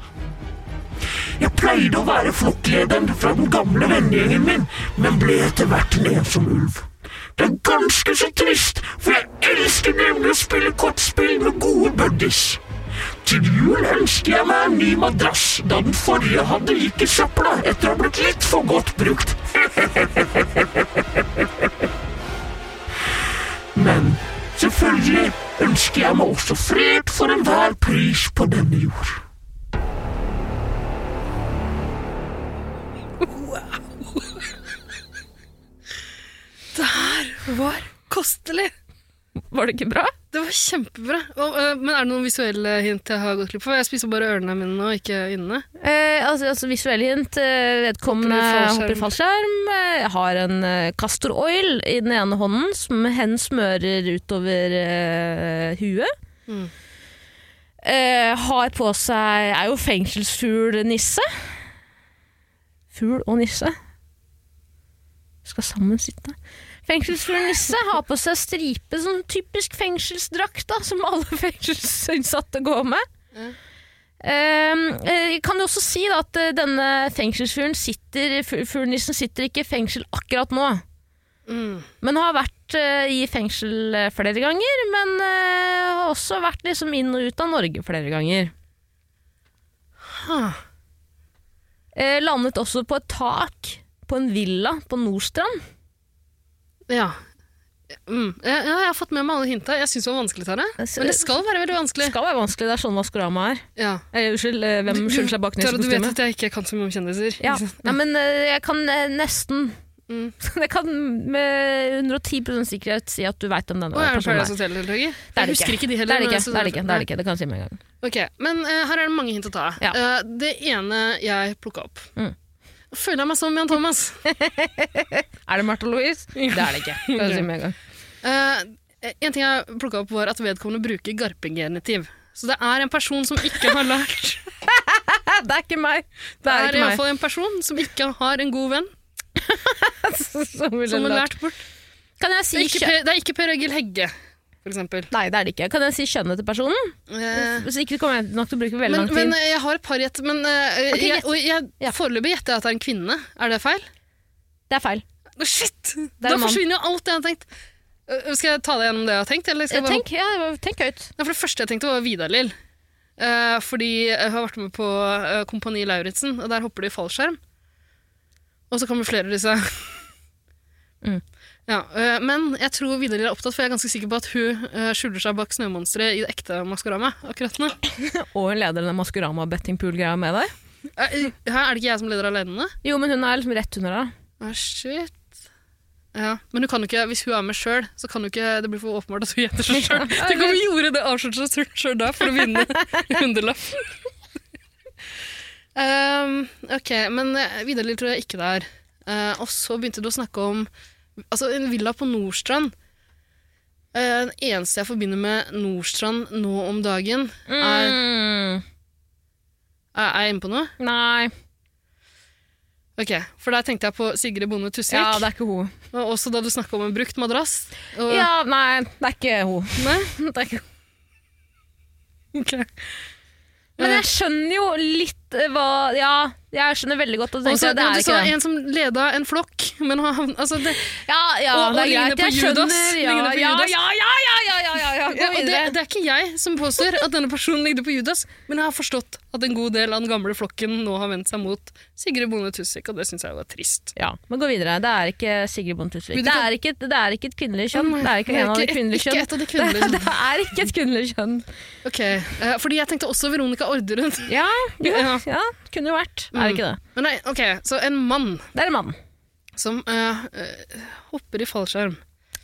Speaker 4: Jeg pleide å være flokklederen fra den gamle vennegjengen min, men ble etter hvert en ensom ulv. Det er ganske så trist, for jeg elsker nemlig å spille kortspill med gode buddies. Til jul ønsker jeg meg en ny madrass, da den forrige hadde gikk i søpla etter å ha blitt litt for godt brukt. [LAUGHS] Men selvfølgelig ønsker jeg meg også fred for enhver pris på denne jord.
Speaker 1: Det her var kostelig!
Speaker 2: Var det ikke bra?
Speaker 1: Det var kjempebra. Og, øh, men er det noen visuelle hint jeg har gått glipp av? Jeg spiser bare ørene mine nå, ikke øynene.
Speaker 2: Eh, altså, altså visuelle hint. Eh, vedkommende
Speaker 1: Hopper i fallskjerm.
Speaker 2: hopper i fallskjerm. Eh, har en eh, castor oil i den ene hånden som hen smører utover eh, huet.
Speaker 1: Mm.
Speaker 2: Eh, har på seg Er jo fengselsfugl-nisse. Fugl og nisse skal sammen sitte. Fengselsfugl-nisse har på seg stripe, sånn typisk fengselsdrakt da, som alle [LAUGHS] fengselsinnsatte går med. Ehm, eh, kan jo også si da, at eh, denne fengselsfuglen sitter, fu- fuglenissen sitter ikke i fengsel akkurat nå,
Speaker 1: Mm.
Speaker 2: men har vært eh, i fengsel eh, flere ganger, men eh, har også vært liksom inn og ut av Norge flere ganger.
Speaker 1: Ah.
Speaker 2: Eh, landet også på et tak på en villa på Nordstrand.
Speaker 1: Ja. Mm. Ja, ja, jeg har fått med meg alle hinta. Jeg syns det var vanskelig, Tare. Men det skal være veldig vanskelig.
Speaker 2: skal være vanskelig, det er sånn Maskorama er.
Speaker 1: Ja.
Speaker 2: Eh, unnskyld, eh, hvem
Speaker 1: Du- du-
Speaker 2: skjuler seg bak
Speaker 1: Tara, du vet
Speaker 2: nissekostymet?
Speaker 1: at jeg ikke kan så mye om kjendiser.
Speaker 2: Ja.
Speaker 1: ikke sant?
Speaker 2: Nei, men eh, jeg kan eh, nesten
Speaker 1: Mm.
Speaker 2: [LAUGHS] Jeg kan med 110 sikkerhet si at du veit om denne
Speaker 1: Og er det
Speaker 2: personen.
Speaker 1: Paradise Hotel-deltaker?
Speaker 2: Det er
Speaker 1: Jeg
Speaker 2: det
Speaker 1: husker
Speaker 2: ikke.
Speaker 1: ikke de
Speaker 2: Det
Speaker 1: heller.
Speaker 2: er det
Speaker 1: men
Speaker 2: ikke.
Speaker 1: jeg synes
Speaker 2: Det er det ikke.
Speaker 1: var-
Speaker 2: Det er det ikke. Det kan jeg si med en gang.
Speaker 1: Ok, Men eh, her er det mange hint å ta av.
Speaker 2: Ja.
Speaker 1: Eh, det ene jeg plukka opp
Speaker 2: Mm.
Speaker 1: Nå Føler jeg meg som Jan Thomas.
Speaker 2: Er det Martha [LAUGHS] Louise? Det er det ikke. Det kan jeg si med [LAUGHS] en gang.
Speaker 1: Eh, en ting jeg plukka opp, var at vedkommende bruker garpegenitiv. Så det er en person som ikke har lært
Speaker 2: Hæ, Det er ikke meg!
Speaker 1: Det
Speaker 2: Det
Speaker 1: er
Speaker 2: er ikke meg.
Speaker 1: iallfall en person som ikke har en god venn,
Speaker 2: [LAUGHS] Som ville
Speaker 1: som har
Speaker 2: lært.
Speaker 1: lært bort.
Speaker 2: Kan
Speaker 1: Det
Speaker 2: jeg
Speaker 1: er
Speaker 2: si
Speaker 1: ikke
Speaker 2: kjø-
Speaker 1: Per, det er ikke per Egil Hegge, for eksempel.
Speaker 2: Nei, det er det ikke. Kan jeg si kjønnet til personen?
Speaker 1: Eh,
Speaker 2: Hvis ikke kommer jeg nok til å bruke
Speaker 1: men,
Speaker 2: veldig lang tid.
Speaker 1: men eh, jeg har et par gjett, men eh,
Speaker 2: Ok,
Speaker 1: jeg,
Speaker 2: gjett.
Speaker 1: og jeg,
Speaker 2: Ja.
Speaker 1: foreløpig gjetter jeg at det er en kvinne. Er det feil?
Speaker 2: det er feil.
Speaker 1: Å, Shit!
Speaker 2: er
Speaker 1: Da
Speaker 2: en mann.
Speaker 1: forsvinner jo alt jeg har tenkt. Eh, Skal jeg ta deg gjennom det jeg har tenkt? Eller skal jeg
Speaker 2: Eh,
Speaker 1: bare
Speaker 2: Tenk, ja, tenk høyt.
Speaker 1: Nei, for det første jeg tenkte var Vidar-Lill. Eh, fordi jeg har vært med på eh, Kompani Lauritzen, og der hopper de i fallskjerm. Og så kamuflerer de seg.
Speaker 2: Mm.
Speaker 1: Ja, eh, men jeg tror Vidar-Lill er opptatt, for jeg er ganske sikker på at hun eh, skjuler seg bak snømonsteret i det ekte Maskorama akkurat nå.
Speaker 2: Og hun leder den Maskorama-bettingpool-greia med deg.
Speaker 1: Eh, Her er det ikke jeg som leder alene?
Speaker 2: Jo, men hun er liksom rett under deg.
Speaker 1: Ah, shit. Ja, men hun kan jo ikke, hvis hun er med sjøl, så kan hun ikke Det blir for åpenbart at hun gjetter
Speaker 2: [LAUGHS]
Speaker 1: seg sjøl. Tenk om hun gjorde det avslørte seg sjøl da for å vinne hundrelappen. um, ok, men eh, Vidar-Lill tror jeg ikke det er. Eh, og så begynte du å snakke om altså, en villa på Nordstrand. Eh, den eneste jeg forbinder med Nordstrand nå om dagen er,
Speaker 2: Mm.
Speaker 1: er er jeg inne på noe?
Speaker 2: Nei.
Speaker 1: Ok, For der tenkte jeg på Sigrid Bonde Tusvik.
Speaker 2: Ja, det er ikke hun.
Speaker 1: Og også da du snakka om en brukt madrass. Og,
Speaker 2: Ja, nei, det er ikke [LAUGHS] hun.
Speaker 1: Nei?
Speaker 2: Det er ikke hun.
Speaker 1: Ok. Eh,
Speaker 2: Men jeg skjønner jo litt eh, hva Ja, jeg skjønner veldig godt at du
Speaker 1: Og så
Speaker 2: tenker at det
Speaker 1: ja,
Speaker 2: er
Speaker 1: altså, du
Speaker 2: ikke
Speaker 1: sa
Speaker 2: det.
Speaker 1: en som leda en flokk, men har havn- altså det,
Speaker 2: Ja, ja,
Speaker 1: Og- og
Speaker 2: det er
Speaker 1: ligner
Speaker 2: greit.
Speaker 1: på
Speaker 2: Jeg
Speaker 1: Judas.
Speaker 2: skjønner. Ja,
Speaker 1: Ligner på
Speaker 2: ja,
Speaker 1: Judas.
Speaker 2: ja, ja, ja, ja, ja, ja, ja.
Speaker 1: ja,
Speaker 2: Gå
Speaker 1: og det,
Speaker 2: videre.
Speaker 1: det er ikke jeg som påstår at denne personen ligner på Judas, men jeg har forstått at en god del av den gamle flokken nå har vendt seg mot Sigrid Bonde Tusvik, og det syns jeg var trist.
Speaker 2: Ja, men gå videre. Det er ikke Sigrid Bonde Tusvik.
Speaker 1: Men du
Speaker 2: Det,
Speaker 1: kan-
Speaker 2: er ikke et- det er ikke et kvinnelig kjønn. Mm, Det er ikke
Speaker 1: Det er
Speaker 2: en av de
Speaker 1: ikke-
Speaker 2: kvinnelige
Speaker 1: Ikke
Speaker 2: kjønn.
Speaker 1: et av de
Speaker 2: [LAUGHS] Det,
Speaker 1: kvinnelige kjønn.
Speaker 2: det er ikke et kvinnelig kjønn.
Speaker 1: Ok, eh, fordi jeg tenkte også Veronica Orderud.
Speaker 2: Ja, jo,
Speaker 1: Ja.
Speaker 2: ja, Mm. kunne jo vært. Er det ikke det?
Speaker 1: Men nei, ok, så en mann
Speaker 2: Det er en mann.
Speaker 1: som eh, eh, hopper i fallskjerm.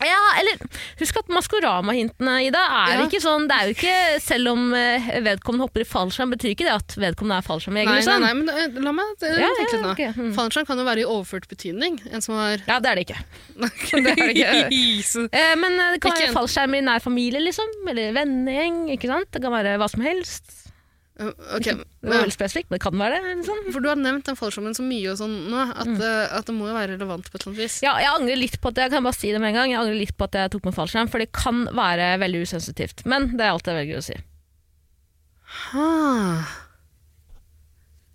Speaker 2: Ja, eller Husk at Maskorama-hintene, Ida, er
Speaker 1: Ja.
Speaker 2: ikke sånn Det er jo ikke Selv om eh, vedkommende hopper i fallskjerm, betyr ikke det at vedkommende er fallskjermjeger.
Speaker 1: Nei, nei,
Speaker 2: liksom.
Speaker 1: nei, men eh, la meg eh,
Speaker 2: Ja, ja,
Speaker 1: tenke litt nå.
Speaker 2: ok, mm.
Speaker 1: Fallskjerm kan jo være i overført betydning. En som har
Speaker 2: Ja, det er det ikke.
Speaker 1: [LAUGHS] Nei, det er det ikke. Så-
Speaker 2: Eh, men eh, det kan
Speaker 1: Ikke en-
Speaker 2: være fallskjerm i nær familie, liksom. Eller vennegjeng. ikke sant? Det kan være hva som helst.
Speaker 1: Uh, [LAUGHS] Ok,
Speaker 2: Det var
Speaker 1: ja.
Speaker 2: veldig spesifikt, men det kan være det. liksom.
Speaker 1: For du har nevnt den fallskjermen så mye og sånn nå, at, eh, at det må jo være relevant på et eller annet vis.
Speaker 2: Ja, jeg angrer litt på at jeg kan bare si det med en gang, jeg angrer litt på at jeg tok med fallskjerm, for det kan være veldig usensitivt. Men det er alt jeg velger å si.
Speaker 1: Ah.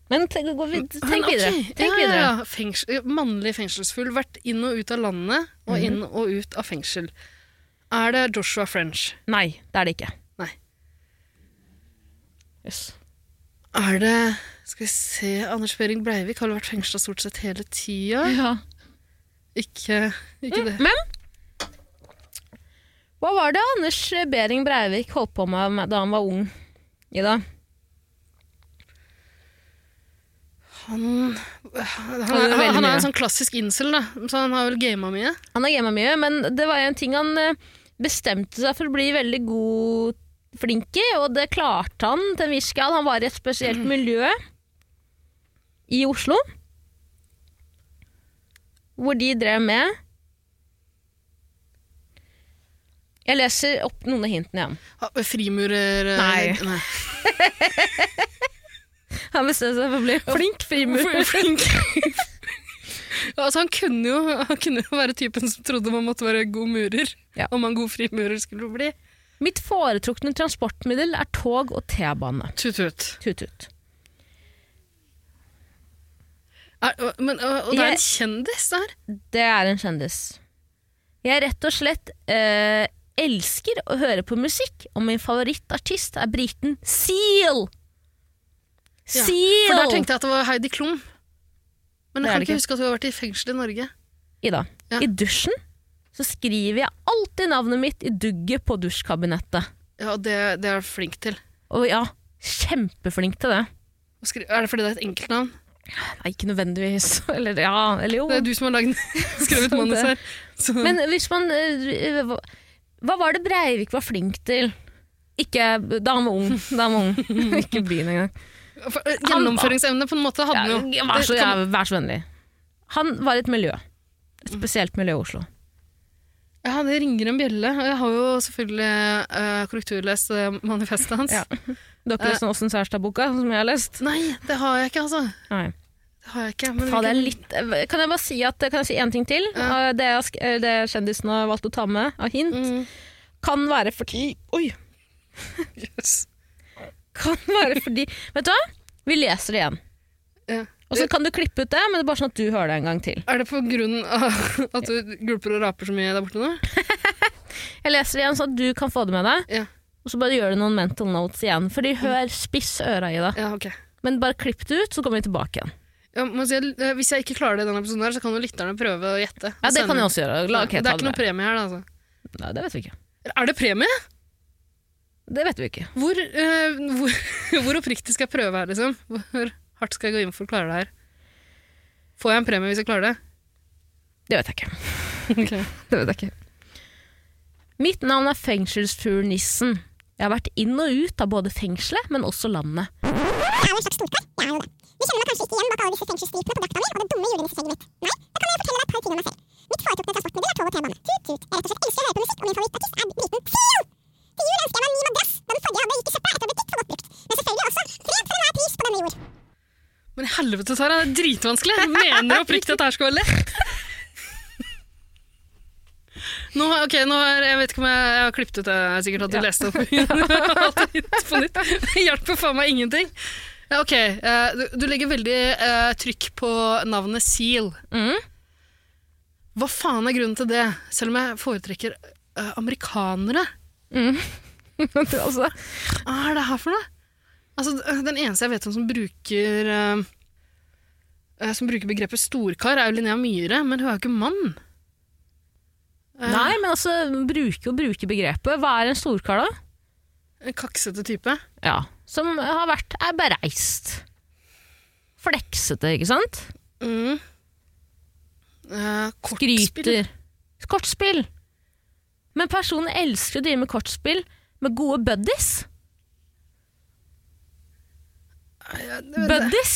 Speaker 2: Men tenk, gå vid
Speaker 1: Men
Speaker 2: tenk
Speaker 1: Ah, ok,
Speaker 2: videre. Tenk
Speaker 1: ja,
Speaker 2: videre.
Speaker 1: Ja, ja. Fengsel, eh, mannlig fengselsfugl, vært inn og ut av landet, og inn og ut av fengsel. Er det Joshua French?
Speaker 2: Nei, det er det ikke.
Speaker 1: Nei.
Speaker 2: Yes.
Speaker 1: Er det Skal vi se Anders Behring Breivik har jo vært fengsla stort sett hele tida.
Speaker 2: Ja.
Speaker 1: Ikke, ikke det.
Speaker 2: Men hva var det Anders Behring Breivik holdt på med da han var ung? Ida?
Speaker 1: Han, han,
Speaker 2: Han gjør
Speaker 1: er-
Speaker 2: veldig
Speaker 1: han, han er
Speaker 2: mye.
Speaker 1: en sånn klassisk incel, da, så han har vel gama mye.
Speaker 2: Han har gama mye, men det var en ting han eh, bestemte seg for å bli veldig god, flink i, og det klarte han til en viss grad. Han var i et spesielt miljø i Oslo, hvor de drev med Jeg leser opp noen av hintene igjen.
Speaker 1: Ha, frimurer eh,
Speaker 2: Nei.
Speaker 1: nei.
Speaker 2: Han bestemte seg for å bli flink frimurer.
Speaker 1: Fl- Flink. [LAUGHS] altså, han kunne jo han kunne jo være typen som trodde man måtte være god murer.
Speaker 2: Ja.
Speaker 1: Om man god frimurer skulle bli.
Speaker 2: Mitt foretrukne transportmiddel er tog og T-bane.
Speaker 1: Tut-tut.
Speaker 2: Tut-tut.
Speaker 1: Er- og- Men, og, og det er
Speaker 2: Jeg-
Speaker 1: en kjendis der.
Speaker 2: Det er en kjendis. Jeg rett og slett eh, elsker å høre på musikk, og min favorittartist er briten Seal!
Speaker 1: Ja,
Speaker 2: Seal!
Speaker 1: For der tenkte jeg at det var Heidi Klum. Men jeg kan
Speaker 2: Det er det
Speaker 1: ikke
Speaker 2: ikke.
Speaker 1: huske at hun har vært i fengsel i Norge.
Speaker 2: Ida,
Speaker 1: Ja.
Speaker 2: i dusjen så skriver jeg alltid navnet mitt i dugget på dusjkabinettet.
Speaker 1: Ja, og det, det er jeg flink til.
Speaker 2: Og ja, kjempeflink til det.
Speaker 1: Å skri- Er det fordi det er et enkeltnavn?
Speaker 2: Nei, ikke nødvendigvis. [LAUGHS] Eller ja, eller jo.
Speaker 1: Det er du som har lagd, [LAUGHS]
Speaker 2: [LAUGHS]
Speaker 1: skrevet
Speaker 2: Sant
Speaker 1: manus
Speaker 2: det.
Speaker 1: her. Så,
Speaker 2: Men hvis man eh, hva- Hva var det Breivik var flink til? Ikke Da han var ung. Da han var ung. [LAUGHS] ikke byen engang.
Speaker 1: for, eh, gjennomføringsevne på en måte hadde
Speaker 2: Ja,
Speaker 1: han jo.
Speaker 2: vær, så,
Speaker 1: Det kan-
Speaker 2: ja, vær så vennlig. Han var i et miljø. Et spesielt miljø i Oslo.
Speaker 1: Ja, det ringer en bjelle. Og jeg har jo selvfølgelig eh, korrekturlest eh, manifestet hans.
Speaker 2: Ja. Dere har lest den Åsen Særstad-boka, som jeg har lest?
Speaker 1: Nei, det har jeg ikke, altså.
Speaker 2: Nei.
Speaker 1: Det har jeg ikke. Men
Speaker 2: Ta det
Speaker 1: hvilken-
Speaker 2: litt, kan jeg bare si at, kan jeg si én ting til?
Speaker 1: Ja.
Speaker 2: Eh, Det, jeg, sk- eh, det kjendisen har valgt å ta med av hint,
Speaker 1: Mm.
Speaker 2: kan være fordi Oi!
Speaker 1: Yes.
Speaker 2: Kan være fordi Vet du hva? Vi leser det igjen.
Speaker 1: Ja.
Speaker 2: Og så kan du klippe ut det, men det er bare sånn at du hører det en gang til.
Speaker 1: Er det på grunn av at du gulper og raper så mye der borte nå?
Speaker 2: Jeg leser det igjen sånn at du kan få det med deg.
Speaker 1: Ja. Mm.
Speaker 2: Og så bare gjør du noen mental notes igjen. Fordi hør spiss øra i det.
Speaker 1: Ja, ok.
Speaker 2: Men bare klipp det ut, så kommer vi tilbake igjen.
Speaker 1: Ja, må si, eh, hvis jeg ikke klarer det i denne episoden, her, så kan jo lytterne prøve å gjette.
Speaker 2: Ja, det kan jeg også gjøre. La, ok,
Speaker 1: det
Speaker 2: ta
Speaker 1: er ikke noe
Speaker 2: det, med.
Speaker 1: premie her, da. Altså.
Speaker 2: Nei, det vet vi ikke.
Speaker 1: Er det premie?
Speaker 2: Det vet vi ikke.
Speaker 1: Hvor, eh, hvor, [LAUGHS] hvor oppriktig skal jeg prøve her, liksom? Hvor hardt skal jeg gå inn for å klare det her? Får jeg en premie hvis jeg klarer det?
Speaker 2: Det vet jeg ikke.
Speaker 1: Ok.
Speaker 2: [LAUGHS] Det vet jeg ikke. Mitt navn er fengselsfugl-nissen. Jeg har vært inn og ut av både fengselet, men også [LAUGHS] landet.
Speaker 5: Jeg er en slags storkar. Jeg er jo det. Du kjenner meg kanskje ikke igjen bak alle disse fengselsstripene på drakta mi og det dumme julenissesengen mitt. Nei, da kan jeg fortelle deg et par ting om meg selv. Mitt foretrukne transportmiddel er tog og T-bane. Tut-tut. Jeg rett og slett elsker å høre på musikk, og min favorittartist er briten Seal! Til jul ønsker jeg meg en ny madrass, da den forrige hadde gikk i søpla etter å ha blitt litt for godt brukt. Men selvfølgelig også fred for enhver pris på denne jord.
Speaker 1: Men i helvete, Tara, det er dritvanskelig. Jeg Mener du oppriktig at det her skal være lett? Nå, har- ok, nå har, jeg vet ikke om jeg, jeg har klippet ut det sikkert at du leste [LAUGHS] opp alt hit på nytt. Det hjelper faen meg ingenting. Ja, Ok, eh, du, du legger veldig eh, trykk på navnet Seal.
Speaker 2: Mhm.
Speaker 1: Hva faen er grunnen til det? Selv om jeg foretrekker eh, amerikanere.
Speaker 2: altså,
Speaker 1: Hva er det her for noe? Altså, den eneste jeg vet om som bruker eh, eh, Som bruker begrepet storkar, er jo Linnea Myhre, men hun er jo ikke mann. Eh,
Speaker 2: nei, men altså, bruke og bruke begrepet. Hva er en storkar, da?
Speaker 1: En kaksete type.
Speaker 2: Ja. Som har vært er bereist. Fleksete, ikke sant?
Speaker 1: Mm. Eh, kortspill.
Speaker 2: Skryter. Kortspill. Men personen elsker å drive med kortspill med gode buddies. Buddies!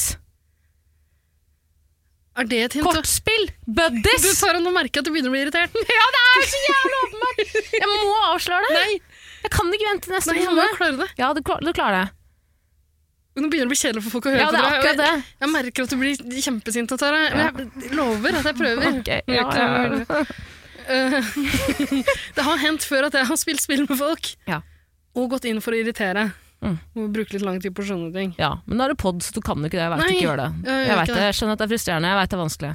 Speaker 1: Er det et hint?
Speaker 2: Kortspill!
Speaker 1: [LAUGHS] Du
Speaker 2: Buddies!
Speaker 1: tar nå merker jeg at du begynner å bli irritert.
Speaker 2: [LAUGHS] Ja, det er så jævlig åpenbart! Jeg må avsløre det. Jeg kan ikke vente til neste
Speaker 1: Nei, jeg må
Speaker 2: episode.
Speaker 1: klare det.
Speaker 2: Ja, du, klar, du klarer det.
Speaker 1: Nå begynner det å bli kjedelig for folk å høre
Speaker 2: Ja, det
Speaker 1: på
Speaker 2: er
Speaker 1: deg, og
Speaker 2: akkurat det.
Speaker 1: Jeg, jeg merker at du blir kjempesint, Tara. Men jeg lover at jeg prøver.
Speaker 2: Ok, ja, ja, ja.
Speaker 1: Eh, [LAUGHS] det har hendt før at jeg har spilt spill med folk.
Speaker 2: Ja.
Speaker 1: Og gått inn for å irritere.
Speaker 2: Mm.
Speaker 1: Må bruke litt lang tid på å skjønne ting.
Speaker 2: ja, Men nå er det pod, så du kan jo ikke det. Jeg vet
Speaker 1: Nei,
Speaker 2: ikke gjør det.
Speaker 1: jeg gjør
Speaker 2: Jeg,
Speaker 1: ikke
Speaker 2: vet det. jeg skjønner at det er frustrerende, jeg vet det er vanskelig.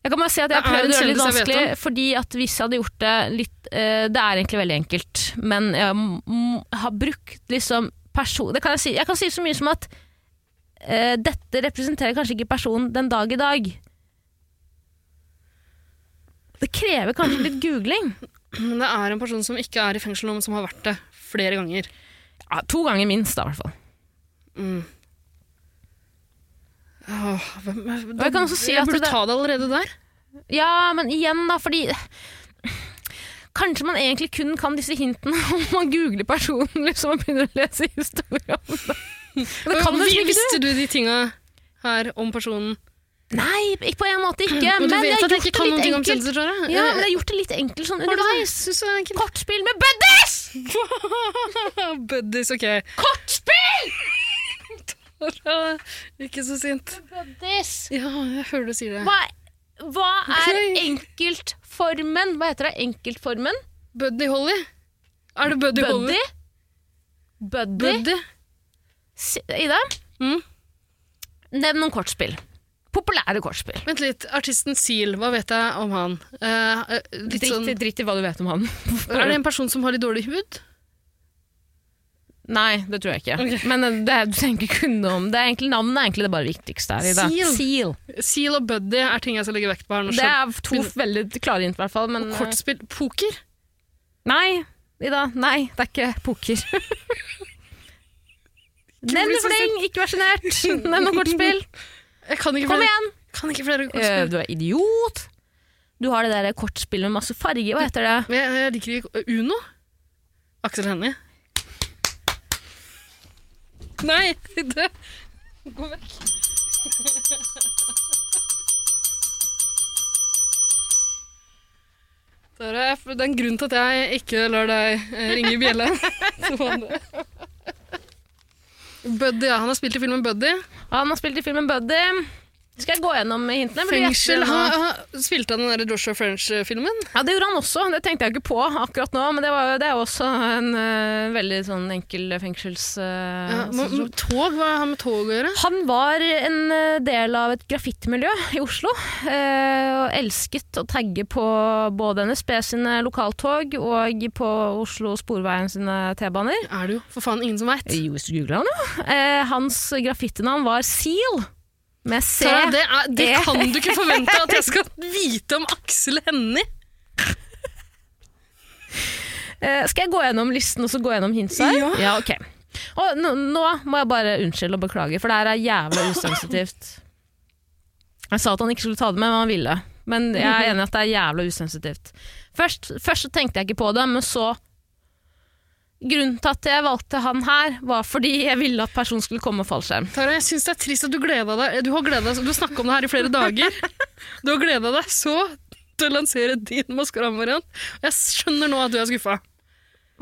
Speaker 2: Jeg kan bare si at jeg
Speaker 1: Det er
Speaker 2: prøvde å
Speaker 1: en
Speaker 2: gjøre det litt
Speaker 1: kjendis jeg vet
Speaker 2: vanskelig, fordi at hvis jeg hadde gjort det litt eh, Det er egentlig veldig enkelt, men jeg m- har brukt liksom person... Det kan jeg, si. jeg kan si så mye som at eh, dette representerer kanskje ikke personen den dag i dag. Det krever kanskje litt googling.
Speaker 1: Men det er en person som ikke er i fengsel nå, men som har vært det flere ganger. Mm.
Speaker 2: Ja, to ganger minst, da, i hvert fall.
Speaker 1: Åh, hvem,
Speaker 2: Og jeg kan også si
Speaker 1: jeg
Speaker 2: at
Speaker 1: burde
Speaker 2: det-
Speaker 1: ta det allerede der.
Speaker 2: Ja, men igjen da, fordi Kanskje man egentlig kun kan disse hintene [LAUGHS] om man googler personen liksom, og begynner å lese historien om det. [LAUGHS] Men det kan du liksom ikke du.
Speaker 1: Visste du de tinga her om personen?
Speaker 2: Nei, ikke på en måte ikke.
Speaker 1: Men du vet
Speaker 2: jeg har
Speaker 1: at jeg
Speaker 2: gjort
Speaker 1: ikke
Speaker 2: det
Speaker 1: kan noen
Speaker 2: litt
Speaker 1: ting om
Speaker 2: enkelt.
Speaker 1: kjendiser, tror jeg.
Speaker 2: Ja,
Speaker 1: Eh,
Speaker 2: men jeg har gjort det litt enkelt sånn
Speaker 1: Har du det?
Speaker 2: underveis.
Speaker 1: Synes du det er
Speaker 2: [LAUGHS]
Speaker 1: enkelt?
Speaker 2: Kortspill med buddies!
Speaker 1: Buddies, ok. [LAUGHS]
Speaker 2: Kortspill!
Speaker 1: Tara, Ikke så sint.
Speaker 2: Buddies.
Speaker 1: Ja, jeg hører du sier det.
Speaker 2: Hva, hva er
Speaker 1: Ok.
Speaker 2: enkeltformen? Hva heter det? Enkeltformen?
Speaker 1: Buddy Holly? Er det Buddy, Holly?
Speaker 2: Buddy? Buddy?
Speaker 1: Buddy?
Speaker 2: Si- Ida?
Speaker 1: Mm.
Speaker 2: Nevn noen kortspill. Populære kortspill.
Speaker 1: Vent litt, artisten Seal, hva vet jeg om han? Eh, eh, litt
Speaker 2: Dritt,
Speaker 1: sånn,
Speaker 2: i- dritt i hva du vet om han.
Speaker 1: er det en person som har litt dårlig hud?
Speaker 2: Nei, det tror jeg ikke.
Speaker 1: Ok.
Speaker 2: Men eh, det, er- du trenger ikke kunne om det. Er egentlig, navnet er egentlig det bare viktigste her. Ida.
Speaker 1: Seal.
Speaker 2: Seal.
Speaker 1: Seal og Buddy er ting jeg skal legge vekt på her nå.
Speaker 2: Det er to veldig klare hint, i hvert fall. Men, eh,
Speaker 1: Kortspill, poker?
Speaker 2: Nei, Ida. Nei, det er [LAUGHS] ikke poker. Nevn
Speaker 1: bli
Speaker 2: en
Speaker 1: så
Speaker 2: fleng, ikke vær sjenert. [LAUGHS] Nevn noe kortspill.
Speaker 1: Jeg kan ikke
Speaker 2: Kom
Speaker 1: flere,
Speaker 2: igjen!
Speaker 1: kan ikke flere
Speaker 2: Eh,
Speaker 1: kortspill.
Speaker 2: Du er idiot. Du har det der kortspillet med masse farger. Hva heter det?
Speaker 1: Men Jeg, jeg liker ikke Uno? Aksel Hennie? Nei, det Gå vekk. Det er, det er en grunn til at jeg ikke lar deg eh, ringe i bjella. Så var det. Buddy, ja. Han har spilt i filmen Buddy.
Speaker 2: Han har spilt i filmen Buddy. Skal jeg gå gjennom hintene? Vil du gjette
Speaker 1: Fengsel.
Speaker 2: nå?
Speaker 1: Han, han spilte han den der Joshua French-filmen?
Speaker 2: Ja, det gjorde han også. Det tenkte jeg ikke på akkurat nå, men det, var, jo- det er jo også en øh, veldig sånn enkel fengsels... øh,
Speaker 1: Ja, men-
Speaker 2: situasjon.
Speaker 1: men tog? Hva har han med tog å gjøre?
Speaker 2: han var en øh, del av et graffitimiljø i Oslo, øh, og elsket å tagge på både NSB sine lokaltog og på Oslo Sporveien sine T-baner.
Speaker 1: er det jo for faen ingen som veit.
Speaker 2: Jo, hvis du googler han, jo. Eh, hans graffitinavn var Seal, med C.
Speaker 1: Det, er- det
Speaker 2: Eh.
Speaker 1: kan du ikke forvente at jeg
Speaker 2: [LAUGHS]
Speaker 1: skal vite om Aksel Hennie!
Speaker 2: Eh, skal jeg gå gjennom listen og så gå gjennom hints her?
Speaker 1: Ja.
Speaker 2: ok. Og nå, nå må jeg bare unnskylde og beklage, for det her er [LAUGHS] jævlig usensitivt. Jeg sa at han ikke skulle ta det med, men han ville. Men jeg er enig i at det er jævlig usensitivt. Først, først så tenkte jeg ikke på det, men så Grunnen til at jeg valgte han her, var fordi jeg ville at personen skulle komme med fallskjerm.
Speaker 1: Tara, jeg syns det er trist at du gleda deg Du har gledet deg, du har snakka om det her i flere dager. Du har gleda deg så til å lansere din Maskorama-variant. Og Jeg skjønner nå at du er skuffa.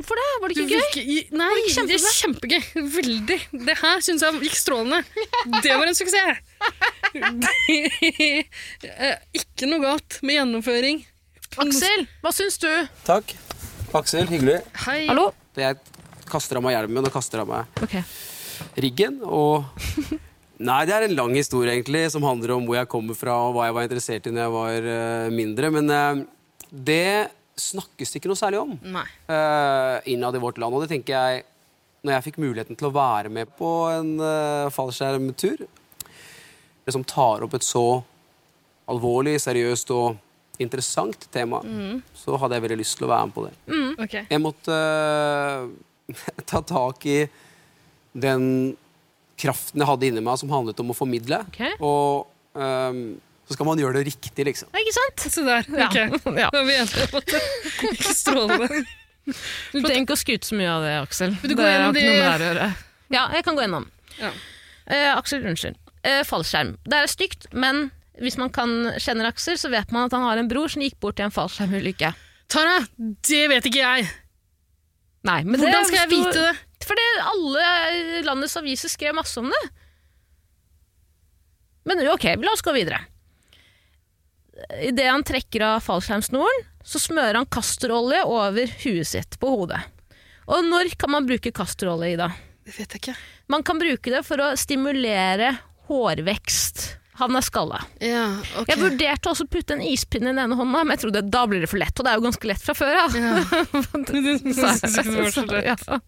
Speaker 2: Hvorfor det? Var det
Speaker 1: Du
Speaker 2: ikke gøy?
Speaker 1: virker i- Nei,
Speaker 2: det ikke
Speaker 1: det er kjempegøy. Veldig. Det her syns jeg gikk strålende. Det var en suksess. Eh, Ikke noe galt med gjennomføring.
Speaker 2: Aksel, hva syns du?
Speaker 6: Takk. Aksel, hyggelig.
Speaker 1: Hei.
Speaker 2: Hallo?
Speaker 6: Da Jeg kaster av meg hjelmen og kaster av meg
Speaker 2: Ok.
Speaker 6: riggen. Og Nei, det er en lang historie egentlig som handler om hvor jeg kommer fra og hva jeg var interessert i når jeg var eh, mindre. Men eh, det snakkes det ikke noe særlig om
Speaker 1: Nei.
Speaker 6: eh, innad i vårt land. Og det tenker jeg når jeg fikk muligheten til å være med på en eh, fallskjermtur Det som tar opp et så alvorlig, seriøst og interessant tema, så hadde jeg veldig lyst til å være med på det.
Speaker 1: Mm, Ok.
Speaker 6: Jeg måtte øh, ta tak i den kraften jeg hadde inni meg som handlet om å formidle.
Speaker 2: Ok.
Speaker 6: Og øhm, så skal man gjøre det riktig, liksom.
Speaker 2: Ikke sant?
Speaker 1: Se der.
Speaker 2: Ja.
Speaker 1: Ok.
Speaker 2: Ja. [LAUGHS]
Speaker 1: Da er vi enige om at det gikk strålende.
Speaker 2: Du trenger ikke å skryte så mye av det, Aksel.
Speaker 1: du gå
Speaker 2: det
Speaker 1: gjennom
Speaker 2: ikke noe
Speaker 1: de-
Speaker 2: med det her å gjøre. Ja, jeg kan gå gjennom.
Speaker 1: Ja.
Speaker 2: Eh, Aksel, unnskyld. Eh, fallskjerm. Det er stygt, men hvis man kan kjenner Aksel, så vet man at han har en bror som gikk bort i en fallskjermulykke.
Speaker 1: Tara, det vet ikke jeg.
Speaker 2: Nei, men
Speaker 1: Hvordan skal jeg vite det?
Speaker 2: Fordi alle landets aviser skrev masse om det. Men ok, la oss gå videre. Idet han trekker av fallskjermsnoren, så smører han kasterolje over huet sitt på hodet. Og når kan man bruke kasterolje, Ida?
Speaker 1: Det vet jeg ikke.
Speaker 2: Man kan bruke det for å stimulere hårvekst. Han er skalla.
Speaker 1: Ja, ok.
Speaker 2: Jeg vurderte også å putte en ispinne i den ene hånda, men jeg trodde da blir det for lett, og det er jo ganske lett fra før. Ja. [LAUGHS]
Speaker 1: Ja.
Speaker 2: Ja.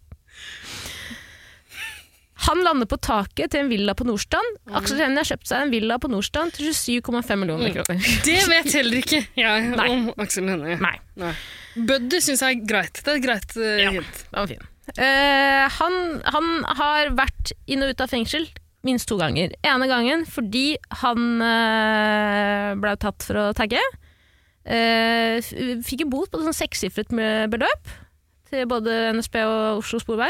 Speaker 2: Han lander på taket til en villa på Nordstrand. Aksel Hennie har kjøpt seg en villa på Nordstrand til 27,5 millioner kroner.
Speaker 1: Det vet heller ikke jeg
Speaker 2: Nei.
Speaker 1: om Aksel Hennie.
Speaker 2: Nei,
Speaker 1: Buddy syns jeg er greit. Det er et greit eh, hint.
Speaker 2: den var fin. Eh, han, han har vært inn og ut av fengsel minst to ganger. Ene gangen fordi han eh, ble tatt for å tagge. Eh, Eh, f- fikk en bot på et sånn sekssifret med- beløp til både NSB og Oslo Sporvei.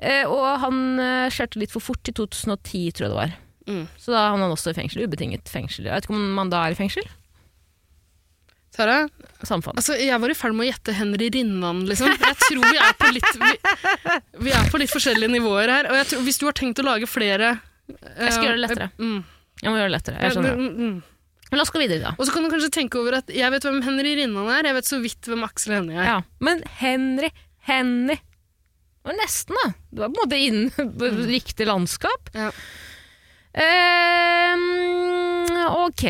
Speaker 2: Eh, og han eh, kjørte litt for fort i 2010, tror jeg det var.
Speaker 1: Mm.
Speaker 2: Så da havna han også i fengsel. Ubetinget fengsel. Jeg vet ikke om man da er i fengsel.
Speaker 1: Tara,
Speaker 2: Samme faen.
Speaker 1: altså, jeg var i ferd med å gjette Henry Rinnan, liksom. Jeg tror vi er på litt, vi, vi er på litt forskjellige nivåer her. Og jeg tror, hvis du har tenkt å lage flere eh,
Speaker 2: Jeg skal gjøre det lettere.
Speaker 1: Mm.
Speaker 2: Jeg må gjøre det lettere. Jeg skjønner det.
Speaker 1: Mm, mm.
Speaker 2: Men la oss gå videre, da.
Speaker 1: Og så kan du kanskje tenke over at jeg vet hvem Henry Rinnan er, jeg vet så vidt hvem Aksel Hennie er.
Speaker 2: Ja. Men Henry Henny Det var nesten, da. Du var på en måte innen [LAUGHS] på riktig landskap.
Speaker 1: Ja.
Speaker 2: Ehm, ok,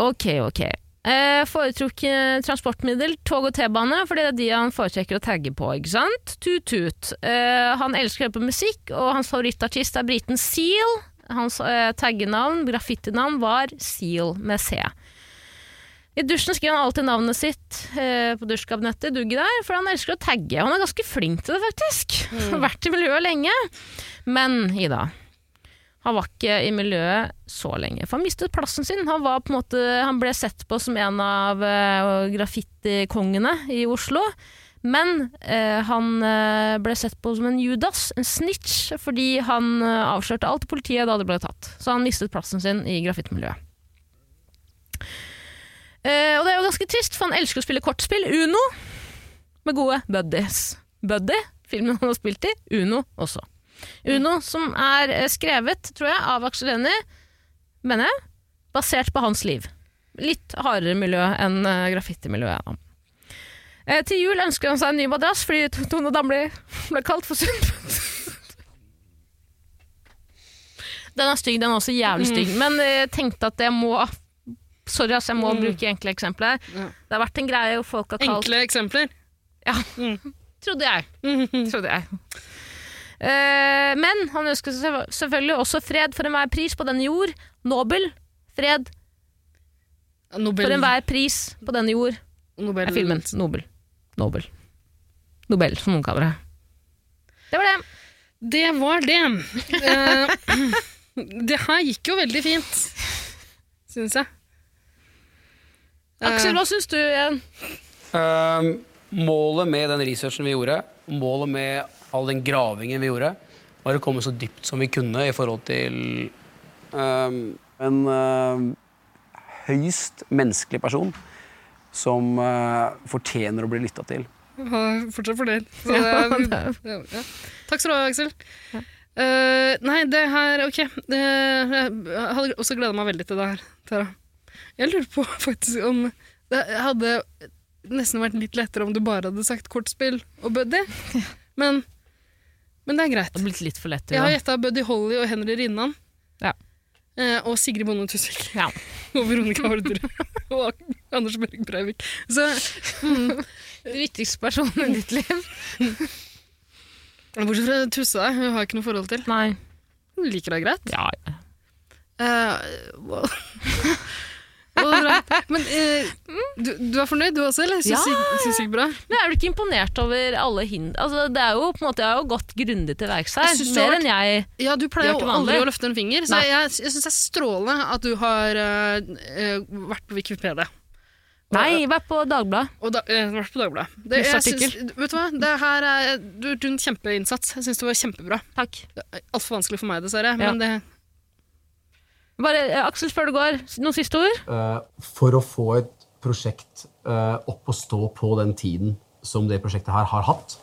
Speaker 2: ok, ok. Eh, foretrukk eh, transportmiddel, tog og T-bane, for det er de han foretrekker å tagge på. ikke sant? Tut-tut. Eh, han elsker å høre på musikk, og hans favorittartist er briten Seal. Hans eh, taggenavn, graffitinavn, var Seal med C. I dusjen skriver han alltid navnet sitt eh, på dusjkabinettet, Dugge der, for han elsker å tagge. Og han er ganske flink til det, faktisk. [LAUGHS] Har Vært i miljøet lenge. Men Ida, han var ikke i miljøet så lenge, for han mistet plassen sin. Han, var på en måte, han ble sett på som en av eh, graffitikongene i Oslo. Men eh, han eh, ble sett på som en Judas, en snitch, fordi han eh, avslørte alt til politiet da det ble tatt. Så han mistet plassen sin i graffitimiljøet. Eh, og det er jo ganske trist, for han elsker å spille kortspill, Uno, med gode buddies. Buddy, filmen han har spilt i, Uno også. Uno, som er eh, skrevet, tror jeg, av Aksel Hennie, mener jeg, basert på hans liv. Litt hardere miljø enn eh, graffitimiljøet. da. Eh, til jul ønsker han seg en ny madrass fordi T- Tone Damli ble kalt for sunt. den er stygg, den er også jævlig stygg,
Speaker 1: Mm.
Speaker 2: men eh, jeg tenkte at jeg må ah, Sorry, ass, jeg må bruke enkle eksempler. her.
Speaker 1: Mm. Ja.
Speaker 2: Det har vært en greie hvor folk har kalt
Speaker 1: Enkle eksempler.
Speaker 2: Trodde jeg.
Speaker 1: [LAUGHS]
Speaker 2: Trodde jeg. Eh, men han ønsker seg selv- selvfølgelig også fred for enhver pris på denne jord. Nobel. Fred for
Speaker 1: Nobel,
Speaker 2: enhver pris på denne jord.
Speaker 1: Nobel
Speaker 2: Er filmen. Nobel. Nobel. Nobel, som noen kaller det. Det var det.
Speaker 1: Det var det. Eh, [CLEARS THROAT] det her gikk jo veldig fint, syns jeg.
Speaker 2: Aksel, hva syns du [LAUGHS] igjen?
Speaker 6: Ehm, målet med den researchen vi gjorde, målet med all den gravingen vi gjorde, var å komme så dypt som vi kunne i forhold til ehm, En ehm, høyst menneskelig person som eh, fortjener å bli lytta til.
Speaker 1: Var fortsatt
Speaker 2: [LAUGHS]
Speaker 1: fornøyd. Så det er- Eh, ja, ja. Takk skal du ha, Aksel. Eh, nei, det her Ok. Det, jeg hadde også gleda meg veldig til det her, Tara. Jeg lurer på [LAUGHS] faktisk om det hadde nesten vært litt lettere om du bare hadde sagt kortspill og buddy,
Speaker 2: [LAUGHS]
Speaker 1: men, men det er greit.
Speaker 2: Det har blitt litt for lett.
Speaker 1: Jeg har gjetta Buddy Holly og Henry Rinnan.
Speaker 2: Ja.
Speaker 1: Eh, og Sigrid Bonde Tusvik
Speaker 2: Ja.
Speaker 1: og Veronica [LAUGHS] Orderud og Anders Børg Breivik. Så
Speaker 2: Den viktigste personen i ditt liv.
Speaker 1: bortsett fra Tussa, hun har jeg ikke noe forhold til.
Speaker 2: [LAUGHS] Nei.
Speaker 1: Hun liker deg greit.
Speaker 2: Ja.
Speaker 1: Eh, [LAUGHS] well. well, right. Men eh, du, du er fornøyd du også, eller? Syns
Speaker 2: Ja,
Speaker 1: det- syns det gikk bra?
Speaker 2: Men jeg er vel ikke imponert over alle hinder altså, det er jo, på en måte, Jeg har jo gått grundig til verks her.
Speaker 1: Jeg synes det har
Speaker 2: Mer enn jeg
Speaker 1: Ja, du
Speaker 2: Det
Speaker 1: pleier
Speaker 2: er
Speaker 1: jo
Speaker 2: ikke
Speaker 1: aldri
Speaker 2: vanlig.
Speaker 1: å løfte en finger, så
Speaker 2: Nei.
Speaker 1: jeg, jeg syns det er strålende at du har eh, eh, vært på Wikipedia.
Speaker 2: Nei, vær på Dagbladet.
Speaker 1: Og da, eh, vært på Dagbladet. Det, jeg
Speaker 2: Plussartikkel.
Speaker 1: syns- vet du hva? Det her er du, du, er en kjempeinnsats. Jeg syns det var kjempebra.
Speaker 2: Takk.
Speaker 1: Altfor vanskelig for meg, dessverre.
Speaker 2: Ja.
Speaker 1: Men det,
Speaker 2: Bare, eh, Aksel, før du går, s- noen siste ord?
Speaker 7: eh, for å få et prosjekt eh, opp og stå på den tiden som det prosjektet her har hatt,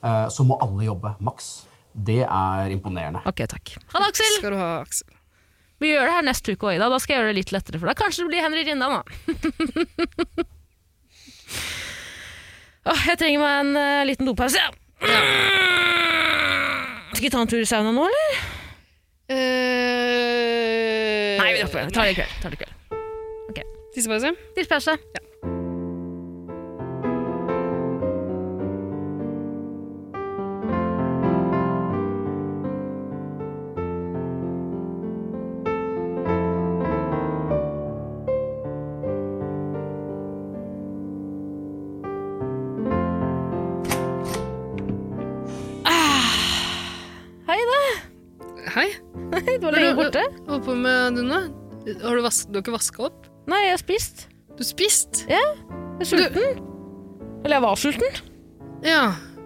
Speaker 7: eh, så må alle jobbe maks. Det er imponerende.
Speaker 2: Ok, takk. Ha det, Aksel!
Speaker 1: skal du ha, Aksel.
Speaker 2: Vi gjør det her neste uke òg, Ida. Da skal jeg gjøre det litt lettere for deg. Kanskje det blir Henry Rindan, da. [LAUGHS] Åh, jeg trenger meg en eh, liten dopause. Ja. Skal vi ta en tur i sauna nå, eller?
Speaker 1: Eh,
Speaker 2: Nei, vi dropper det. Tar det i kveld. Tar det i kveld.
Speaker 1: Tissepause?
Speaker 2: Tidspause. Ah. Hei, da.
Speaker 1: Hei.
Speaker 2: Du var
Speaker 1: Hva
Speaker 2: lenge
Speaker 1: er det-
Speaker 2: borte.
Speaker 1: Hva holder du på med du nå? Har du, vask, du har ikke vaska opp?
Speaker 2: Nei, jeg har spist.
Speaker 1: Du spist?
Speaker 2: Jeg er sulten. Eller jeg var sulten.
Speaker 1: Ja,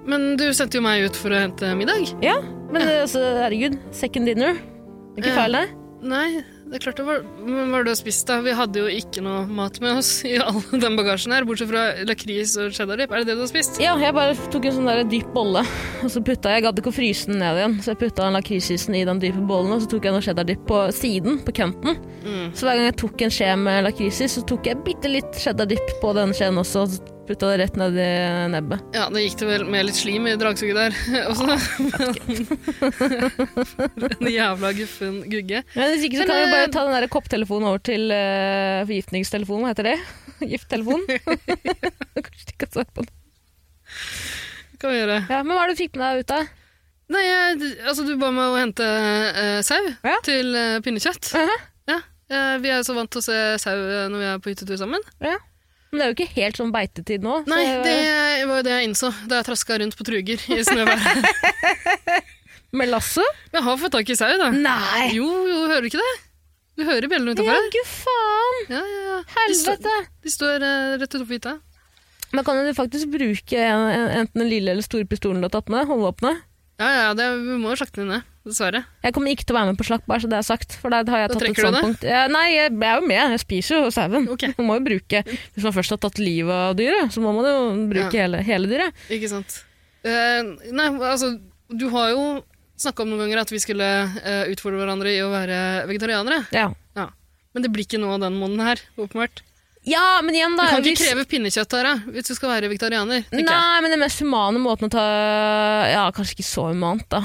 Speaker 1: men du sendte jo meg ut for å hente middag.
Speaker 2: Ja, men eh, altså, herregud, second dinner. Det er ikke
Speaker 1: Ja.
Speaker 2: feil, det.
Speaker 1: Nei, det er klart det var Men hva har du spist, da? Vi hadde jo ikke noe mat med oss i all den bagasjen her, bortsett fra lakris og cheddardip. Er det det du har spist?
Speaker 2: Ja, jeg bare tok en sånn der dyp bolle, og så putta jeg, jeg gadd ikke å fryse den ned igjen, så jeg putta den lakrisisen i den dype bollen, og så tok jeg noe cheddardipp på siden, på kanten.
Speaker 1: Mm.
Speaker 2: Så hver gang jeg tok en skje med lakrisis, så tok jeg bitte litt cheddardipp på den skjeen også, og så putta det rett ned i nebbet.
Speaker 1: Ja, det gikk det vel med litt slim i dragsuget der [LAUGHS] også. Men [LAUGHS] For en jævla guffen gugge.
Speaker 2: Men hvis ikke så
Speaker 1: Men,
Speaker 2: kan vi
Speaker 1: eh,
Speaker 2: bare ta den der kopptelefonen over til eh, forgiftningstelefonen, hva heter det? [LAUGHS]
Speaker 1: [LAUGHS]
Speaker 2: Gifttelefonen? [LAUGHS] Kanskje de ikke har svar på det.
Speaker 1: Det kan vi gjøre.
Speaker 2: Ja, men hva er det du fikk med deg ut av?
Speaker 1: Nei, jeg, altså du ba meg å hente eh, sau
Speaker 2: Ja.
Speaker 1: til eh, pinnekjøtt.
Speaker 2: Mhm.
Speaker 1: Ja, eh, vi er så vant til å se sau eh, når vi er på hyttetur sammen.
Speaker 2: Ja. Men det er jo ikke helt sånn beitetid nå. så-
Speaker 1: Nei, det var jo det jeg innså da jeg traska rundt på truger i
Speaker 2: [LAUGHS]
Speaker 1: snøværet.
Speaker 2: Med lasso?
Speaker 1: Men jeg har fått tak i sau, da.
Speaker 2: Nei!
Speaker 1: Jo, jo, hører du ikke det? Du hører bjellene utafor
Speaker 2: Ja,
Speaker 1: her.
Speaker 2: gud faen!
Speaker 1: Ja, ja, ja. De, står-
Speaker 2: Helvete!
Speaker 1: de står eh, rett utenfor hytta.
Speaker 2: Man kan jo faktisk bruke en, en, enten den lille eller store pistolen du har tatt med, holdevåpenet.
Speaker 1: Ja, ja, ja, det, vi må jo slakte den ned, dessverre.
Speaker 2: Jeg kommer ikke til å være med på slakk, bare så det er sagt. For der har jeg
Speaker 1: Da
Speaker 2: tatt et
Speaker 1: trekker du det?
Speaker 2: standpunkt. Ja, nei, jeg jeg er jo med. Jeg spiser jo sauen.
Speaker 1: Ok.
Speaker 2: Man må jo bruke Hvis man først har tatt livet av dyret, så må man jo bruke
Speaker 1: Ja.
Speaker 2: hele, hele dyret.
Speaker 1: Ikke sant. Eh, nei, altså, du har jo snakka om noen ganger at vi skulle eh, utfordre hverandre i å være vegetarianere.
Speaker 2: Ja.
Speaker 1: Ja. Men det blir ikke nå den måneden her, åpenbart.
Speaker 2: ja, men igjen,
Speaker 1: Du
Speaker 2: da.
Speaker 1: kan ikke
Speaker 2: hvis-
Speaker 1: kreve pinnekjøtt her, da, hvis du skal være vegetarianer. tenker jeg.
Speaker 2: Nei, men den mest humane måten å ta Ja, kanskje ikke så humant, da.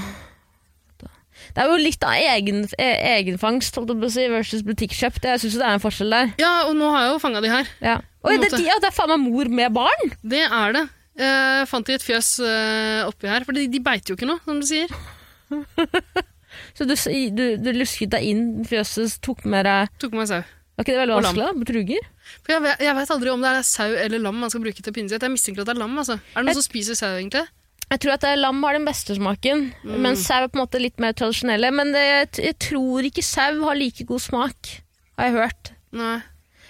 Speaker 2: Det er jo litt av egen, e- egenfangst holdt jeg på å si, versus butikkjøpt. Jeg syns det er en forskjell der.
Speaker 1: Ja, og nå har jeg jo fanga de her.
Speaker 2: Ja. Oi, det,
Speaker 1: måte.
Speaker 2: er de- ja, det er faen meg mor med barn!
Speaker 1: Det er det. Eh, Jeg fant de et fjøs eh, oppi her, for de, de beiter jo ikke nå, som du sier.
Speaker 2: Så du, du, du lusket deg inn i fjøset, tok med deg
Speaker 1: Tok med meg sau.
Speaker 2: Var ikke det veldig
Speaker 1: Og lam.
Speaker 2: vanskelig? da? Betruger?
Speaker 1: For jeg, vet- jeg veit aldri om det er sau eller lam man skal bruke til pinnekjøtt. Jeg mistenker at det er lam. altså. Er det noen
Speaker 2: Jeg-
Speaker 1: som spiser sau, egentlig?
Speaker 2: Jeg tror at det er lam har den beste smaken,
Speaker 1: Mm.
Speaker 2: mens sau er på en måte litt mer tradisjonelle. Men det, jeg t- jeg tror ikke sau har like god smak, har jeg hørt.
Speaker 1: Nei.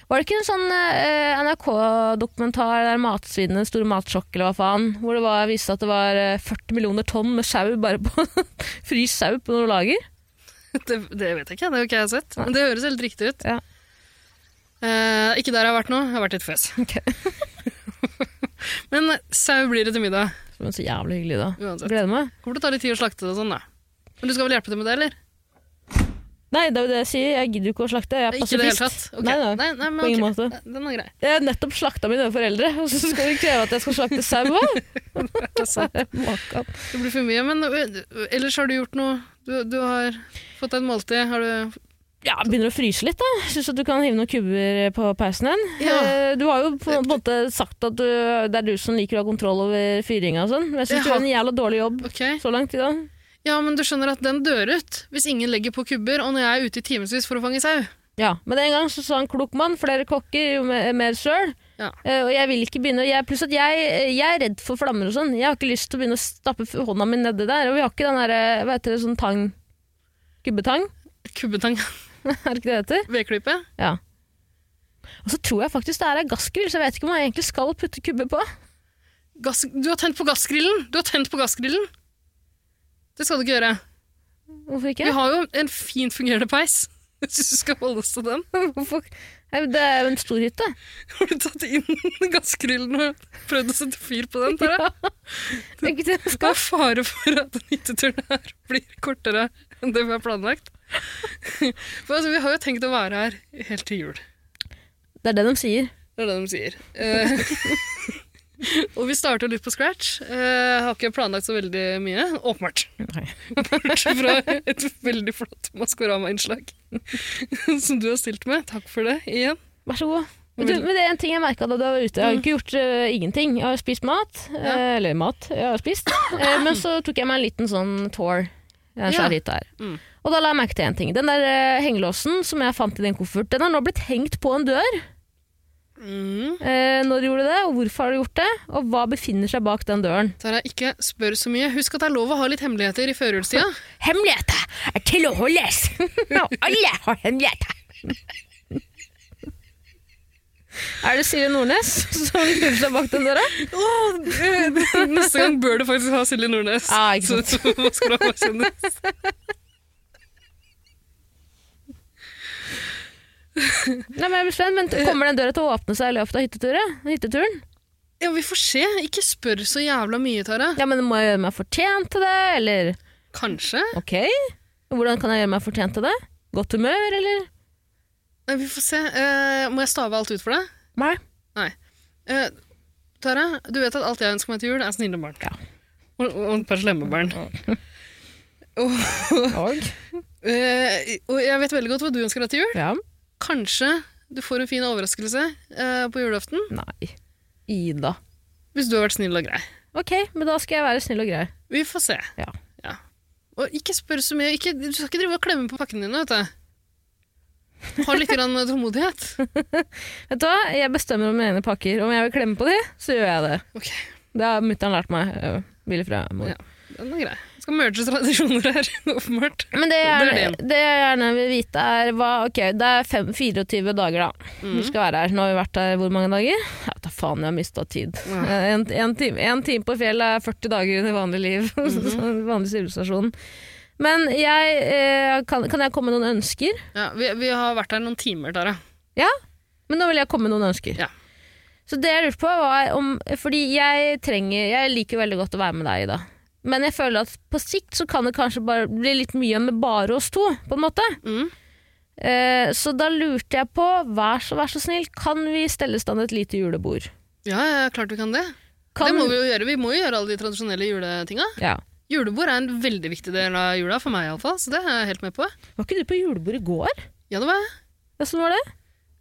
Speaker 2: Var det ikke en sånn NRK-dokumentar der matsvinnet, store matsjokk eller hva faen, hvor det var, viste at det var eh, 40 millioner tonn med sau bare på [LAUGHS] Frys sau på noe lager?
Speaker 1: [LAUGHS] Det, det vet jeg ikke. Det har ikke jeg sett. Men det høres helt riktig ut.
Speaker 2: Ja.
Speaker 1: Eh, ikke der jeg har vært nå. Jeg har vært i et fjøs.
Speaker 2: Ok.
Speaker 1: [LAUGHS] Men sau blir det til middag.
Speaker 2: Men så jævlig hyggelig, da.
Speaker 1: Uansett.
Speaker 2: Gleder meg.
Speaker 1: Kommer til å ta litt tid å slakte det og sånn, da. Men du skal vel hjelpe til med det, eller?
Speaker 2: Nei, det er jo det jeg sier. Jeg gidder jo ikke å slakte. Jeg er
Speaker 1: Ikke i det hele tatt?
Speaker 2: pasifist.
Speaker 1: Ok.
Speaker 2: Nei, nei.
Speaker 1: Nei, nei, men
Speaker 2: På ingen
Speaker 1: ok.
Speaker 2: måte.
Speaker 1: Ja, Den er grei.
Speaker 2: Jeg har nettopp slakta mine foreldre, og så skal du kreve at jeg skal slakte sau
Speaker 1: [LAUGHS]
Speaker 2: òg? [LAUGHS] Makan.
Speaker 1: Det blir for mye, men ø, ellers har du gjort noe. Du, du har fått deg et måltid. Har du
Speaker 2: Ja, begynner å fryse litt, da. Syns at du kan hive noen kubber på pausen din.
Speaker 1: Ja.
Speaker 2: Eh, Du har jo på en måte sagt at du, det er du som liker å ha kontroll over fyringa og sånn, men jeg
Speaker 1: Jeg
Speaker 2: syns du
Speaker 1: har-
Speaker 2: gjør en jævla dårlig jobb
Speaker 1: Ok.
Speaker 2: så langt i dag.
Speaker 1: Ja, men du skjønner at den dør ut hvis ingen legger på kubber, og når jeg er ute i timevis for å fange sau.
Speaker 2: Ja, men en gang så sa en klok mann, flere kokker, jo mer, mer søl.
Speaker 1: Ja.
Speaker 2: Eh, og jeg vil ikke begynne jeg, Pluss at jeg, jeg er redd for flammer og sånn. Jeg har ikke lyst til å begynne å stappe hånda mi nedi der. Og vi har ikke den derre, hva heter det, sånn tang Gubbetang,
Speaker 1: Kubbetang,
Speaker 2: [LAUGHS]
Speaker 1: [LAUGHS]
Speaker 2: er det ikke det det heter?
Speaker 1: vedklype.
Speaker 2: Ja. Og så tror jeg faktisk det her er gassgrill, så jeg vet ikke om jeg egentlig skal putte kubbe på.
Speaker 1: Gass, du har tent på gassgrillen! Du har tent på gassgrillen! Det skal du ikke gjøre.
Speaker 2: Hvorfor ikke?
Speaker 1: Vi har jo en fint fungerende peis. [LAUGHS] Jeg syns du skal holde oss til den.
Speaker 2: [LAUGHS] Hvorfor? Nei, men Det er jo en stor [LAUGHS] hytte.
Speaker 1: Har du tatt inn [LAUGHS] gassgrillen og prøvd å sette fyr på den? Tara?
Speaker 2: Det er ikke det jeg
Speaker 1: Det
Speaker 2: skal.
Speaker 1: er fare for at den hytteturen her blir kortere enn det vi har planlagt. [LAUGHS] For altså, vi har jo tenkt å være her helt til jul.
Speaker 2: Det er det de sier.
Speaker 1: Det er det de sier. Eh, [LAUGHS] og vi starter litt på scratch. Eh, har ikke planlagt så veldig mye, åpenbart.
Speaker 2: Nei.
Speaker 1: Bortsett fra et veldig flott Maskorama-innslag [LAUGHS] som du har stilt med. Takk for det igjen.
Speaker 2: Vær så god. Men, du, men det er en ting jeg merka da du var ute. Jeg har jo ikke gjort eh, ingenting. Jeg har spist mat. eh, eller mat. Jeg har [LAUGHS] spist. Eh, men så tok jeg meg en liten sånn tour. Jeg
Speaker 1: Ja.
Speaker 2: ja. Mm. her. Og da la jeg merke til en ting. Den der eh, hengelåsen som jeg fant i den koffert, den har nå blitt hengt på en dør. Eh, når gjorde du det, og hvorfor har du gjort det, og hva befinner seg bak den døren?
Speaker 1: Tara, ikke spør så mye. Husk at det er lov å ha litt hemmeligheter i [LAUGHS] førjulstida.
Speaker 2: Hemmeligheter er til å [LAUGHS] holdes! Og alle har hemmeligheter! Er det Silje Nordnes som lurer seg bak den døra?
Speaker 1: Neste gang bør du faktisk ha Silje Nordnes.
Speaker 2: Ja, ikke sant.
Speaker 1: Så, [LAUGHS] så skal du ha kjendis.
Speaker 2: Nei, men jeg blir spent, men t- Kommer den døra til å åpne seg i løpet av hytteturen? hytteturen?
Speaker 1: Ja, vi får se. Ikke spør så jævla mye, Tara.
Speaker 2: Ja, men Må jeg gjøre meg fortjent til det, eller
Speaker 1: Kanskje.
Speaker 2: ok? Hvordan kan jeg gjøre meg fortjent til det? Godt humør, eller?
Speaker 1: Nei, vi får se. Eh, må jeg stave alt ut for deg?
Speaker 2: Nei.
Speaker 1: Nei. Eh, Tara, du vet at alt jeg ønsker meg til jul, er snille barn.
Speaker 2: Ja.
Speaker 1: Og, og et par slemme barn.
Speaker 2: Og?
Speaker 1: Eh, og jeg vet veldig godt hva du ønsker deg til jul.
Speaker 2: Ja.
Speaker 1: Kanskje du får en fin overraskelse eh, på julaften
Speaker 2: Nei. Ida.
Speaker 1: hvis du har vært snill og grei.
Speaker 2: Ok, men da skal jeg være snill og grei.
Speaker 1: Vi får se.
Speaker 2: Ja.
Speaker 1: Og ikke spør så mye. Ikke, du skal ikke drive og klemme på pakkene dine. vet du. Ha litt grann tålmodighet.
Speaker 2: Vet du hva? Jeg bestemmer om mine egne pakker. Om jeg vil klemme på de, så gjør jeg det.
Speaker 1: Ok,
Speaker 2: Det har mutter'n lært meg. øh, Ville fra mor.
Speaker 1: Ja. Den er grei. Skal merge tradisjoner her, [LAUGHS] åpenbart.
Speaker 2: Men det jeg,
Speaker 1: Det er
Speaker 2: gjerne, det jeg gjerne vil vite, er hva Ok, det er fem, 24 dager, da.
Speaker 1: Mhm.
Speaker 2: Vi skal være her. Nå har vi vært her hvor mange dager? Jeg vet da faen, jeg har mista tid. Eh, [LAUGHS] En, en, time, en time på fjellet er 40 dager under vanlig liv. [LAUGHS]
Speaker 1: Mhm.
Speaker 2: Sånn vanlig sivilisasjon. Men jeg eh, kan, kan jeg komme med noen ønsker?
Speaker 1: Ja, vi, vi har vært her noen timer, Tara.
Speaker 2: Ja, men nå vil jeg komme med noen ønsker.
Speaker 1: Ja.
Speaker 2: Så det jeg lurte på var om Fordi jeg trenger Jeg liker jo veldig godt å være med deg, Ida. Men jeg føler at på sikt så kan det kanskje bare bli litt mye med bare oss to, på en måte.
Speaker 1: Mm.
Speaker 2: Eh, så da lurte jeg på, vær så, vær så snill, kan vi stelle i stand et lite julebord?
Speaker 1: Ja, ja, klart vi kan det.
Speaker 2: Kan,
Speaker 1: Det må vi jo gjøre. Vi må jo gjøre alle de tradisjonelle juletinga.
Speaker 2: Ja.
Speaker 1: Julebord er en veldig viktig del av jula, for meg iallfall, så det er jeg helt med på.
Speaker 2: Var ikke du på julebord i går?
Speaker 1: Ja, det var jeg.
Speaker 2: Hvordan var det?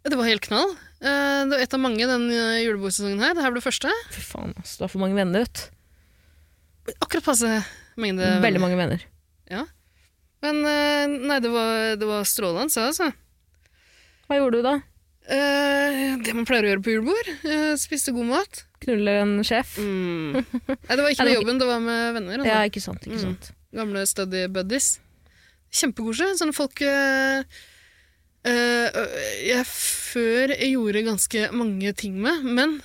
Speaker 1: Det var helt knall. Eh, Det var et av mange den eh, julebordsesongen her. Det her ble første.
Speaker 2: Fy faen, ass, du har for mange venner, vet du.
Speaker 1: Akkurat passe mengde.
Speaker 2: Veldig mange venner.
Speaker 1: Men eh, nei, det var, det var strålende, så altså.
Speaker 2: Hva gjorde du da?
Speaker 1: Eh, det man pleier å gjøre på julebord. eh, spiste god mat.
Speaker 2: Knulle en sjef?
Speaker 1: Mm. Nei, det var ikke med
Speaker 2: Nei, det var
Speaker 1: jobben, det var med venner. Altså.
Speaker 2: Ja, ikke sant, ikke sant.
Speaker 1: Gamle study buddies. Kjempekoselig. Sånne folk eh, eh, jeg før gjorde ganske mange ting med, men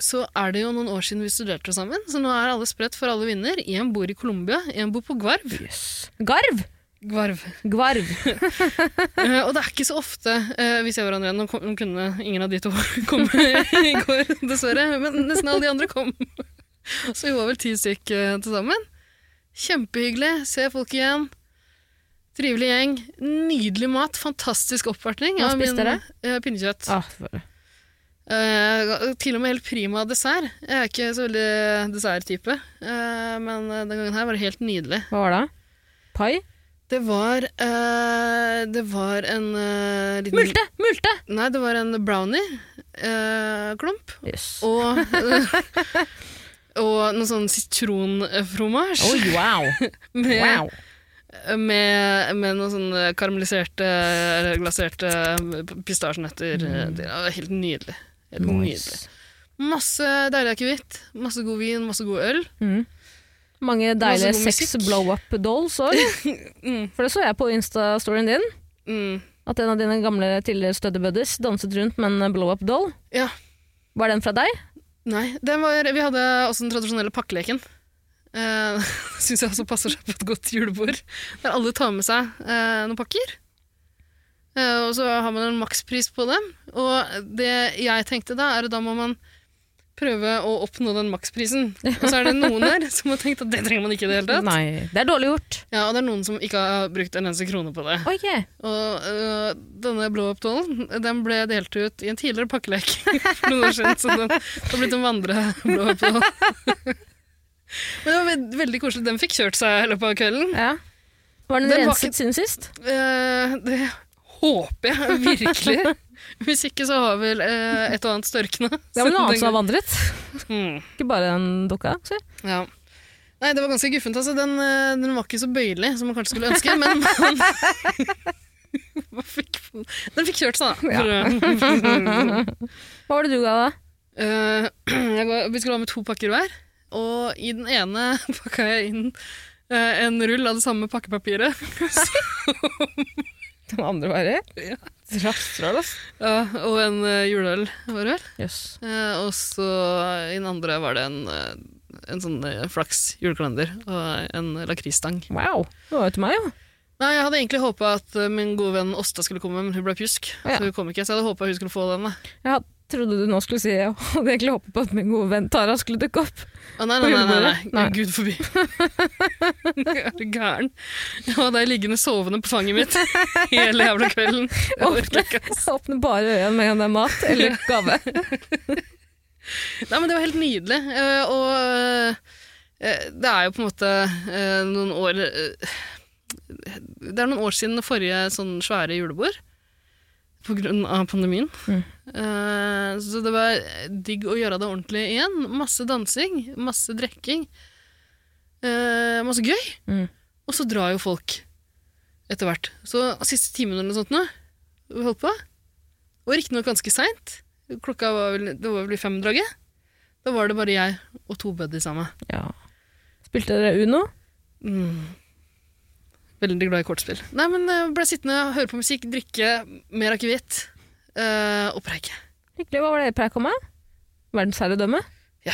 Speaker 1: så er det jo noen år siden vi studerte sammen, så nå er alle spredt for alle vinder. Én bor i Colombia, én bor på Gvarv.
Speaker 2: Yes. Garv!
Speaker 1: Gvarv.
Speaker 2: Gvarv.
Speaker 1: Eh, og det er ikke så ofte eh, vi ser hverandre igjen. Nå kom- Nå kunne ingen av de to [LAUGHS] komme i går, dessverre. Men nesten alle de andre kom. Så vi var vel ti stykk eh, til sammen. Kjempehyggelig. Se folk igjen. Trivelig gjeng. Nydelig mat. Fantastisk oppvartning.
Speaker 2: Hva
Speaker 1: av min-
Speaker 2: spiste dere?
Speaker 1: eh, Pinnekjøtt.
Speaker 2: Ah, for-
Speaker 1: Eh, til og med helt prima dessert. Jeg er ikke så veldig desserttype, eh, men eh, den gangen her var det helt nydelig.
Speaker 2: hva var det? Pai?
Speaker 1: Det var, eh, det var en eh, liten
Speaker 2: Multe! Multe!
Speaker 1: Nei, det var en brownie-klump.
Speaker 2: Yes. [LAUGHS]
Speaker 1: og, og noe sånn sitronfromasj
Speaker 2: Oi, Oh, [LAUGHS] wow.
Speaker 1: med,
Speaker 2: wow.
Speaker 1: med, med noen sånne karamelliserte, eller glaserte eh, pistasjenøtter. eh, Det var helt nydelig. Helt nydelig.
Speaker 2: Mm. Nice.
Speaker 1: Masse deilig akevitt, masse god vin, masse god øl.
Speaker 2: Mange deilige
Speaker 1: god
Speaker 2: sex
Speaker 1: musikk.
Speaker 2: blow-up dolls òg. [LAUGHS] For det så jeg på Insta-storyen din.
Speaker 1: Mm.
Speaker 2: At en av dine gamle tidligere study buddies danset rundt med en blow-up doll.
Speaker 1: Ja.
Speaker 2: Var den fra deg?
Speaker 1: Nei, den var, vi hadde også den tradisjonelle pakkeleken. Uh, [LAUGHS] Syns jeg også passer seg på et godt julebord. Der alle tar med seg eh, noen pakker. Eh, og så har man en makspris på dem. Og det jeg tenkte da, er at da må man prøve å oppnå den maksprisen. Og så er det noen der som har tenkt at det trenger man ikke i det hele tatt.
Speaker 2: Nei. Det er dårlig gjort.
Speaker 1: Ja, og det er noen som ikke har brukt en eneste krone på det.
Speaker 2: Ok. [LAUGHS]
Speaker 1: Og øh, denne blow-up-dollen den ble delt ut i en tidligere pakkelek [LAUGHS] for noen år siden, så den det har blitt en vandre blow-up-doll. [LAUGHS] Men det var veld veldig koselig. Den fikk kjørt seg i løpet av kvelden.
Speaker 2: Ja. Var den,
Speaker 1: Den var
Speaker 2: renset
Speaker 1: ikke-
Speaker 2: siden sist?
Speaker 1: Eh, det håper jeg
Speaker 2: [LAUGHS]
Speaker 1: virkelig. Hvis ikke så har vel eh, et og annet størkna.
Speaker 2: Det var
Speaker 1: siden
Speaker 2: noe
Speaker 1: den
Speaker 2: annet som
Speaker 1: gang.
Speaker 2: har vandret.
Speaker 1: Mm,
Speaker 2: Ikke bare den dukka. Se.
Speaker 1: ja. Nei, det var ganske guffent. Altså. Den, eh, den var ikke så bøyelig som man kanskje skulle ønske, men [LAUGHS] man man fikk, den fikk kjørt seg, da. For, å-
Speaker 2: Hva var det du ga, da?
Speaker 1: Eh, [CLEARS THROAT] jeg ga, vi skulle ha med to pakker hver, og i den ene [LAUGHS] pakka jeg inn eh, en rull av det samme pakkepapiret. Som
Speaker 2: Den andre veien.
Speaker 1: Ja.
Speaker 2: Rastrøl, ass.
Speaker 1: [LAUGHS] Ja, og en eh, juleøl, var det vel?
Speaker 2: Jøss.
Speaker 1: Eh, og så eh, i den andre var det en, eh, en sånn eh, flaks julekalender og en lakrisstang.
Speaker 2: Wow. Det var jo til meg, jo.
Speaker 1: Nei, Jeg hadde egentlig håpa at eh, min gode venn Åsta skulle komme, men hun ble pjusk.
Speaker 2: Å, ja.
Speaker 1: Så hun kom ikke, så jeg hadde håpa hun skulle få den. da.
Speaker 2: Jeg trodde du nå skulle si Jeg hadde egentlig håpet på at min gode venn Tara skulle dukke opp.
Speaker 1: Å, nei, nei,
Speaker 2: På
Speaker 1: nei, nei, nei.
Speaker 2: julebordet? Nei.
Speaker 1: Gud forbi. [LAUGHS] er du gæren? Jeg var der liggende sovende på fanget mitt hele jævla kvelden. Jeg orker ikke.
Speaker 2: Jeg åpner bare øynene med en mat eller gave.
Speaker 1: Nei, men det var helt nydelig. eh, Og eh, det er jo på en måte eh, noen år eh, Det er noen år siden det forrige sånn svære julebord. På grunn av pandemien. Eh, Så det var digg å gjøre det ordentlig igjen. Masse dansing, masse drikking. eh, Masse gøy.
Speaker 2: Mm.
Speaker 1: Og så drar jo folk etter hvert. Så siste timen eller noe sånt nå, vi holdt på. Og riktignok ganske seint. Klokka var vel, det var vel i femdraget. Da var det bare jeg og to buddies sammen.
Speaker 2: Ja. Spilte dere Uno?
Speaker 1: Veldig glad i kortspill. Nei, men jeg ble sittende og høre på musikk, drikke mer akevitt eh, og preike.
Speaker 2: Hyggelig. Hva var det dere preik om? da? Verdensherredømme?
Speaker 1: Ja,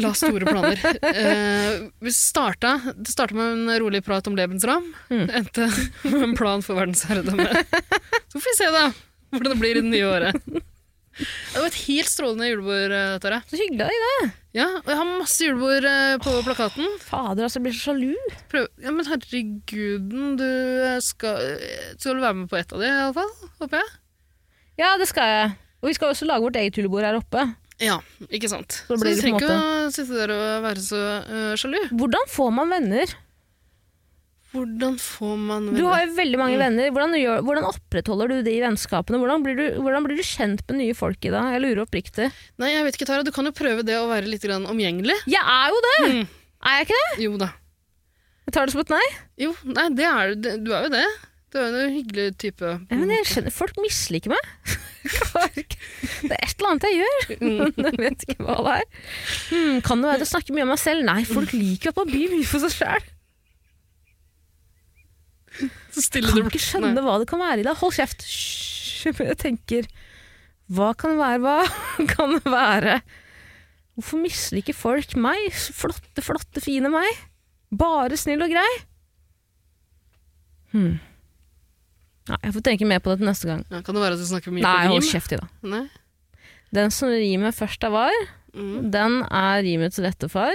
Speaker 1: la store planer. Eh, vi starta, det starta med en rolig prat om Lebensram. Endte med en plan for verdensherredømme. Så får vi se, da, hvordan det blir i det nye året. Det var et helt strålende julebord, eh, Tara.
Speaker 2: Så hyggelig av deg, det.
Speaker 1: Ja, og jeg har masse julebord eh, på plakaten.
Speaker 2: Fader, altså, jeg blir så sjalu.
Speaker 1: Prøv. Ja, men herreguden, du eh, skal, eh, skal vel være med på ett av de, iallfall. Håper jeg.
Speaker 2: Ja, det skal jeg. Og vi skal også lage vårt eget julebord her oppe.
Speaker 1: Ja, ikke sant. Så,
Speaker 2: Så
Speaker 1: du
Speaker 2: blir det på en
Speaker 1: trenger ikke å sitte der og være så eh, sjalu.
Speaker 2: Hvordan får man venner?
Speaker 1: Hvordan får man
Speaker 2: Du har jo veldig mange venner. Hvordan, gjør, hvordan opprettholder du de vennskapene? Hvordan blir, du, hvordan blir du kjent med nye folk i dag? Jeg lurer oppriktig.
Speaker 1: Nei, jeg vet ikke, Tara. Du kan jo prøve det å være litt grann omgjengelig.
Speaker 2: Jeg er jo det! Mm. Er jeg ikke det?
Speaker 1: Jo da.
Speaker 2: Jeg tar det som et nei.
Speaker 1: Jo, nei, det er du. Du er jo det. Du er jo en hyggelig type.
Speaker 2: Ja, men jeg skjønner, folk misliker meg. [LAUGHS] det er et eller annet jeg gjør,
Speaker 1: Mm.
Speaker 2: [LAUGHS] men jeg vet ikke hva det er. Hmm, kan det være at jeg snakker mye om meg selv? Nei, folk liker jo at man blir mye for seg sjøl.
Speaker 1: Så stille
Speaker 2: Kan
Speaker 1: du
Speaker 2: ikke skjønne hva det kan være i dag. Hold kjeft! Hysj, Jeg tenker Hva kan det være? Hva [LAUGHS] kan det være? Hvorfor misliker folk meg? Så Flotte, flotte, fine meg. Bare snill og grei. Hmm. Nei, jeg får tenke mer på det til neste gang.
Speaker 1: Ja, kan det være at du snakker mye
Speaker 2: Nei,
Speaker 1: på
Speaker 2: hold
Speaker 1: rim?
Speaker 2: kjeft i dag.
Speaker 1: Nei.
Speaker 2: Den som rimet først av var,
Speaker 1: Mm.
Speaker 2: den er rimets rette far.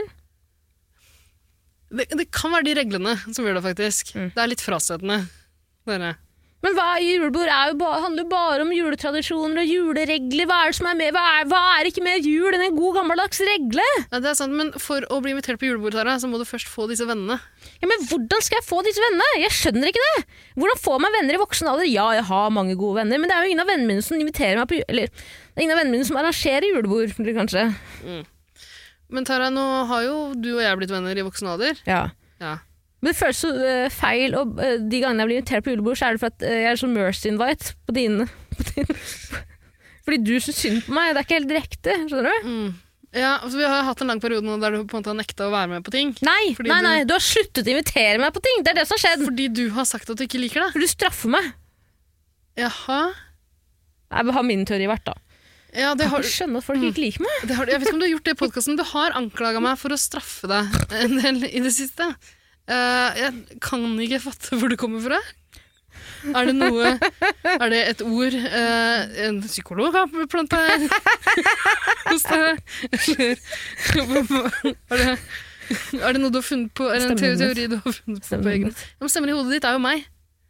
Speaker 1: Det, det kan være de reglene som gjør det, faktisk.
Speaker 2: Mm.
Speaker 1: Det er litt frastøtende. Dere.
Speaker 2: Men hva er julebord? Er jo ba, handler jo bare om juletradisjoner og juleregler. Hva er det som er med? Hva er, hva er ikke mer jul enn en god gammeldags regle?
Speaker 1: Ja, det er sant, men for å bli invitert på julebord, Tara, så må du først få disse vennene.
Speaker 2: Ja, men hvordan skal jeg få disse vennene? Jeg skjønner ikke det! Hvordan får man venner i voksen alder? Ja, jeg har mange gode venner, men det er jo ingen av vennene mine som inviterer meg på ju- Eller, det er ingen av vennene mine som arrangerer julebord, [LAUGHS] eller kanskje.
Speaker 1: Men Tara, nå har jo du og jeg blitt venner i voksen alder.
Speaker 2: Ja.
Speaker 1: Ja.
Speaker 2: Men det føles så øh, feil, og øh, de gangene jeg blir invitert på julebord, så er det for at øh, jeg er sånn mercy-invite på dine. På dine. [LAUGHS] Fordi du syns synd på meg, det er ikke helt direkte, skjønner du?
Speaker 1: Mm. ja altså, vi har jo hatt en lang periode nå der du på en måte har nekta å være med på ting.
Speaker 2: Nei,
Speaker 1: Fordi
Speaker 2: nei,
Speaker 1: du-
Speaker 2: nei, du har sluttet å invitere meg på ting, det er det som har skjedd.
Speaker 1: Fordi du har sagt at du ikke liker det.
Speaker 2: For du straffer meg.
Speaker 1: Jaha.
Speaker 2: Jeg har min teori vært da.
Speaker 1: Ja, det har,
Speaker 2: Jeg
Speaker 1: Mm.
Speaker 2: kan ikke skjønne at folk ikke liker meg.
Speaker 1: det har, jeg vet ikke om du har gjort det i podkasten, du har anklaga meg for å straffe deg en del i det siste. Eh, jeg kan ikke fatte hvor det kommer fra. Er det noe Er det et ord eh, en psykolog har planta hos deg? Eller er det, er det noe du har funnet på? Er det en
Speaker 2: Stemmen min.
Speaker 1: teori du har funnet på? på
Speaker 2: Stemmer
Speaker 1: egen?
Speaker 2: det.
Speaker 1: Ja, men stemmer i hodet ditt er jo meg.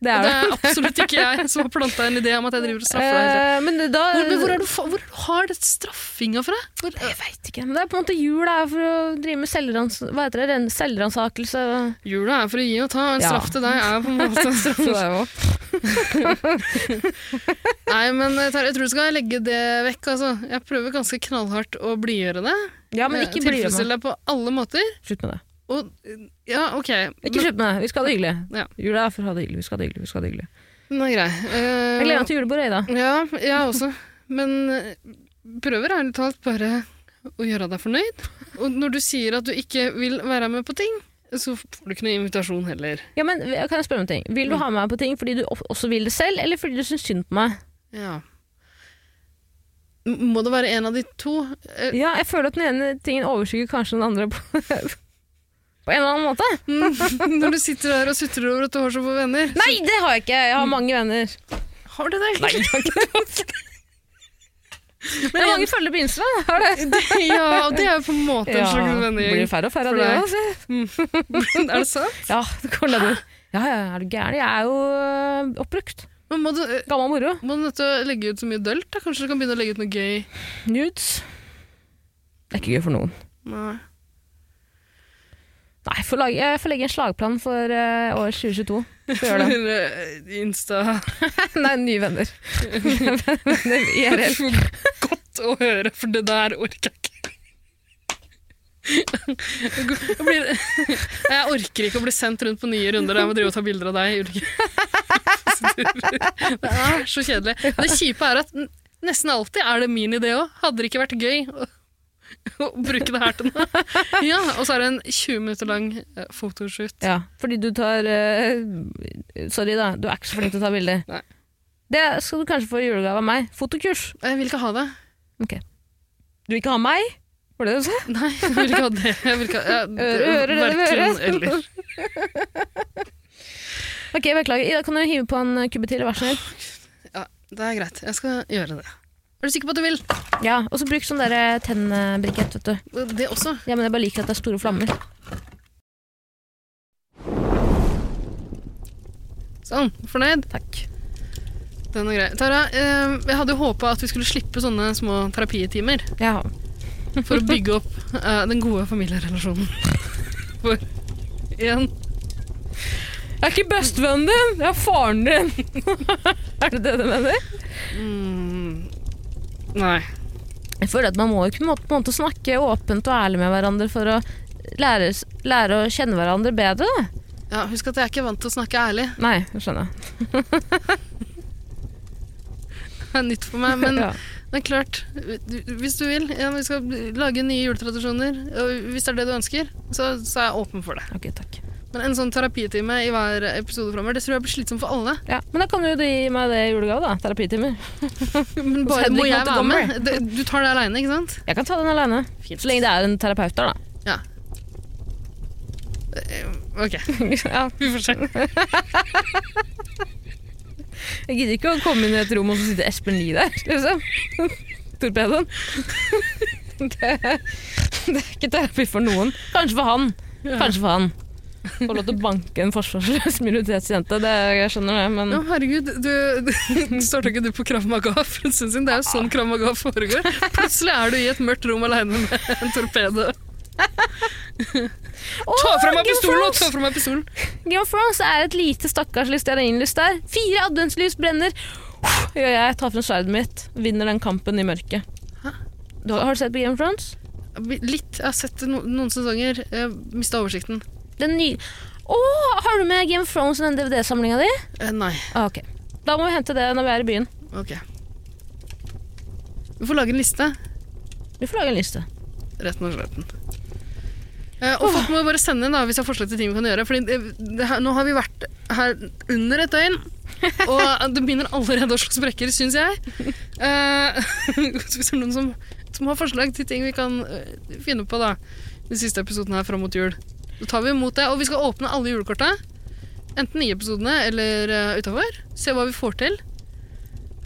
Speaker 2: Det
Speaker 1: Og
Speaker 2: er
Speaker 1: det
Speaker 2: det.
Speaker 1: er absolutt ikke jeg som har planta en idé om at jeg driver og straffer deg. altså.
Speaker 2: Eh, men da
Speaker 1: Hvor, men hvor, er du, fa- hvor har du straffinga fra? Hvor,
Speaker 2: Jeg veit ikke. Men det er på en måte jul er for å drive med selvrans hva heter det? Ren- selvransakelse.
Speaker 1: Jula er for å gi og ta. En
Speaker 2: Ja.
Speaker 1: straff til deg er på en
Speaker 2: [LAUGHS]
Speaker 1: måte en straff. Nei, men eh, Terje, jeg tror du skal legge det vekk. Altså. Jeg prøver ganske knallhardt å blidgjøre det. Eh,
Speaker 2: Ja, men ikke bry deg.
Speaker 1: Tilfredsstille deg på alle måter.
Speaker 2: Slutt med det.
Speaker 1: Og, eh, ja, ok.
Speaker 2: Ikke slutt med det. Vi skal ha det hyggelig.
Speaker 1: Ja.
Speaker 2: Jula er for å ha det hyggelig. Vi skal ha det hyggelig. Vi skal ha det hyggelig.
Speaker 1: Den er grei. Eh,
Speaker 2: Jeg gleder meg til julebordet, Ida.
Speaker 1: Ja, jeg også. Men eh, prøver ærlig talt bare å gjøre deg fornøyd. Og når du sier at du ikke vil være med på ting, så får du ikke noen invitasjon heller.
Speaker 2: Ja, men eh, kan jeg spørre om en ting? Vil du ha meg på ting fordi du of- også vil det selv, eller fordi du syns synd på meg?
Speaker 1: Ja. M- Må det være en av de to? Eh,
Speaker 2: Ja, jeg føler at den ene tingen overskygger kanskje den andre [LAUGHS] på, på en eller annen måte.
Speaker 1: mm, [LAUGHS] Når du sitter her og sutrer over at du har så få venner.
Speaker 2: Nei, det har jeg ikke! Jeg har mange venner.
Speaker 1: Har du det?
Speaker 2: Nei, jeg har ikke det. Men jeg har mange følgere på Insta. Har det?
Speaker 1: ja, og det er jo på en måte en slags
Speaker 2: blir
Speaker 1: vennegjeng.
Speaker 2: færre og færre
Speaker 1: for
Speaker 2: av det
Speaker 1: deg.
Speaker 2: også.
Speaker 1: [LAUGHS] er det sant?
Speaker 2: Ja, det går ned. Ja, ja, er du gæren? Jeg er jo øh, oppbrukt.
Speaker 1: Men må du, eh,
Speaker 2: Gammel moro.
Speaker 1: må du nødt til å legge ut så mye dølt? da? Kanskje du kan begynne å legge ut noe gøy?
Speaker 2: Nudes. Det er ikke gøy for noen.
Speaker 1: Nei.
Speaker 2: Nei, jeg får lage, jeg får legge en slagplan for øh, år [LAUGHS] 2022. Får gjøre det.
Speaker 1: For, eh, Insta.
Speaker 2: Nei, nye venner. [LAUGHS] venner i RL.
Speaker 1: Godt å høre, for det der orker jeg ikke. Jeg, blir, jeg orker ikke å bli sendt rundt på nye runder der jeg må drive og ta bilder av deg. i ulike- Det er så kjedelig. Det kjipe er at n- nesten alltid er det min idé òg. Hadde det ikke vært gøy å, å bruke det her til noe? Ja, og så er det en 20 minutter lang eh, fotoshoot.
Speaker 2: Ja, fordi du tar øh, Sorry, da. Du er ikke så flink til å ta bilder.
Speaker 1: Nei.
Speaker 2: Det skal du kanskje få i julegave av meg. Fotokurs.
Speaker 1: Jeg vil ikke ha det.
Speaker 2: Du vil ikke ha meg? Var det det du sa?
Speaker 1: Nei, jeg vil ikke ha det. Jeg vil ikke ha, jeg,
Speaker 2: Øre, øre, øre,
Speaker 1: verken
Speaker 2: øre.
Speaker 1: eller.
Speaker 2: Ok, beklager. Ida, kan du hive på en eh, kubbe til? Vær så snill.
Speaker 1: Ja, det er greit. Jeg skal gjøre det. Er du sikker på at du vil?
Speaker 2: Ja, og så bruk sånn der tennbrikett, vet du.
Speaker 1: Det også.
Speaker 2: Ja, men jeg bare liker at det er store flammer.
Speaker 1: Sånn, fornøyd.
Speaker 2: Takk.
Speaker 1: Den er grei. Tara, eh, jeg hadde jo håpa at vi skulle slippe sånne små terapitimer
Speaker 2: Ja.
Speaker 1: for å bygge opp [LAUGHS] eh, den gode familierelasjonen. [LAUGHS] For igjen
Speaker 2: Jeg er ikke bestevennen din, jeg er faren din. [LAUGHS] er det det du mener?
Speaker 1: mm, Nei.
Speaker 2: Jeg føler at man må jo kunne på en måte snakke åpent og ærlig med hverandre for å lære, lære å kjenne hverandre bedre. Da.
Speaker 1: Ja, husk at jeg er ikke vant til å snakke ærlig.
Speaker 2: Nei, det skjønner jeg.
Speaker 1: Det er nytt for meg. Men
Speaker 2: [LAUGHS] ja.
Speaker 1: det er klart, du- hvis du vil, ja, vi skal lage nye juletradisjoner. Og hvis det er det du ønsker, så, så er jeg åpen for det.
Speaker 2: Ok, takk.
Speaker 1: Men en sånn terapitime i hver episode framover, det tror jeg blir slitsomt for alle. [LAUGHS]
Speaker 2: Ja, men da kan jo du gi meg det i julegave, da. Terapitimer.
Speaker 1: Men
Speaker 2: Og så
Speaker 1: bare
Speaker 2: Hedvig
Speaker 1: må jeg være
Speaker 2: Montgomery.
Speaker 1: med. Det- Du tar det aleine, ikke sant?
Speaker 2: Jeg kan ta den alene. Så lenge det er en terapeut der, da.
Speaker 1: Ja. Eh, Ok.
Speaker 2: [LAUGHS] ja, vi får se. jeg gidder ikke å komme inn i et rom og så sitter Espen Lie der, liksom. Torpedoen. det, det er ikke terapi for noen. Kanskje for han. Kanskje for han. Få lov til å banke en forsvarsløs minoritetsjente, det jeg skjønner jeg, men
Speaker 1: Ja, herregud, du, [LAUGHS] du starta ikke du på Krav Maga for en stund siden? Det er jo sånn Krav Maga foregår. Plutselig er du i et mørkt rom aleine med en torpedo.
Speaker 2: Åh,
Speaker 1: Ta fra meg
Speaker 2: Game of
Speaker 1: pistolen!
Speaker 2: Thrones!
Speaker 1: Ta fra meg pistolen!
Speaker 2: Game of Thrones er et lite stakkarslig stearinlys der. Fire adventslys brenner. Ja, jeg tar frem sverdet mitt, vinner den kampen i mørket. Du, har- har du sett på Game of Thrones?
Speaker 1: Litt. Jeg har sett no noen sesonger. Mista oversikten.
Speaker 2: Den nye... Å, har du med Game of Thrones i den DVD-samlinga di?
Speaker 1: Eh, nei.
Speaker 2: Ah, ok. Da må vi hente det når vi er i byen.
Speaker 1: Ok. Vi får lage en liste.
Speaker 2: Vi får lage en liste.
Speaker 1: Retten og sletten. Eh, og folk må jo bare sende inn da, hvis jeg har forslag til ting vi kan gjøre. Fordi det, det her, nå har vi vært her under et døgn, og det begynner allerede å slå sprekker, syns jeg. Eh, [LAUGHS] så hvis det er noen som, som har forslag til ting vi kan eh, finne på da, de siste episodene her fram mot jul, så tar vi imot det. Og vi skal åpne alle julekorta. Enten i episodene eller uh, utafor. Se hva vi får til.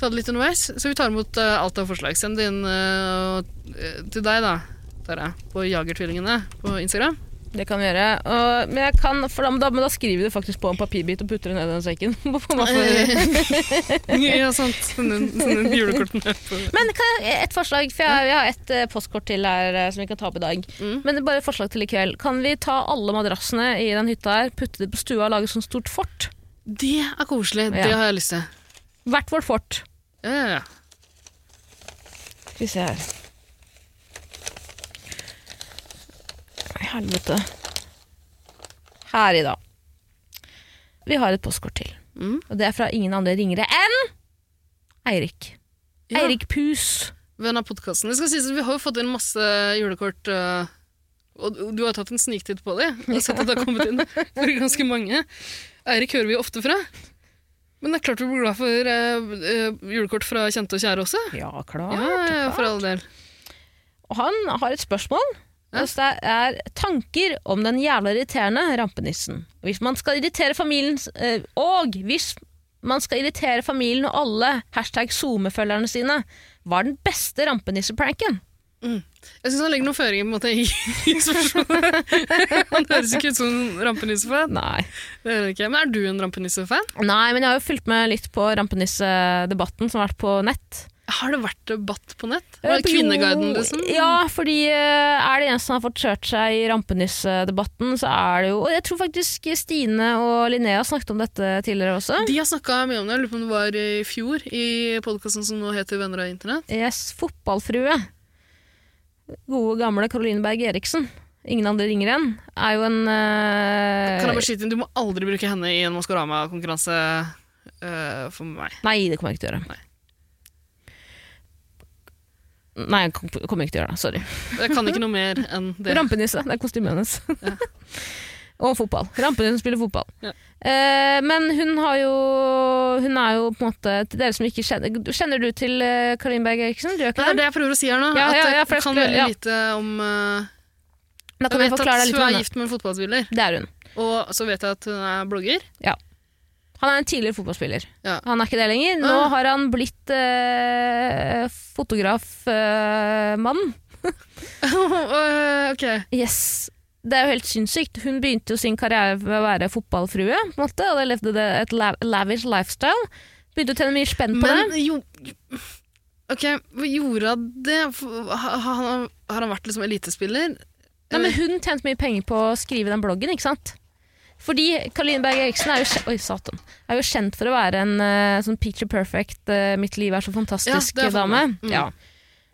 Speaker 1: Ta det litt underveis. Så vi tar imot eh, alt av forslag. Send det inn eh, og- til deg, da. Tara, på Jagertvillingene på Instagram.
Speaker 2: Det kan vi gjøre. Og, men, jeg kan, for da, men da- men da skriver vi det faktisk på en papirbit og putter det ned i den sekken. [LAUGHS] men
Speaker 1: ja, sant. Sånne, sånne julekortene. på-
Speaker 2: kan jeg, eh, et forslag, for jeg, jeg har et eh, postkort til her eh, som vi kan ta opp i dag.
Speaker 1: Mm.
Speaker 2: Men det er bare et forslag til i kveld. Kan vi ta alle madrassene i den hytta her, putte det på stua og lage sånn stort fort?
Speaker 1: Det er koselig. Det
Speaker 2: Ja.
Speaker 1: har jeg lyst til.
Speaker 2: Hvert vårt fort.
Speaker 1: Ja, ja, ja.
Speaker 2: Skal vi se her. Å, Helvete. Her i dag. Vi har et postkort til.
Speaker 1: Mm.
Speaker 2: Og det er fra ingen andre ringere enn Eirik.
Speaker 1: Ja.
Speaker 2: Eirik Pus.
Speaker 1: Venn av podkasten. Det skal sies at vi har jo fått inn masse julekort eh, og du har tatt en sniktitt på det, og sett at det har kommet inn for ganske mange. Eirik hører vi jo ofte fra. Men det er klart du blir glad for eh, eh, julekort fra kjente og kjære også.
Speaker 2: Ja, klart.
Speaker 1: Ja, ja, for all del.
Speaker 2: Og han har et spørsmål. Altså, det er tanker om den jævla irriterende rampenissen. Hvis man skal irritere familien eh, Og hvis man skal irritere familien og alle hashtag SoMe-følgerne sine, hva er den beste rampenissepranken?
Speaker 1: Jeg syns han legger noen føringer på en måte i i [LAUGHS] spørsmålet. Han høres ikke ut som en rampenissefan.
Speaker 2: Nei.
Speaker 1: Det gjør han ikke. Men er du en rampenissefan?
Speaker 2: Nei, men jeg har jo fulgt med litt på rampenissedebatten som har vært på nett.
Speaker 1: Har det vært debatt på nett? Var det Kvinneguiden, liksom?
Speaker 2: Eh, Ja, fordi eh, er det en som har fått kjørt seg i rampenissedebatten, så er det jo Og jeg tror faktisk Stine og Linnea snakket om dette tidligere også.
Speaker 1: De har snakka mye om det. Jeg lurer på om det var i fjor, i podkasten som nå heter Venner av internett.
Speaker 2: Yes, fotballfrue. Gode gamle Caroline Berg Eriksen. Ingen andre ringer enn. Er jo en eh,
Speaker 1: Kan jeg bare skyte inn, Du må aldri bruke henne i en Maskorama-konkurranse eh, for meg.
Speaker 2: Nei, det kommer jeg ikke til å gjøre.
Speaker 1: Nei.
Speaker 2: Nei, jeg kom- kommer ikke til å gjøre det. Sorry.
Speaker 1: Jeg kan ikke noe mer enn
Speaker 2: [LAUGHS]
Speaker 1: det.
Speaker 2: Rampenisse. Det er kostymet hennes. [LAUGHS] Og fotball. Rampenissen spiller fotball.
Speaker 1: Ja.
Speaker 2: Eh, men hun har jo Hun er jo på en måte Til dere som ikke kjenner Kjenner du til eh, Caroline Berg Eriksen? Du gjør
Speaker 1: Det
Speaker 2: ikke
Speaker 1: er
Speaker 2: det?
Speaker 1: det jeg prøver å si her nå.
Speaker 2: Ja,
Speaker 1: at
Speaker 2: ja, ja, for
Speaker 1: jeg kan
Speaker 2: jeg skulle-
Speaker 1: veldig
Speaker 2: ja.
Speaker 1: lite om eh,
Speaker 2: Da
Speaker 1: Jeg
Speaker 2: kan jeg
Speaker 1: vet
Speaker 2: forklare
Speaker 1: at
Speaker 2: deg litt
Speaker 1: hun
Speaker 2: om
Speaker 1: er
Speaker 2: henne.
Speaker 1: gift med en fotballspiller,
Speaker 2: Det er hun.
Speaker 1: og så vet jeg at hun er blogger.
Speaker 2: Han er en tidligere fotballspiller.
Speaker 1: Ja.
Speaker 2: Han er ikke det lenger. Nå
Speaker 1: Ah.
Speaker 2: har han blitt eh, fotografmann.
Speaker 1: Eh, ok.
Speaker 2: yes. Det er jo helt sinnssykt. Hun begynte jo sin karriere med å være fotballfrue, på en måte, og levde det et lav lavish lifestyle. Begynte å tjene mye spenn på
Speaker 1: Men
Speaker 2: det.
Speaker 1: jo Ok, hva gjorde han det? Har han, har han vært liksom elitespiller?
Speaker 2: Nei, men hun tjente mye penger på å skrive den bloggen, ikke sant? Fordi Caroline Berg Eriksen er jo, kje- oi, satan, er jo kjent for å være en eh, sånn picture perfect, eh, mitt liv er så fantastisk
Speaker 1: Ja, det er for
Speaker 2: dame.
Speaker 1: meg. Mm.
Speaker 2: Ja.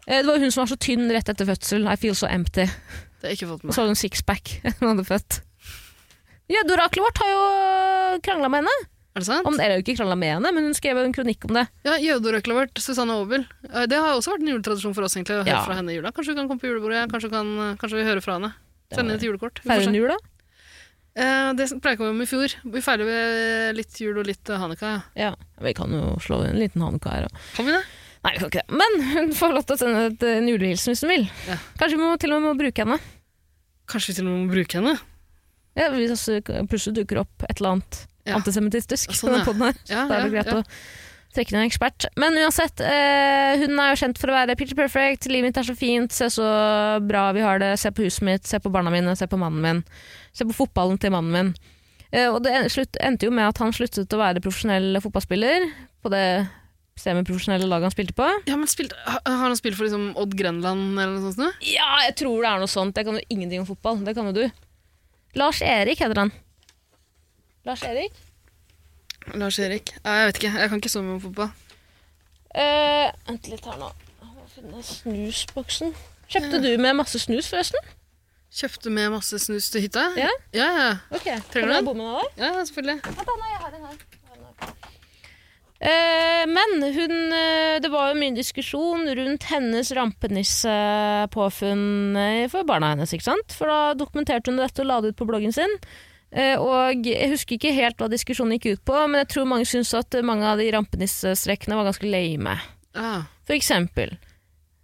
Speaker 2: Eh, det var hun som var så tynn rett etter fødsel. I feel so empty.
Speaker 1: Det har jeg ikke fått
Speaker 2: Og
Speaker 1: med.
Speaker 2: så hadde hun sixpack [LAUGHS] hun hadde født. Gjeddeoraklet vårt har jo krangla med henne.
Speaker 1: Er det sant?
Speaker 2: Om, eller ikke krangla med henne, men hun skrev jo en kronikk om det.
Speaker 1: Ja, Jødeorøkla vårt, Susanne Aabel. Eh, Det har også vært en juletradisjon for oss. egentlig, å høre
Speaker 2: Ja.
Speaker 1: fra henne i jula. Kanskje vi kan komme på julebordet, kanskje vi, kan, eh, kanskje vi hører fra henne. Sende henne et julekort. Vi får
Speaker 2: Feirer hun
Speaker 1: se.
Speaker 2: jul, da?
Speaker 1: Eh, det pleier ikke å være om i fjor. Vi feirer vel litt jul og litt eh, hanukka. ja.
Speaker 2: Ja. Vi kan jo slå en liten hanukka her. Og.
Speaker 1: Kan vi det?
Speaker 2: Nei, vi kan ikke det. Men hun får lov til å sende et, eh, en julehilsen hvis hun vil.
Speaker 1: Ja.
Speaker 2: Kanskje vi må, til og med må bruke henne.
Speaker 1: Kanskje vi til og med må bruke henne?
Speaker 2: Ja, hvis også plutselig dukker opp et eller annet
Speaker 1: Ja.
Speaker 2: antisemittistisk.
Speaker 1: Ja,
Speaker 2: på
Speaker 1: sånn,
Speaker 2: den
Speaker 1: ja.
Speaker 2: podden her.
Speaker 1: Ja,
Speaker 2: Da er det
Speaker 1: ja,
Speaker 2: greit
Speaker 1: ja.
Speaker 2: å trekke ned en ekspert. Men uansett, eh, hun er jo kjent for å være picture perfect. Livet mitt er så fint, se så bra vi har det. Se på huset mitt, se på barna mine, se på mannen min. Se på fotballen til mannen min. Eh, og det en- slutt, endte jo med at han sluttet å være profesjonell fotballspiller på det semiprofesjonelle laget han spilte på.
Speaker 1: Ja, men spilt, har har han spilt for liksom Odd Grenland eller noe sånt? nå?
Speaker 2: Ja, jeg tror det er noe sånt. Jeg kan jo ingenting om fotball. Det kan jo du. Lars Erik heter han. Lars Erik?
Speaker 1: Lars-Erik? Nei, jeg vet ikke. Jeg kan ikke så mye om fotball.
Speaker 2: Eh, vent litt her nå. Jeg må finne snusboksen. Kjøpte du med masse snus, forresten?
Speaker 1: Kjøpte med masse snus til hytta.
Speaker 2: Ja?
Speaker 1: Ja, ja.
Speaker 2: Ok,
Speaker 1: Trenger
Speaker 2: Kan
Speaker 1: du den?
Speaker 2: bomme den av deg?
Speaker 1: ja selvfølgelig.
Speaker 2: Vent da, nei, jeg har den her. Jeg har den her. Eh, men hun, eh, det var jo mye diskusjon rundt hennes rampenissepåfunn eh, for barna hennes. ikke sant? For da dokumenterte hun dette og la det ut på bloggen sin. Eh, og Jeg husker ikke helt hva diskusjonen gikk ut på, men jeg tror mange syntes at eh, mange av de rampenissestrekene var ganske lame.
Speaker 1: Ja.
Speaker 2: For eksempel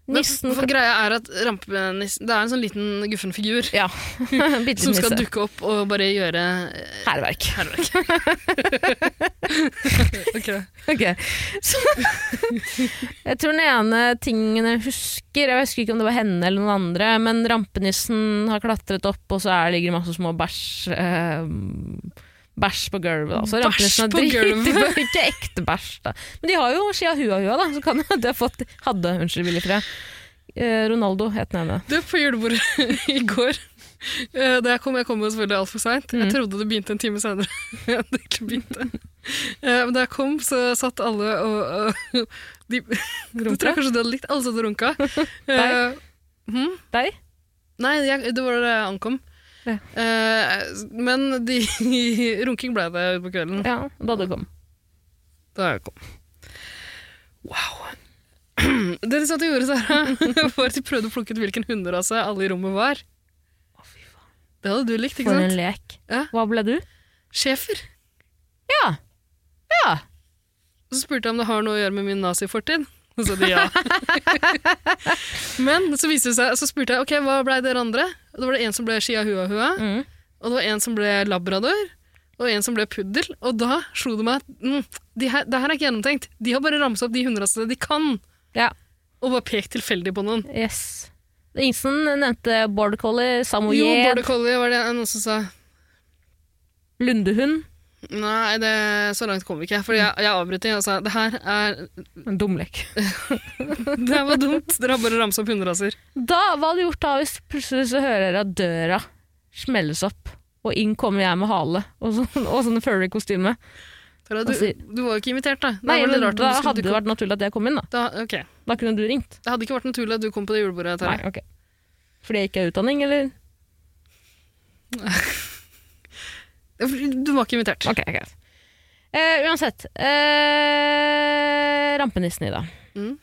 Speaker 1: Men
Speaker 2: Nissen
Speaker 1: for greia er at rampenissen Det er en sånn liten guffen figur
Speaker 2: Ja. [LAUGHS] Bitte
Speaker 1: som skal
Speaker 2: nisse.
Speaker 1: dukke opp og bare gjøre eh,
Speaker 2: Hærverk.
Speaker 1: hærverk. ok.
Speaker 2: [LAUGHS] Ok. Så, [LAUGHS] jeg tror den ene tingen jeg husker Jeg husker ikke om det var henne eller noen andre, men rampenissen har klatret opp, og så er, ligger det masse små bæsj eh, Bæsj på gulvet. da. Så
Speaker 1: Bæsj
Speaker 2: rampenissen har
Speaker 1: på
Speaker 2: [LAUGHS] driti-
Speaker 1: gulvet?
Speaker 2: Ikke ekte bæsj, da. Men de har jo Shia Hua Hua, da, så kan jo at de har fått Hadde, unnskyld, Willy Fred. Eh, Ronaldo het den ene.
Speaker 1: Du, på julebordet [LAUGHS] i går eh, Da jeg kom, jeg kom jo selvfølgelig altfor seint.
Speaker 2: Mhm.
Speaker 1: Jeg trodde det begynte en time senere [LAUGHS] enn det ikke begynte. Eh, Men da jeg kom, så satt alle og, [LAUGHS] og de, Du tror jeg kanskje du hadde likt alle satt og
Speaker 2: [LAUGHS]
Speaker 1: runka. Eh,
Speaker 2: Deg?
Speaker 1: Nei, jeg, det var da jeg ankom.
Speaker 2: Ja.
Speaker 1: Eh, men de, [LAUGHS] runking ble det utpå kvelden
Speaker 2: Ja, da du kom.
Speaker 1: da jeg kom. [CLEARS THROAT] [LAUGHS] Wow. Det de satt og gjorde, Sara, var at de prøvde å plukke ut hvilken hunderase alle i rommet var. Det hadde du likt, ikke
Speaker 2: For en
Speaker 1: sant?
Speaker 2: lek.
Speaker 1: Ja.
Speaker 2: Hva ble du?
Speaker 1: Schæfer.
Speaker 2: Ja. Ja.
Speaker 1: Og Så spurte jeg om det har noe å gjøre med min nazifortid. Og så sa de ja.
Speaker 2: [LAUGHS]
Speaker 1: Men så, viste det seg, så spurte jeg ok, hva blei dere andre. Og da var det en som ble chihuahua,
Speaker 2: Mm.
Speaker 1: og det var en som ble labrador, og en som ble puddel. Og da slo det meg at mm, de her, det her er ikke gjennomtenkt. De har bare ramsa opp de hunderasene de kan,
Speaker 2: ja.
Speaker 1: og bare pekt tilfeldig på noen.
Speaker 2: Yes. Ingen nevnte border collie,
Speaker 1: Jo,
Speaker 2: samoyed,
Speaker 1: border collie var det noen som sa.
Speaker 2: lundehund.
Speaker 1: Nei, det, så langt kom vi ikke. For jeg, jeg avbrøt dem og sa det her er,
Speaker 2: En dum lek.
Speaker 1: det her var dumt. Dere har bare ramsa opp hunderaser.
Speaker 2: Da, hva hadde du gjort da hvis plutselig så hører dere at døra smelles opp, og inn kommer jeg med hale og sånn, [LAUGHS] og sånn furry-kostyme?
Speaker 1: Tara, Du,
Speaker 2: Altså-
Speaker 1: du var jo ikke invitert, da. Da
Speaker 2: Nei,
Speaker 1: var det
Speaker 2: men
Speaker 1: rart om
Speaker 2: da
Speaker 1: du skulle
Speaker 2: hadde det
Speaker 1: dukke opp.
Speaker 2: vært naturlig at jeg kom inn, da.
Speaker 1: Da, ok.
Speaker 2: Da kunne du ringt.
Speaker 1: Det hadde ikke vært naturlig at du kom på det julebordet.
Speaker 2: Nei,
Speaker 1: Terje.
Speaker 2: ok. Fordi jeg ikke har utdanning, eller?
Speaker 1: Du var ikke invitert.
Speaker 2: Ok, greit. Eh, uansett. Eh, rampenissen, Ida.
Speaker 1: Mm.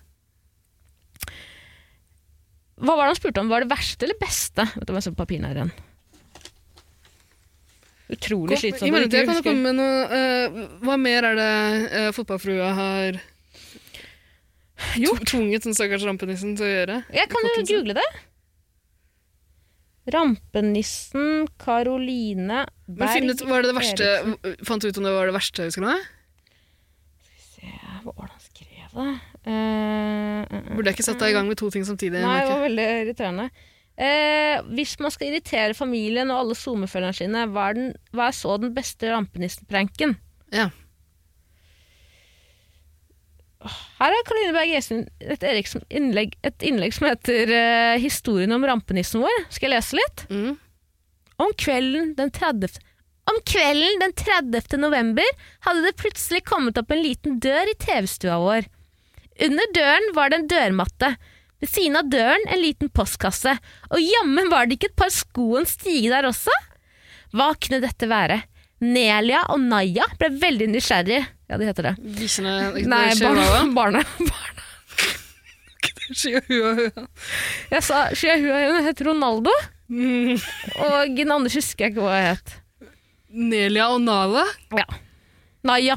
Speaker 2: Hva var det han spurte om? Var det verste eller beste? Vet du hva jeg ser på papirene her igjen? Utrolig
Speaker 1: I
Speaker 2: slitsomt. at du
Speaker 1: mellomtida
Speaker 2: ikke
Speaker 1: kan det
Speaker 2: husker.
Speaker 1: komme med noe eh, Hva mer er det eh, fotballfrua har
Speaker 2: Gjort.
Speaker 1: tvunget den stakkars rampenissen til å gjøre?
Speaker 2: Jeg kan jo
Speaker 1: Klokken sin.
Speaker 2: google det. Rampenissen Karoline
Speaker 1: Men
Speaker 2: Berg
Speaker 1: finn ut, var det det verste,
Speaker 2: Eriksen.
Speaker 1: Fant du ut om det var det verste? Husker du det?
Speaker 2: Hva var det han skrev, da? Eh,
Speaker 1: Burde jeg ikke satt deg i gang med to ting samtidig?
Speaker 2: Nei, det
Speaker 1: Merke?
Speaker 2: var veldig irriterende. Eh, hvis man skal irritere familien og alle SoMe-følgerne sine, hva er, den, hva er så den beste rampenissepranken?
Speaker 1: Ja.
Speaker 2: Her er Karoline Berg Eriksen et, Eriksen innlegg, et innlegg som heter eh, 'Historien om rampenissen vår'. Skal jeg lese litt?
Speaker 1: Mm.
Speaker 2: Om kvelden den 30. Om kvelden den 30. november hadde det plutselig kommet opp en liten dør i TV-stua vår. Under døren var det en dørmatte, ved siden av døren en liten postkasse, og jammen var det ikke et par sko og en stige der også? Hva kunne dette være? Nelia og Naya ble veldig nysgjerrig. Ja, de heter det.
Speaker 1: Bikkjene
Speaker 2: Nei,
Speaker 1: barna. [LAUGHS]
Speaker 2: barna. [LAUGHS] barna, barna. Jeg sa Chihuahua, hun heter Ronaldo, og den andre husker jeg ikke hva jeg het.
Speaker 1: Nelia og Nala?
Speaker 2: Ja. Naya.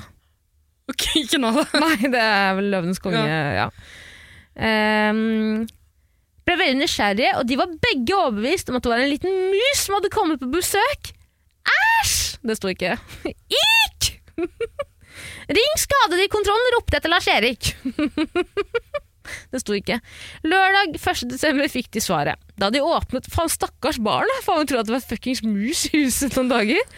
Speaker 1: Ok, ikke Nala. [LAUGHS]
Speaker 2: Nei, det er vel Løvenes konge, ja. Ehm, ble veldig nysgjerrige, og de var begge overbevist om at det var en liten mus som hadde kommet på besøk. Æsj! Det sto ikke. [LAUGHS] Ikk! [LAUGHS] Ring skadedyrkontrollen, ropte jeg til Lars-Erik. [LAUGHS] det sto ikke. Lørdag 1. desember fikk de svaret. Da de åpnet Faen, stakkars barn! da. Faen, hun trodde at det var fuckings mus i huset noen dager.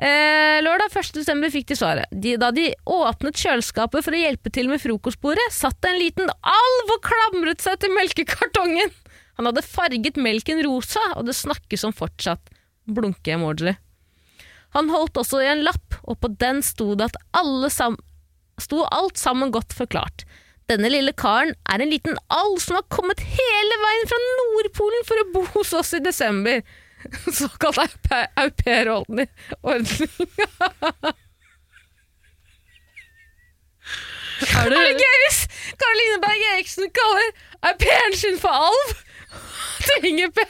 Speaker 2: Eh, lørdag 1. desember fikk de svaret. De, da de åpnet kjøleskapet for å hjelpe til med frokostbordet, satt det en liten alv og klamret seg til melkekartongen. Han hadde farget melken rosa, og det snakkes om fortsatt. Blunke-emoji. Han holdt også i en lapp, og på den sto det at alle sam sto alt sammen godt forklart. Denne lille karen er en liten alv som har kommet hele veien fra Nordpolen for å bo hos oss i desember. [LAUGHS] Såkalt au pair- au pair-ordning.
Speaker 1: Er det,
Speaker 2: [LAUGHS] Er det gøy hvis Karoline Berg Eriksen kaller au pairen sin for alv? [LAUGHS] Tvinger pe-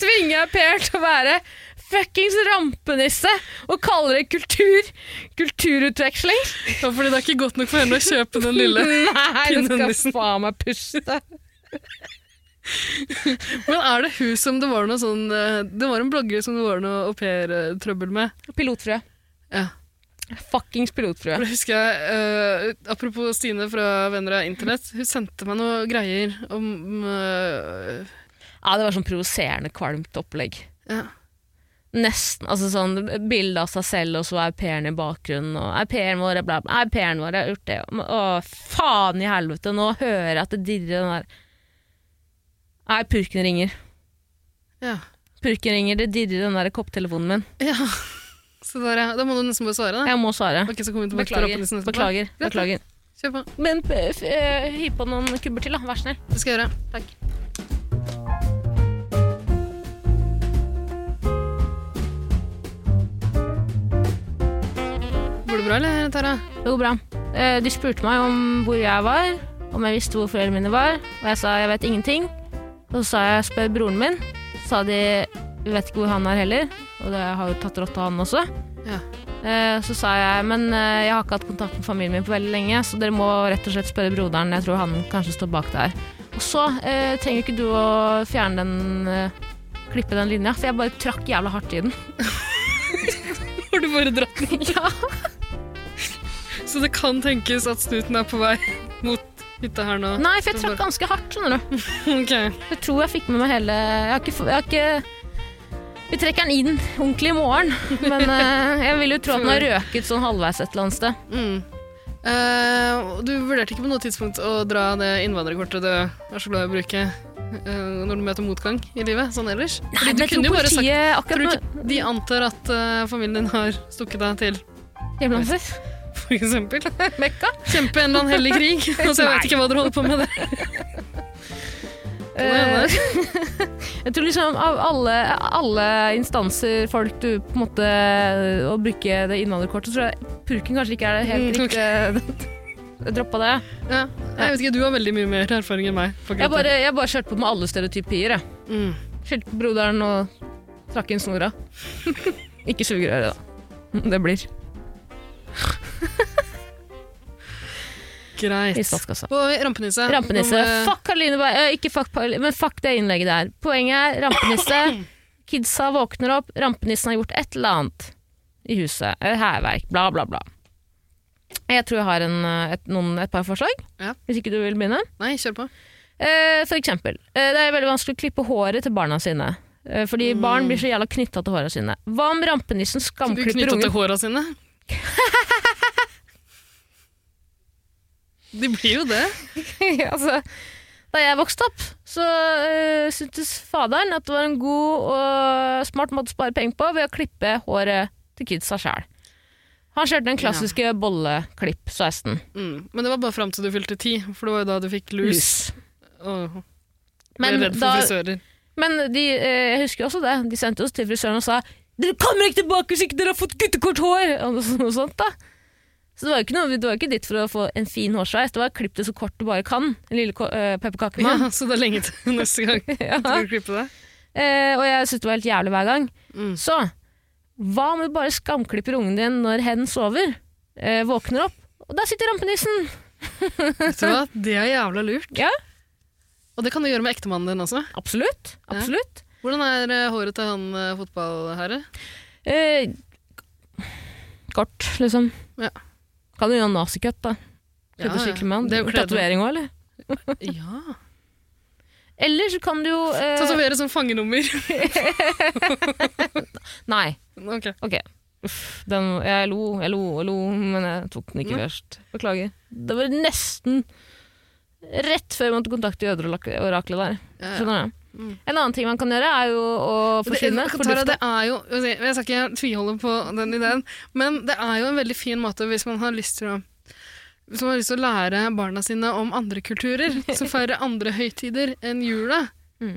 Speaker 2: tvinger au pairen til å være fuckings rampenisse og kaller det kultur. Kulturutveksling.
Speaker 1: ja, fordi det er ikke godt nok for henne å kjøpe den
Speaker 2: [LAUGHS]
Speaker 1: lille.
Speaker 2: Nei, det
Speaker 1: pinnenissen.
Speaker 2: skal faen meg puste.
Speaker 1: Men er det hun som det var noe sånn eh, Det var en blogger som det var noe au pair-trøbbel med.
Speaker 2: Pilotfrue.
Speaker 1: Ja.
Speaker 2: Fuckings pilotfrue.
Speaker 1: For det husker jeg, eh, Apropos Stine fra Venner av Internett, hun sendte meg noe greier om eh,
Speaker 2: Ja, det var sånn provoserende kvalmt opplegg.
Speaker 1: ja.
Speaker 2: Nesten. altså sånn Bilde av seg selv, og så au pairen i bakgrunnen. Og au pairen vår er bla, bla. Au pairen vår har gjort det. og- Å, faen i helvete, nå hører jeg at det dirrer den der Nei, purken ringer.
Speaker 1: ja.
Speaker 2: Purken ringer, det dirrer den der kopptelefonen min.
Speaker 1: ja. [LAUGHS] Så der, ja. Da må du nesten bare svare, da.
Speaker 2: Jeg må svare.
Speaker 1: Ok, så kommer vi tilbake til
Speaker 2: Beklager.
Speaker 1: rappenissen etterpå.
Speaker 2: Beklager.
Speaker 1: Greit, da.
Speaker 2: beklager.
Speaker 1: Kjør på.
Speaker 2: Men p- f- eh, hiv på noen kubber til, da. Vær snill.
Speaker 1: Det skal jeg gjøre.
Speaker 2: Takk.
Speaker 1: Går det bra, eller, [LAUGHS] Tara?
Speaker 2: Det går bra. Eh, De spurte meg om hvor jeg var, om jeg visste hvor foreldrene mine var, og jeg sa jeg vet ingenting. Og så sa jeg spør broren min. Så sa de Vi vet ikke hvor han er heller, og det har jo tatt rått av han også.
Speaker 1: Ja.
Speaker 2: Eh, Så sa jeg men eh, jeg har ikke hatt kontakt med familien min på veldig lenge, så dere må rett og slett spørre broderen. Jeg tror han kanskje står bak det her. Og så eh, trenger ikke du å fjerne den eh, klippe den linja, for jeg bare trakk jævla hardt i den.
Speaker 1: Har du bare dratt den?
Speaker 2: [LAUGHS] Ja.
Speaker 1: Så det kan tenkes at snuten er på vei [LAUGHS] mot hytta her nå.
Speaker 2: Nei, for jeg trakk ganske hardt, skjønner du.
Speaker 1: [LAUGHS] Ok.
Speaker 2: Jeg tror jeg fikk med meg hele Jeg har ikke, få- jeg har ikke Vi trekker den inn ordentlig i morgen, men
Speaker 1: [LAUGHS]
Speaker 2: eh, jeg vil jo tro at den har røket sånn halvveis et eller annet sted.
Speaker 1: Mm. Eh, og du vurderte ikke på noe tidspunkt å dra det innvandrerkortet du er så glad i å bruke eh, når du møter motgang i livet, sånn ellers? Fordi du
Speaker 2: Men jeg tror
Speaker 1: kunne jo bare sagt
Speaker 2: politiet
Speaker 1: Tror
Speaker 2: akkurat
Speaker 1: du
Speaker 2: nå
Speaker 1: ikke de antar at eh, familien din har stukket deg til
Speaker 2: Hjemlandet
Speaker 1: [LAUGHS] for eksempel?
Speaker 2: Mekka?
Speaker 1: Kjempe en eller annen hellig krig,
Speaker 2: [LAUGHS]
Speaker 1: altså jeg vet ikke hva dere holder på med der.
Speaker 2: Eh, Jeg tror liksom av alle, alle instanser, folk du på en måte eh, Å bruke det innvandrerkortet, så tror jeg purken kanskje ikke er det helt
Speaker 1: Mm,
Speaker 2: riktige. [LAUGHS] Jeg droppa det.
Speaker 1: Ja. Jeg vet ikke, du har veldig mye mer erfaring enn meg. på akkurat
Speaker 2: Jeg bare,
Speaker 1: det.
Speaker 2: jeg bare kjørte på med alle stereotypier. jeg.
Speaker 1: Mm.
Speaker 2: Skjelte på broderen og trakk inn snora. [LAUGHS] ikke sugerøret, da. Det blir i
Speaker 1: Greit.
Speaker 2: statskassa.
Speaker 1: På Rampenisse.
Speaker 2: Rampenisse.
Speaker 1: Nå må-
Speaker 2: Fuck Karoline Berg. eh, Ikke fuck Paul- men fuck det innlegget der. Poenget er
Speaker 1: [CLEARS THROAT]
Speaker 2: rampenisse. Kidsa våkner opp, rampenissen har gjort et eller annet i huset. Eh, Hærverk, bla, bla, bla. Jeg tror jeg har en, eh, et, noen, et par forslag,
Speaker 1: Ja.
Speaker 2: hvis ikke du vil begynne.
Speaker 1: Nei, kjør på.
Speaker 2: Eh, for eksempel, eh, det er veldig vanskelig å klippe håret til barna sine. Eh, fordi barn blir så jævla knytta til håra sine. Hva om rampenissen
Speaker 1: Mm. Så du
Speaker 2: skamklipper
Speaker 1: knytta til
Speaker 2: ungen?
Speaker 1: håra sine?
Speaker 2: [LAUGHS]
Speaker 1: De blir jo det.
Speaker 2: [LAUGHS] altså, da jeg vokste opp, så eh, syntes faderen at det var en god og smart måte å spare penger på ved å klippe håret til kidsa sjæl. Han kjørte den klassiske bolleklipp 16.
Speaker 1: Mm. Men det var bare fram til du fylte ti, for det var jo da du fikk lus. Og ble
Speaker 2: Men,
Speaker 1: redd for
Speaker 2: da,
Speaker 1: frisører.
Speaker 2: men de, eh, jeg husker også det. De sendte oss til frisøren og sa dere kommer ikke tilbake hvis ikke dere har fått guttekort hår! Og noe sånt- noe sånt da. Så det var jo ikke, noe, det var jo ikke ditt for å få en fin hårsveis, det var klipp det så kort du bare kan. En lille ko- eh, pepperkakemann.
Speaker 1: Ja, så det er lenge til [LAUGHS] neste
Speaker 2: [LAUGHS]
Speaker 1: gang du skal klippe det.
Speaker 2: Eh, og jeg syntes det var helt jævlig hver gang.
Speaker 1: Mm.
Speaker 2: Så hva om du bare skamklipper ungen din når hen sover? Eh, våkner opp, og der sitter rampenissen!
Speaker 1: Vet du hva? Det er jævla lurt.
Speaker 2: Ja.
Speaker 1: Og det kan du gjøre med ektemannen din også.
Speaker 2: Absolutt. absolutt.
Speaker 1: Hvordan er eh, håret til han eh, fotballherre?
Speaker 2: Eh, kort, liksom.
Speaker 1: Ja.
Speaker 2: Kan du gjøre en nazicut, da?
Speaker 1: Ja,
Speaker 2: Klippe
Speaker 1: ja.
Speaker 2: skikkelig med
Speaker 1: Det er jo
Speaker 2: han.
Speaker 1: kledelig.
Speaker 2: Tatovering òg, eller?
Speaker 1: Ja. [LAUGHS]
Speaker 2: Eller så kan du jo eh,
Speaker 1: Tatovere som fangenummer. [LAUGHS]
Speaker 2: Nei.
Speaker 1: ok.
Speaker 2: Ok. Uff, den, jeg lo, jeg lo og lo, men jeg tok den ikke først. Beklager. Det var nesten rett før jeg måtte kontakte jødeoraklet der.
Speaker 1: Ja, ja.
Speaker 2: Skjønner du? En annen ting man kan gjøre, er jo å forsvinne.
Speaker 1: Det, Tara,
Speaker 2: fordufte.
Speaker 1: det er jo, jeg skal ikke tviholde på den ideen, men det er jo en veldig fin måte hvis man har lyst til å hvis man har lyst til å lære barna sine om andre
Speaker 2: [LAUGHS]
Speaker 1: kulturer, som feirer andre høytider enn jula,
Speaker 2: Mm.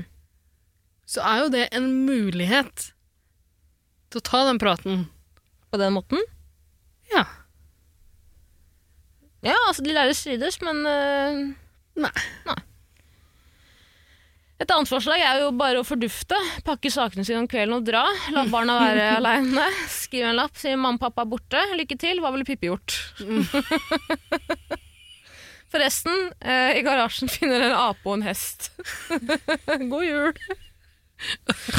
Speaker 1: så er jo det en mulighet til å ta den praten.
Speaker 2: På den måten.
Speaker 1: Ja.
Speaker 2: Ja, altså, de lærer strides, men øh,
Speaker 1: Nei.
Speaker 2: Et annet forslag er jo bare å fordufte. Pakke sakene sine om kvelden og dra.
Speaker 1: [LAUGHS]
Speaker 2: La barna være aleine. Skrive en lapp, si 'mamma og pappa er borte', lykke til, hva ville Pippi gjort?
Speaker 1: Mm.
Speaker 2: [LAUGHS] Forresten, eh, i garasjen [LAUGHS] finner dere en ape og en hest. [LAUGHS] God jul!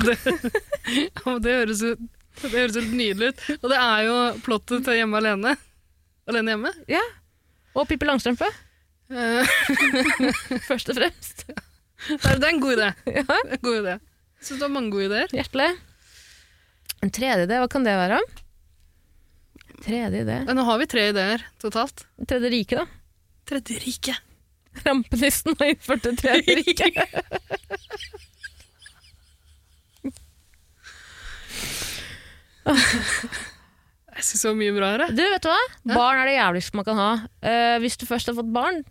Speaker 1: Ja, men Det høres, ut, det høres helt nydelig ut. Og det er jo plottet til Hjemme alene. Alene hjemme.
Speaker 2: Ja. Og Pippi Langstrømpe,
Speaker 1: Eh, [LAUGHS]
Speaker 2: først og fremst.
Speaker 1: det er en god idé. En god idé. Jeg synes det var mange gode ideer.
Speaker 2: Hjertelig. En tredje idé, hva kan det være? Tredje idé
Speaker 1: Ja, Nå har vi tre ideer totalt.
Speaker 2: Tredje rike, da.
Speaker 1: Tredje riket.
Speaker 2: Rampenissen har innført det tredje [LAUGHS] riket.
Speaker 1: Jeg syns det var mye bra her. jeg.
Speaker 2: Du, vet du hva? Barn er det jævligste man kan ha. Eh, hvis du først har fått barn,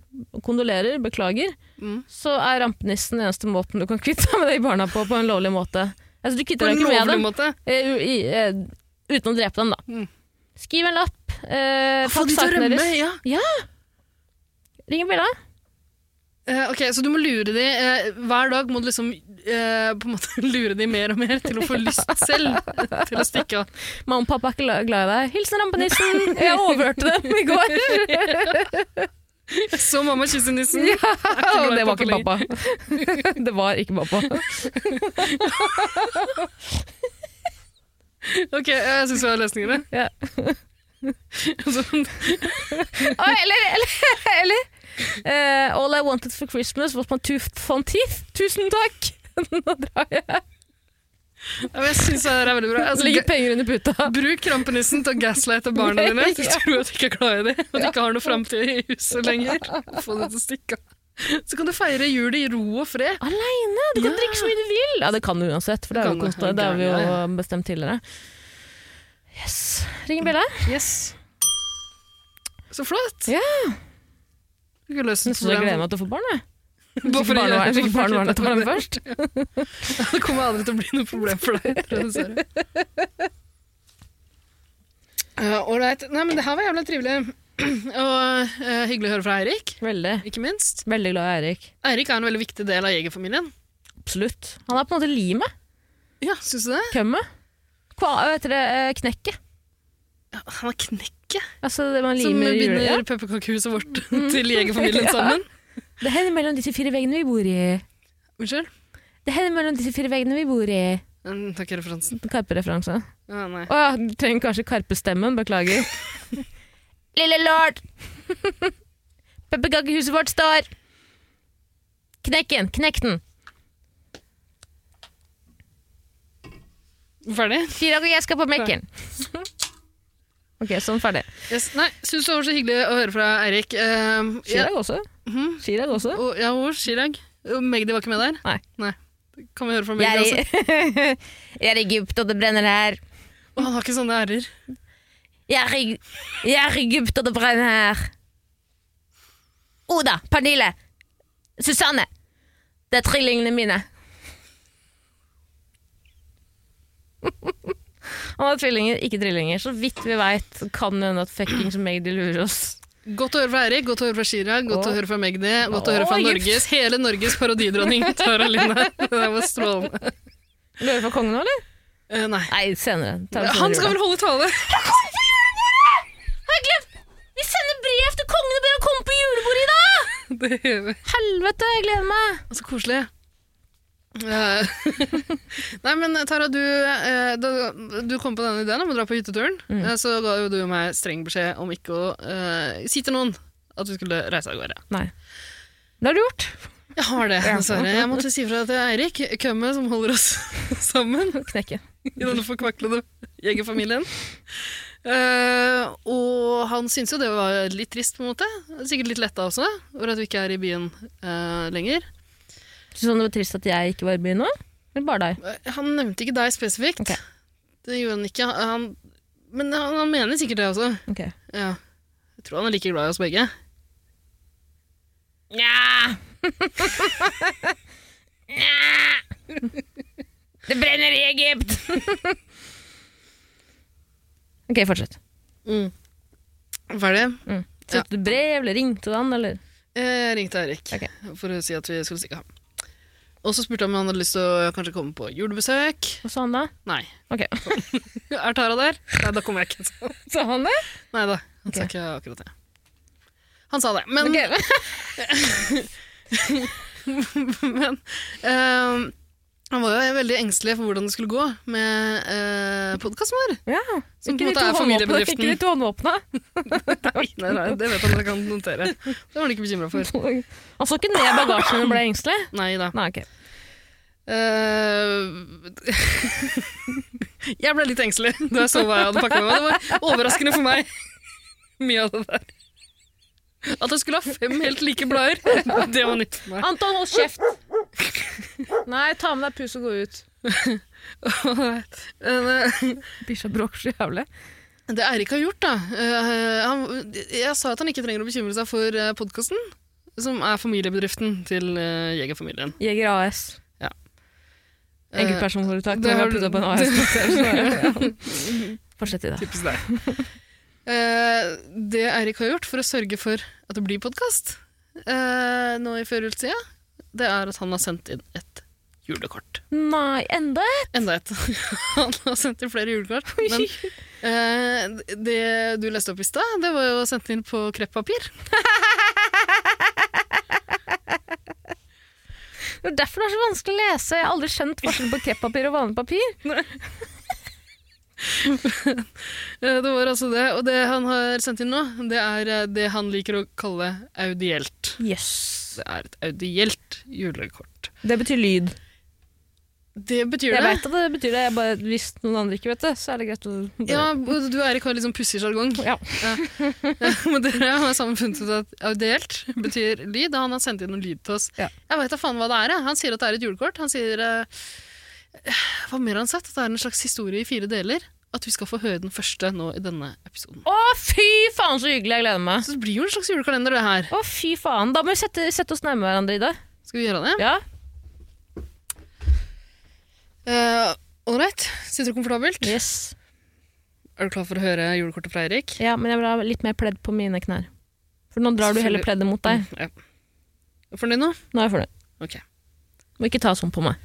Speaker 2: kondolerer, beklager,
Speaker 1: Mm.
Speaker 2: så er rampenissen den eneste måten du kan kvitte deg med de barna på, på en lovlig måte. Altså, du
Speaker 1: På
Speaker 2: kvitter
Speaker 1: en
Speaker 2: deg ikke med
Speaker 1: lovlig
Speaker 2: dem
Speaker 1: måte.
Speaker 2: eh, u- i, eh, uten å drepe dem, da.
Speaker 1: Mm.
Speaker 2: Skriv en lapp. eh,
Speaker 1: Få
Speaker 2: pakk
Speaker 1: de til å
Speaker 2: sakene
Speaker 1: rømme,
Speaker 2: deres.
Speaker 1: ja.
Speaker 2: Ring Bella.
Speaker 1: Eh, Ok, Så du må lure de eh, Hver dag må du liksom eh, på en måte [LAUGHS] lure de mer og mer til
Speaker 2: [LAUGHS]
Speaker 1: å få lyst selv til å stikke av.
Speaker 2: Mamma og pappa er ikke la- glad i deg. Hilsen rampenissen! Jeg overhørte dem i [LAUGHS] går!
Speaker 1: Så mamma kysser nissen.
Speaker 2: Ja,
Speaker 1: glad i
Speaker 2: det var
Speaker 1: pappa
Speaker 2: ikke pappa. [LAUGHS] Det var ikke pappa.
Speaker 1: Ok, eh, jeg syns vi har løsningene. [LAUGHS]
Speaker 2: Ja.
Speaker 1: Så-
Speaker 2: Ah, Eller, eller, [LAUGHS] eller. Eh, All I wanted for Christmas was my tooth on teeth. Tusen takk! Nå drar jeg.
Speaker 1: Ja, men jeg syns det her er veldig bra. Altså,
Speaker 2: Ligger
Speaker 1: ga-
Speaker 2: penger under [LAUGHS] puta.
Speaker 1: bruk krampenissen til å gaslighte [LAUGHS] barna dine til å tro at de ikke er glad i dem, og de ikke har noen framtid i huset lenger. Få dem til å stikke av. Så kan du feire jul i ro og fred.
Speaker 2: Aleine! Du kan drikke så mye du vil! Ja, det kan du uansett, for det
Speaker 1: Det
Speaker 2: er jo
Speaker 1: kan du.
Speaker 2: konstant. Det har vi
Speaker 1: Ja,
Speaker 2: jo
Speaker 1: ja.
Speaker 2: bestemt tidligere. Yes. Ringer bjella.
Speaker 1: Yes. Så flott!
Speaker 2: Ja.
Speaker 1: Du kan løse
Speaker 2: Jeg
Speaker 1: et
Speaker 2: synes jeg gleder
Speaker 1: problem.
Speaker 2: meg til å få barn, jeg.
Speaker 1: Bare for å gjøre-
Speaker 2: Barnevernet- Hvis ikke barnevernet tar [LAUGHS] dem først.
Speaker 1: Det kommer aldri til å bli noe problem for deg. tror jeg, dessverre. Eh, Ålreit. Nei, men det her var jævla trivelig. [CLEARS THROAT] Og eh, hyggelig å høre fra Eirik,
Speaker 2: Veldig.
Speaker 1: ikke minst.
Speaker 2: Veldig glad i Eirik.
Speaker 1: Eirik er en veldig viktig del av jegerfamilien.
Speaker 2: Absolutt. Han er på en måte limet.
Speaker 1: Ja, syns du det?
Speaker 2: Kømmet. Hva heter det? eh, Knekket.
Speaker 1: Han er knekket
Speaker 2: Altså, det man
Speaker 1: som
Speaker 2: limer i
Speaker 1: binder
Speaker 2: hjulet. Ja.
Speaker 1: pepperkakehuset [LAUGHS] vårt til jegerfamilien
Speaker 2: Ja.
Speaker 1: sammen.
Speaker 2: Det hender mellom disse fire veggene vi bor i.
Speaker 1: Unnskyld?
Speaker 2: Det hender mellom disse fire veggene vi bor i.
Speaker 1: Mm, Takk i referansen.
Speaker 2: Karpe-referanse.
Speaker 1: Ja, nei.
Speaker 2: Å ja, du trenger kanskje Karpe-stemmen. Beklager. [LAUGHS] Lille [LAUGHS] lord! Pepperkakehuset vårt står Knekken! Knekk den!
Speaker 1: Ferdig?
Speaker 2: Chirag og jeg skal på Mekken. [LAUGHS] ok, sånn ferdig.
Speaker 1: Yes. Nei, syns det var så hyggelig å høre fra Eirik. Eh, ja,
Speaker 2: Chirag også.
Speaker 1: Mhm.
Speaker 2: Chirag også.
Speaker 1: og, ja, og Chirag. Og Magdi var ikke med der?
Speaker 2: Nei.
Speaker 1: Kan vi høre fra
Speaker 2: Jeg [LAUGHS]
Speaker 1: Magdi
Speaker 2: er,
Speaker 1: også?
Speaker 2: i, jeg er i Egypt, og det brenner her.
Speaker 1: Og han har ikke sånne r-er.
Speaker 2: Jeg er, i, jeg er i Egypt, og det brenner her. Oda, Pernille, Susanne. Det er trillingene mine. [LAUGHS] Han har tvillinger, ikke trillinger. Så vidt vi veit, kan det hende at fuckings Magdi lurer oss.
Speaker 1: Godt å høre fra Eirik, godt å høre fra Chirag, godt å
Speaker 2: Åh.
Speaker 1: høre fra Magdi, godt å høre
Speaker 2: Åh,
Speaker 1: fra
Speaker 2: Egypt.
Speaker 1: Norges, hele Norges parodidronning Tara [LAUGHS] Line. Det der var strålende.
Speaker 2: Lurer for kongen nå, eller?
Speaker 1: Eh, nei.
Speaker 2: Nei, senere. Ta det
Speaker 1: Han
Speaker 2: senere,
Speaker 1: skal
Speaker 2: Oda.
Speaker 1: vel holde tale?
Speaker 2: Har jeg glemt? Vi sender brev til kongen og ber ham komme på julebordet i dag!
Speaker 1: [LAUGHS] Det gjør vi.
Speaker 2: Helvete, jeg gleder meg!
Speaker 1: Å, Så koselig. Eh, [LAUGHS] nei, men Tara, du, eh, da, du kom på denne ideen om å dra på hytteturen. eh, så ga jo du meg streng beskjed om ikke å eh, si til noen at vi skulle reise av gårde.
Speaker 2: Nei. Det har du gjort.
Speaker 1: Jeg har det, dessverre. Jeg måtte si fra til Eirik, kømmet som holder oss [LAUGHS] sammen.
Speaker 2: Knekke.
Speaker 1: i denne forkvaklede jegerfamilien. Eh, og han syntes jo det var litt trist, på en måte. Sikkert litt letta også, over at vi ikke er i byen eh, lenger.
Speaker 2: Syns du sånn, det var trist at jeg ikke var i byen nå? Eller bare deg?
Speaker 1: Eh, Han nevnte ikke deg spesifikt.
Speaker 2: Ok.
Speaker 1: Det gjorde han ikke. Han, men han, han mener sikkert det også.
Speaker 2: Ok.
Speaker 1: Ja. Jeg tror han er like glad i oss begge.
Speaker 2: Nja. [LAUGHS] Nja. Det brenner i Egypt! [LAUGHS] ok, fortsett. Mm.
Speaker 1: Ferdig.
Speaker 2: Sendte du brev, eller ringte du han, eller?
Speaker 1: Eh, Jeg ringte Eirik
Speaker 2: Ok.
Speaker 1: for å si at vi skulle stikke av. Og så spurte han om han hadde lyst til å kanskje komme på julebesøk.
Speaker 2: Hva sa han da?
Speaker 1: Nei.
Speaker 2: Ok.
Speaker 1: [LAUGHS] Er Tara
Speaker 2: [LAUGHS]
Speaker 1: der? Nei, da kommer jeg ikke. [LAUGHS] Så.
Speaker 2: Sa han det?
Speaker 1: Nei da, han sa
Speaker 2: Ok.
Speaker 1: ikke akkurat det. Han sa det,
Speaker 2: Mm.
Speaker 1: men, [LAUGHS] men ehm, han var jo veldig engstelig for hvordan det skulle gå med uh, podkasten vår.
Speaker 2: Ja.
Speaker 1: Som på en
Speaker 2: Ikke de
Speaker 1: måte
Speaker 2: to
Speaker 1: er
Speaker 2: håndåpne.
Speaker 1: familiebedriften.
Speaker 2: Ikke de to [LAUGHS] håndåpne.
Speaker 1: Nei, nei, det vet han at jeg kan notere. Det var han ikke bekymra for.
Speaker 2: Han så ikke ned i bagasjen min og ble engstelig?
Speaker 1: Nei da.
Speaker 2: Nei, ok.
Speaker 1: Eh, [LAUGHS] jeg ble litt engstelig da jeg så hva jeg hadde pakket med meg. Det var overraskende for meg, mye av det der. At jeg skulle ha fem helt like blader, det var nytt for meg.
Speaker 2: Anton, hold kjeft! [LAUGHS] Nei, ta med deg pus og gå ut.
Speaker 1: Eh,
Speaker 2: Bikkja bråker så jævlig.
Speaker 1: Det Eirik har gjort, da eh, han, Jeg sa at han ikke trenger å bekymre seg for podkasten, som er familiebedriften til eh, Jegerfamilien.
Speaker 2: Jeger AS.
Speaker 1: Ja. Eh,
Speaker 2: Enkeltpersonforetak.
Speaker 1: det
Speaker 2: Det har
Speaker 1: har
Speaker 2: jeg
Speaker 1: du-
Speaker 2: puttet på en [LAUGHS] AS. [LAUGHS] Fortsett i det.
Speaker 1: Typisk [LAUGHS] deg. Eh, det Eirik har gjort for å sørge for at det blir podkast, eh, nå i førjulstida, det er at han har sendt inn et julekort.
Speaker 2: Nei, enda et?
Speaker 1: Enda et. [LAUGHS] Han har sendt inn flere julekort. Men eh, det du leste opp i stad, det var jo sendt inn på kreppapir.
Speaker 2: Det er derfor det er så vanskelig å lese. Jeg har aldri skjønt forskjellen på kreppapir og vanlig papir.
Speaker 1: Eh, det var altså det. Og det han har sendt inn nå, det er eh, det han liker å kalle audielt.
Speaker 2: Yes.
Speaker 1: Det er et audielt julekort.
Speaker 2: Det betyr lyd.
Speaker 1: Det betyr
Speaker 2: Jeg
Speaker 1: det.
Speaker 2: veit at det betyr det, jeg bare, hvis noen andre ikke vet det, så er det greit å
Speaker 1: Ja, og du er i hva litt sånn pussig sjargong.
Speaker 2: Ja.
Speaker 1: Men dere har sammen funnet ut at audielt betyr lyd. og Han har sendt inn noen lyd til oss.
Speaker 2: Ja.
Speaker 1: Jeg veit da faen hva det er. jeg. Han sier at det er et julekort. Han sier eh, Hva mer har han sett? At det er en slags historie i fire deler. At vi skal få høre den første nå i denne episoden.
Speaker 2: Å, fy faen, så hyggelig! Jeg gleder meg.
Speaker 1: Så det blir jo en slags julekalender, det her.
Speaker 2: Å, fy faen. Da må vi sette, sette oss nærme hverandre, Ida.
Speaker 1: Skal vi gjøre det?
Speaker 2: Ja.
Speaker 1: Ålreit. Eh, Sitter du komfortabelt?
Speaker 2: Yes.
Speaker 1: Er du klar for å høre julekortet fra Eirik?
Speaker 2: ja, men jeg vil ha litt mer pledd på mine knær. For nå drar du hele pleddet mot deg.
Speaker 1: Mm, Ja. Fornøyd nå?
Speaker 2: Nå er jeg fornøyd.
Speaker 1: Ok.
Speaker 2: Må ikke ta sånn på meg.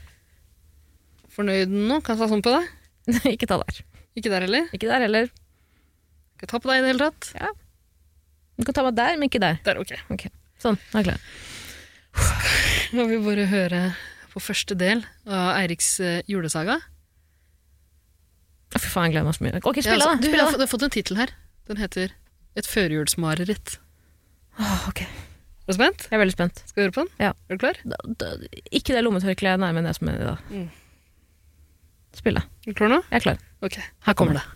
Speaker 2: [LAUGHS]
Speaker 1: Fornøyd nå? Kan jeg ta sånn på deg?
Speaker 2: ikke ta der.
Speaker 1: Ikke der heller?
Speaker 2: Ikke der heller.
Speaker 1: Skal jeg ta på deg i det hele tatt?
Speaker 2: Du kan ta meg der, men ikke der.
Speaker 1: Der, ok.
Speaker 2: Ok, Sånn, nå er jeg klar.
Speaker 1: Nå vil vi bare høre på første del av Eiriks eh, julesaga.
Speaker 2: Å, Fy faen, jeg gleder meg så mye. Ok, spill
Speaker 1: Ja, altså,
Speaker 2: av, da.
Speaker 1: du,
Speaker 2: Spill
Speaker 1: jeg har
Speaker 2: av.
Speaker 1: fått- jeg har fått en tittel her. Den heter Et førjulsmareritt. Ah,
Speaker 2: Åh, ok.
Speaker 1: Er du spent?
Speaker 2: Jeg er veldig spent.
Speaker 1: Skal vi høre på den?
Speaker 2: Ja.
Speaker 1: Er du klar?
Speaker 2: Da, da, ikke det lommetørkleet er nærme nesen min i dag.
Speaker 1: Mm.
Speaker 2: Spill, da.
Speaker 1: Er du klar nå?
Speaker 2: Jeg er klar.
Speaker 1: Ok, her kommer det.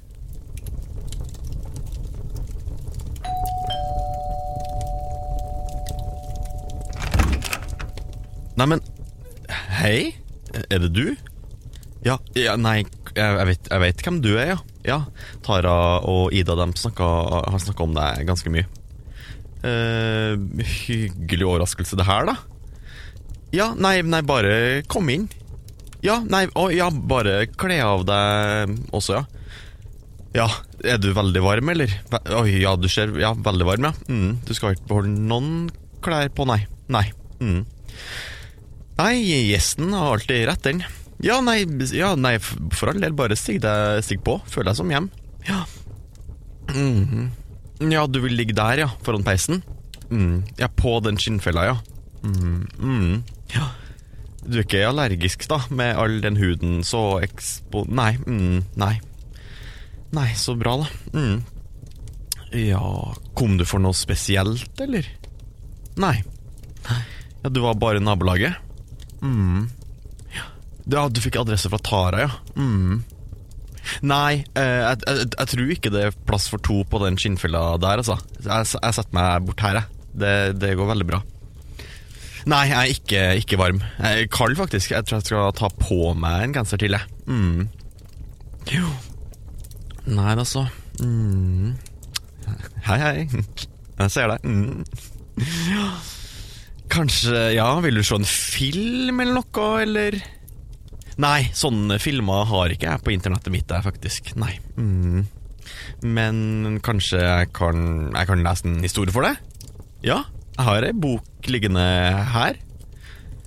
Speaker 8: Neimen, hei? Er det du? Ja, ja nei, jeg, jeg, vet, jeg vet hvem du er, ja. ja. Tara og Ida dem snakka, har snakka om deg ganske mye. Eh, hyggelig overraskelse det her, da. Ja, nei, nei, bare kom inn. Ja, nei, å ja, bare kle av deg også, ja. Ja, er du veldig varm, eller? Ve Oi, ja, du ser Ja, veldig varm, ja. Mm, du skal ikke beholde noen klær på, nei. Nei. Mm. Nei, gjesten har alltid rett, den. Ja, nei, ja, nei f- for all del, bare stig, deg, stig på. Føl deg som hjem. Ja. Mhm. ja, du vil ligge der, ja, foran peisen? Mm. Ja, på den skinnfella, ja. Mhm. Mhm. ja. Du er ikke allergisk, da, med all den huden så ekspo... Nei. mhm, nei. Nei, så bra, da. Mhm. Ja, kom du for noe spesielt, eller? Nei. Ja, du var bare i nabolaget? Mm. Ja, du fikk adresse fra Tara, ja. Mm. Nei, eh, jeg, jeg, jeg tror ikke det er plass for to på den skinnfella der, altså. Jeg, s- jeg setter meg bort her, jeg. Det, det går veldig bra. Nei, jeg er ikke, ikke varm. Jeg er kald, faktisk. Jeg tror jeg skal ta på meg en genser til, jeg. Mm. Jo. Nei da, så. Mm. Hei, hei. Jeg ser deg. Mm. Kanskje, ja, vil du se en film eller noe, eller? Nei, sånne filmer har ikke jeg på internettet mitt, jeg, faktisk. Nei. Mm. Men kanskje jeg kan, jeg kan lese en historie for deg? Ja, jeg har ei bok liggende her.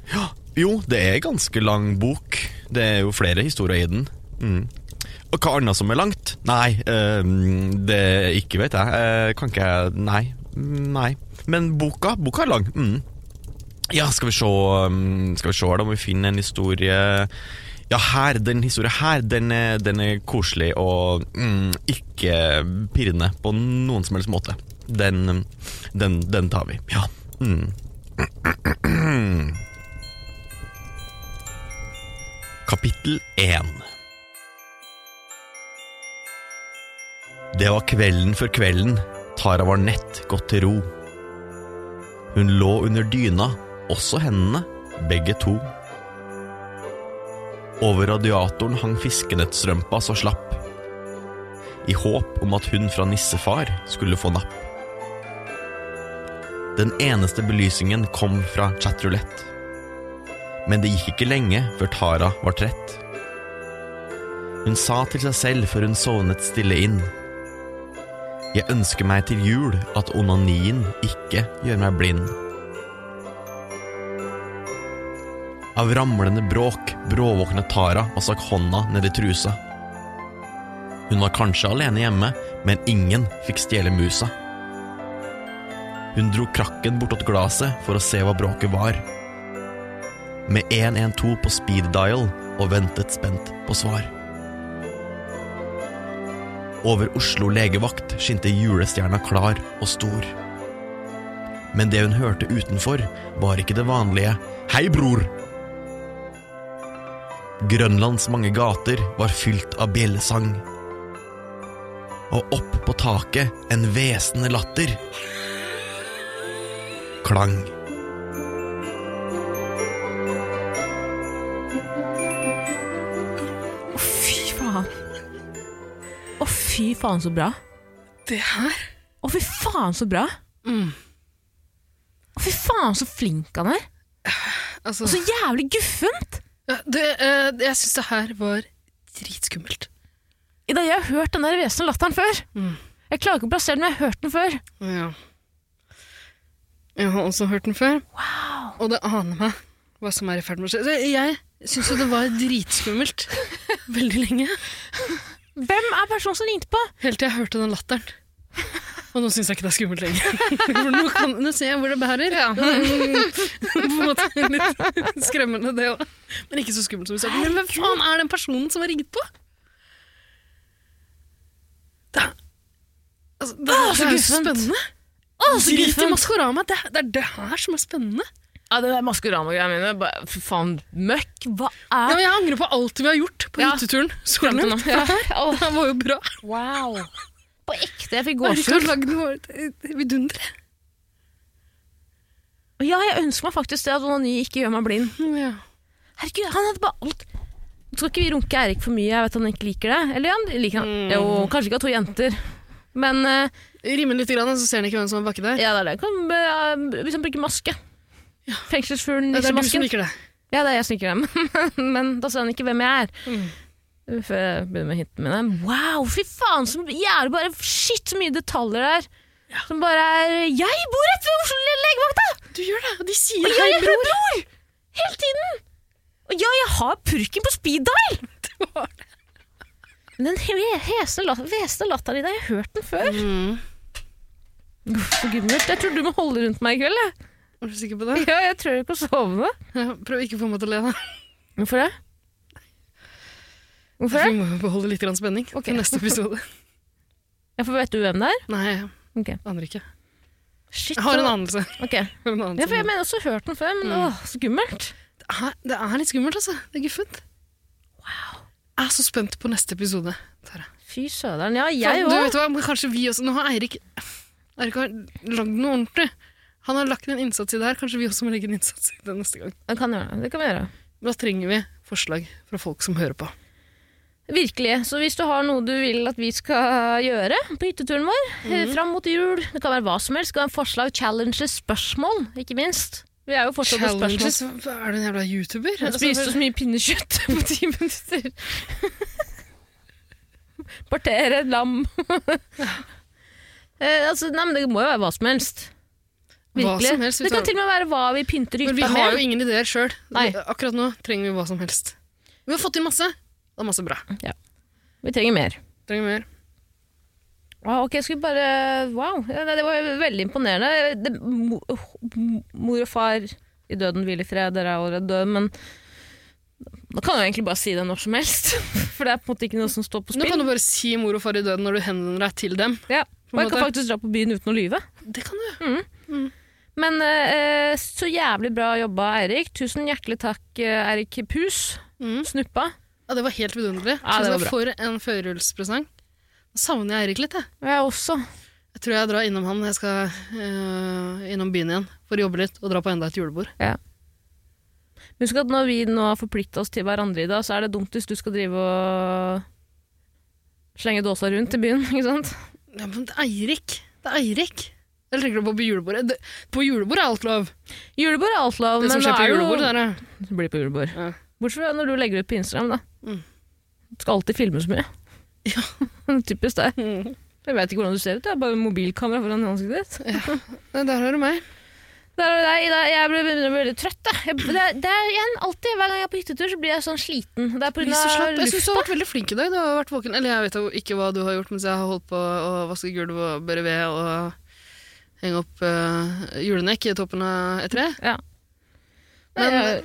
Speaker 8: Ja, jo, det er en ganske lang bok. Det er jo flere historier i den. Mm. Og hva annet som er langt? Nei, øhm, det ikke vet jeg. Eh, kan ikke jeg Nei. mm, Nei. Men boka, boka er lang. Mm. Ja, skal vi se um, Skal vi se her da, om vi finner en historie Ja, her, den historien her Den er, den er koselig og mm, Ikke pirrende På noen som helst måte Den, den, den tar vi Ja mm. Kapittel 1 Det var kvelden før kvelden Tara var nett gått til ro hun lå under dyna, også hendene, begge to. Over radiatoren hang fiskenettstrømpa så slapp, i håp om at hun fra nissefar skulle få napp. Den eneste belysningen kom fra chatroulette. Men det gikk ikke lenge før Tara var trett. Hun sa til seg selv før hun sovnet stille inn. Jeg ønsker meg til jul at onanien ikke gjør meg blind. Av ramlende bråk bråvåknet Tara og stakk hånda ned i trusa. Hun var kanskje alene hjemme, men ingen fikk stjele musa. Hun dro krakken bortåt glaset for å se hva bråket var. Med 112 på speed dial og ventet spent på svar. Over Oslo legevakt skinte julestjerna klar og stor. Men det hun hørte utenfor, var ikke det vanlige 'Hei, bror'. Grønlands mange gater var fylt av bjellesang. Og opp på taket en hvesende latter. Klang.
Speaker 2: Å, fy faen. Å, fy faen, så bra.
Speaker 1: Det her?
Speaker 2: Å, fy faen, så bra.
Speaker 1: Mm.
Speaker 2: Å, fy faen, så flink han er.
Speaker 1: Altså,
Speaker 2: Og så jævlig guffent.
Speaker 1: ja, det, eh, det- jeg syns det her var dritskummelt.
Speaker 2: Ida, jeg har hørt den der hvesende latteren før.
Speaker 1: Mm.
Speaker 2: Jeg klarer ikke å plassere den, men jeg har hørt den før.
Speaker 1: Ja. Jeg har også hørt den før. Og det aner meg hva som er i ferd med å skje. Så Jeg syns jo det var [LAUGHS] dritskummelt veldig lenge.
Speaker 2: Hvem er personen som ringte på?
Speaker 1: Helt til jeg hørte den latteren. Og nå syns jeg ikke det er skummelt lenger. For nå, kan, nå ser jeg hvor det bærer. Det er, mm, På en måte litt skremmende, det òg. Men ikke så skummelt som i starten. Men hvem faen er den personen som har ringt på? Det, er- altså, det, det
Speaker 2: Å, så
Speaker 1: er jo så
Speaker 2: guffent.
Speaker 1: spennende.
Speaker 2: Å, så
Speaker 1: Drit i
Speaker 2: guffent!
Speaker 1: Maskorama. Det, det er det her som er spennende.
Speaker 2: Ja, det der maskorama-greiene mine, bare, fy faen, møkk. Hva
Speaker 1: Ja,
Speaker 2: er
Speaker 1: men jeg angrer på alt vi har gjort på
Speaker 2: Ja.
Speaker 1: hytteturen. Så
Speaker 2: Frem til nå.
Speaker 1: langt. Det her [LAUGHS] det her var jo bra.
Speaker 2: Wow. På ekte, jeg fikk
Speaker 1: Vi har
Speaker 2: gåsehud.
Speaker 1: lagd noe vidunderlig.
Speaker 2: Ja, jeg ønsker meg faktisk det at onani ikke gjør meg blind.
Speaker 1: Ja.
Speaker 2: Herregud, han hadde bare alt. Nå skal ikke vi runke Eirik for mye, jeg vet han ikke liker det. Eller han liker han.
Speaker 1: Mm.
Speaker 2: Jo, kanskje ikke av to jenter. Men eh,
Speaker 1: Rimer litt, grann, så ser han ikke hvem som er baki der.
Speaker 2: ja, det er det. Kan, eh, hvis han bruker maske. Fengselsfuglen
Speaker 1: det er du
Speaker 2: liksom
Speaker 1: som
Speaker 2: masken.
Speaker 1: liker det.
Speaker 2: Ja, det er jeg som liker dem. men da ser han ikke hvem [LAUGHS] jeg er. Før jeg begynner med hintene mine. Wow, fy faen, så jævlig bare Shit, så mye detaljer der. Som bare er Jeg bor rett ved Oslo legevakta!
Speaker 1: Du gjør det, og de
Speaker 2: Og
Speaker 1: sier
Speaker 2: ja, jeg hører bror! Hele tiden! Og ja, jeg har purken på speed dial! Men den he- hesende lat- hvesende latteren i deg, jeg har hørt den før.
Speaker 1: Mm.
Speaker 2: Uff, så gummelt. Jeg tror du må holde rundt meg i kveld. Jeg.
Speaker 1: Er du sikker på det?
Speaker 2: Ja, jeg tror ikke å sovne.
Speaker 1: Ja, Prøv ikke å få meg til å le, da.
Speaker 2: Hvorfor det? Hvorfor
Speaker 1: Vi
Speaker 2: det?
Speaker 1: må beholde litt grann spenning
Speaker 2: Ok.
Speaker 1: til neste episode.
Speaker 2: Ja, for vet du hvem det er?
Speaker 1: Nei,
Speaker 2: Ok.
Speaker 1: jeg aner ikke.
Speaker 2: Shit, Mm.
Speaker 1: Jeg har en
Speaker 2: så-
Speaker 1: anelse.
Speaker 2: Ok.
Speaker 1: Jeg har en
Speaker 2: Ja, for
Speaker 1: anelse.
Speaker 2: jeg mener også hørt den før, men åh, så skummelt.
Speaker 1: Det er- Det er litt skummelt, altså. Det er guffent. Jeg er så spent på neste episode. Tara.
Speaker 2: Fy søderen. Ja,
Speaker 1: Faen,
Speaker 2: jeg
Speaker 1: Du
Speaker 2: òg.
Speaker 1: vet hva, men kanskje vi også Nå har Eirik Eirik har lagd noe ordentlig. Han har lagt en innsats i det her. Kanskje vi også må legge en innsats i det neste gang.
Speaker 2: Det kan gjøre det. det kan vi gjøre.
Speaker 1: Men da trenger vi forslag fra folk som hører på.
Speaker 2: Virkelig. Så hvis du har noe du vil at vi skal gjøre på hytteturen vår,
Speaker 1: Mhm.
Speaker 2: eh, fram mot jul, det kan være hva som helst, det kan være forslag, challenges, spørsmål, ikke minst. Vi er jo
Speaker 1: Altså,
Speaker 2: fortsatt på spørsmål.
Speaker 1: Challenges? Er du en jævla YouTuber? Altså,
Speaker 2: Jeg spiste så mye pinnekjøtt
Speaker 1: [LAUGHS]
Speaker 2: på ti [LAUGHS] minutter. Partere et lam. [LAUGHS] eh, altså, nei, men det må jo være hva som helst.
Speaker 1: Hva
Speaker 2: Virkelig.
Speaker 1: som helst, vi
Speaker 2: det kan
Speaker 1: tar-
Speaker 2: til og med være hva vi pynter hytta
Speaker 1: Men
Speaker 2: med.
Speaker 1: vi har jo ingen ideer sjøl.
Speaker 2: Nei.
Speaker 1: Akkurat nå trenger vi hva som helst. Vi har fått inn masse. Det er masse bra.
Speaker 2: Vi trenger mer.
Speaker 1: Trenger mer.
Speaker 2: Wow, ok, skal vi bare Wow, ja, nei, det var veldig imponerende. Det, mo, mo- mor og far i døden hvil i fred, dere er allerede døde, men da kan jeg egentlig bare si det når som helst. [LAUGHS] For det er på en måte ikke noe som står på
Speaker 1: Nå
Speaker 2: spill.
Speaker 1: kan du bare si mor og far i døden når du henvender deg til dem.
Speaker 2: ja.
Speaker 1: på en
Speaker 2: Og jeg kan
Speaker 1: måte.
Speaker 2: faktisk dra på byen uten å lyve.
Speaker 1: Det kan du.
Speaker 2: Men eh, eh, så jævlig bra jobba, Eirik. Tusen hjertelig takk, eh, Eirik Pus.
Speaker 1: Mm.
Speaker 2: Snuppa.
Speaker 1: Ja, det var helt vidunderlig.
Speaker 2: Ja, det
Speaker 1: Tusen
Speaker 2: var
Speaker 1: takk for en førjulspresang. Nå savner jeg Eirik litt, jeg.
Speaker 2: Og jeg også.
Speaker 1: Jeg tror jeg drar innom han. Jeg skal eh, innom byen igjen for å jobbe litt og dra på enda et julebord.
Speaker 2: Husk at når vi nå har forplikta oss til hverandre i dag, så er det dumt hvis du skal drive og slenge dåsa rundt i byen, [LAUGHS] ikke sant?
Speaker 1: Ja, men det er Eirik. Det er Eirik. Eller tenker du på på julebordet? Det, på julebordet er alt lov.
Speaker 2: Julebord er alt lov,
Speaker 1: Det som
Speaker 2: men
Speaker 1: skjer
Speaker 2: nå
Speaker 1: på
Speaker 2: er jo-
Speaker 1: julebordet, der er
Speaker 2: Det blir på julebord.
Speaker 1: Ja.
Speaker 2: Bortsett fra når du legger ut på Instagram, da.
Speaker 1: Mm.
Speaker 2: Du skal alltid filme så mye. [LAUGHS] Typisk deg.
Speaker 1: Mm.
Speaker 2: Jeg veit ikke hvordan du ser ut, det er bare mobilkamera foran ansiktet ditt.
Speaker 1: Nei, Der har du meg.
Speaker 2: Der er det deg, Ida. Jeg blir- begynner å bli veldig trøtt. Jeg. Jeg, det, er- det er igjen alltid, Hver gang jeg er på hyttetur, så blir jeg sånn sliten. Det er på
Speaker 1: Jeg
Speaker 2: grunn av
Speaker 1: syns du har
Speaker 2: lufta.
Speaker 1: vært veldig flink i dag. Du har vært våken. Eller jeg vet jo ikke hva du har gjort mens jeg har holdt på å vaske gulv og bære ved og henge opp eh, julenekk i toppen av et tre.
Speaker 2: Ja.
Speaker 1: Men,
Speaker 2: Nei,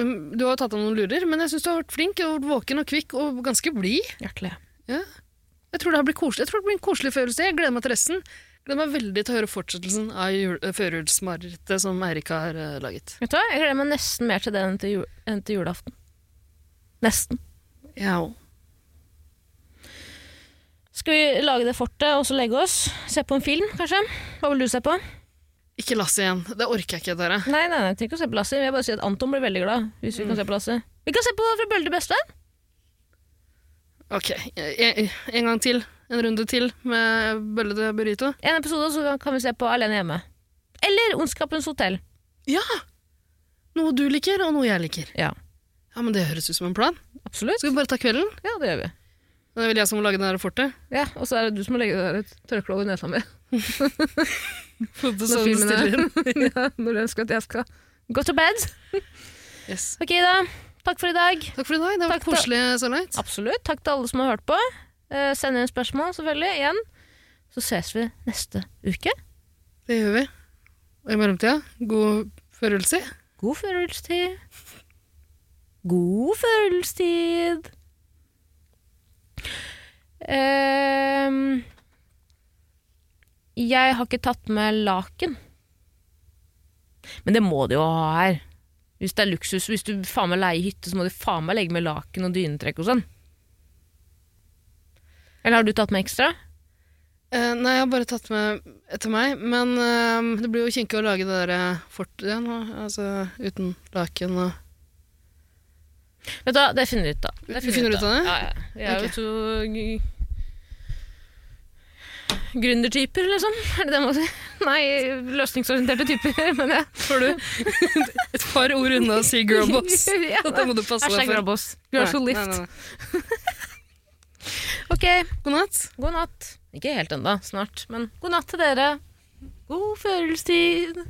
Speaker 1: um, du har jo tatt av noen lurer, men jeg syns du har vært flink og vært våken og kvikk og ganske blid.
Speaker 2: Hjertelig.
Speaker 1: Jeg tror det her blir koselig. Jeg tror det blir en koselig førjulsdag. Jeg gleder meg til resten. Gleder meg veldig til å høre fortsettelsen av jul- eh, førjulsmarerittet som Eirik har eh, laget.
Speaker 2: Vet du hva? Jeg gleder meg nesten mer til det enn til, jul, enn til julaften. Nesten.
Speaker 1: Ja.
Speaker 2: Skal vi lage det fortet og så legge oss? Se på en film, kanskje? Hva vil du se på?
Speaker 1: Ikke Lasse igjen. Det orker jeg ikke, dere.
Speaker 2: Nei, nei, nei, jeg trenger ikke å se på Lasse. Jeg vil bare si at Anton blir veldig glad hvis vi kan se på Lasse. Vi kan se på Fra bølle til bestevenn.
Speaker 1: Ok, eh, en, en gang til. En runde til med bøllete burrito.
Speaker 2: En episode, så kan vi se på Alene hjemme. Eller Ondskapens hotell.
Speaker 1: Ja! Noe du liker, og noe jeg liker.
Speaker 2: Ja,
Speaker 1: Ja, men Det høres ut som en plan.
Speaker 2: absolutt.
Speaker 1: Skal vi bare ta kvelden?
Speaker 2: Ja, det gjør vi.
Speaker 1: Det er vel jeg som må lage det der [LAUGHS] fortet.
Speaker 2: Ja, Og så er det du som må legge deg et tørkle over nesa mi
Speaker 1: Når
Speaker 2: når filmen er [LAUGHS]
Speaker 1: [LAUGHS]
Speaker 2: ja, Når du ønsker at jeg skal go to bed.
Speaker 1: Yes.
Speaker 2: Ok, da. Takk for i dag.
Speaker 1: Takk for i dag. Det har
Speaker 2: Takk
Speaker 1: vært
Speaker 2: til-
Speaker 1: koselig så langt.
Speaker 2: Absolutt. Takk til alle som har hørt på. Eh, send inn spørsmål, selvfølgelig. Igjen. Så ses vi neste uke.
Speaker 1: Det gjør vi. Og i mellomtida, god førjulstid.
Speaker 2: God førjulstid. God førjulstid. Ehm, jeg har ikke tatt med laken. Men det må de jo ha her. Hvis det er luksus, hvis du faen meg leier hytte, så må du faen meg legge med laken og dynetrekk og sånn. Eller har du tatt med ekstra?
Speaker 1: Eh, nei, jeg har bare tatt med etter meg, men eh, det blir jo kinkig å lage det der eh, fortet igjen, og- altså uten laken og
Speaker 2: Vet du, hva, det finner vi ut av.
Speaker 1: Vi finner ut av det?
Speaker 2: Ja, ja. Vi er
Speaker 1: Ok.
Speaker 2: jo to g- gründertyper, liksom. Er det det man sier? Nei, løsningsorienterte typer, [LAUGHS] men jeg
Speaker 1: Får [LAUGHS] du et par ord unna å si [LAUGHS] girlboss?
Speaker 2: [LAUGHS] Ja,
Speaker 1: Det må du passe deg
Speaker 2: Hashtag
Speaker 1: for.
Speaker 2: Grabos.
Speaker 1: Nei,
Speaker 2: Girls will
Speaker 1: nei,
Speaker 2: lift.
Speaker 1: nei, nei.
Speaker 2: Ok,
Speaker 1: God natt.
Speaker 2: god natt. Ikke helt ennå, snart. Men god natt til dere. God følelsestid.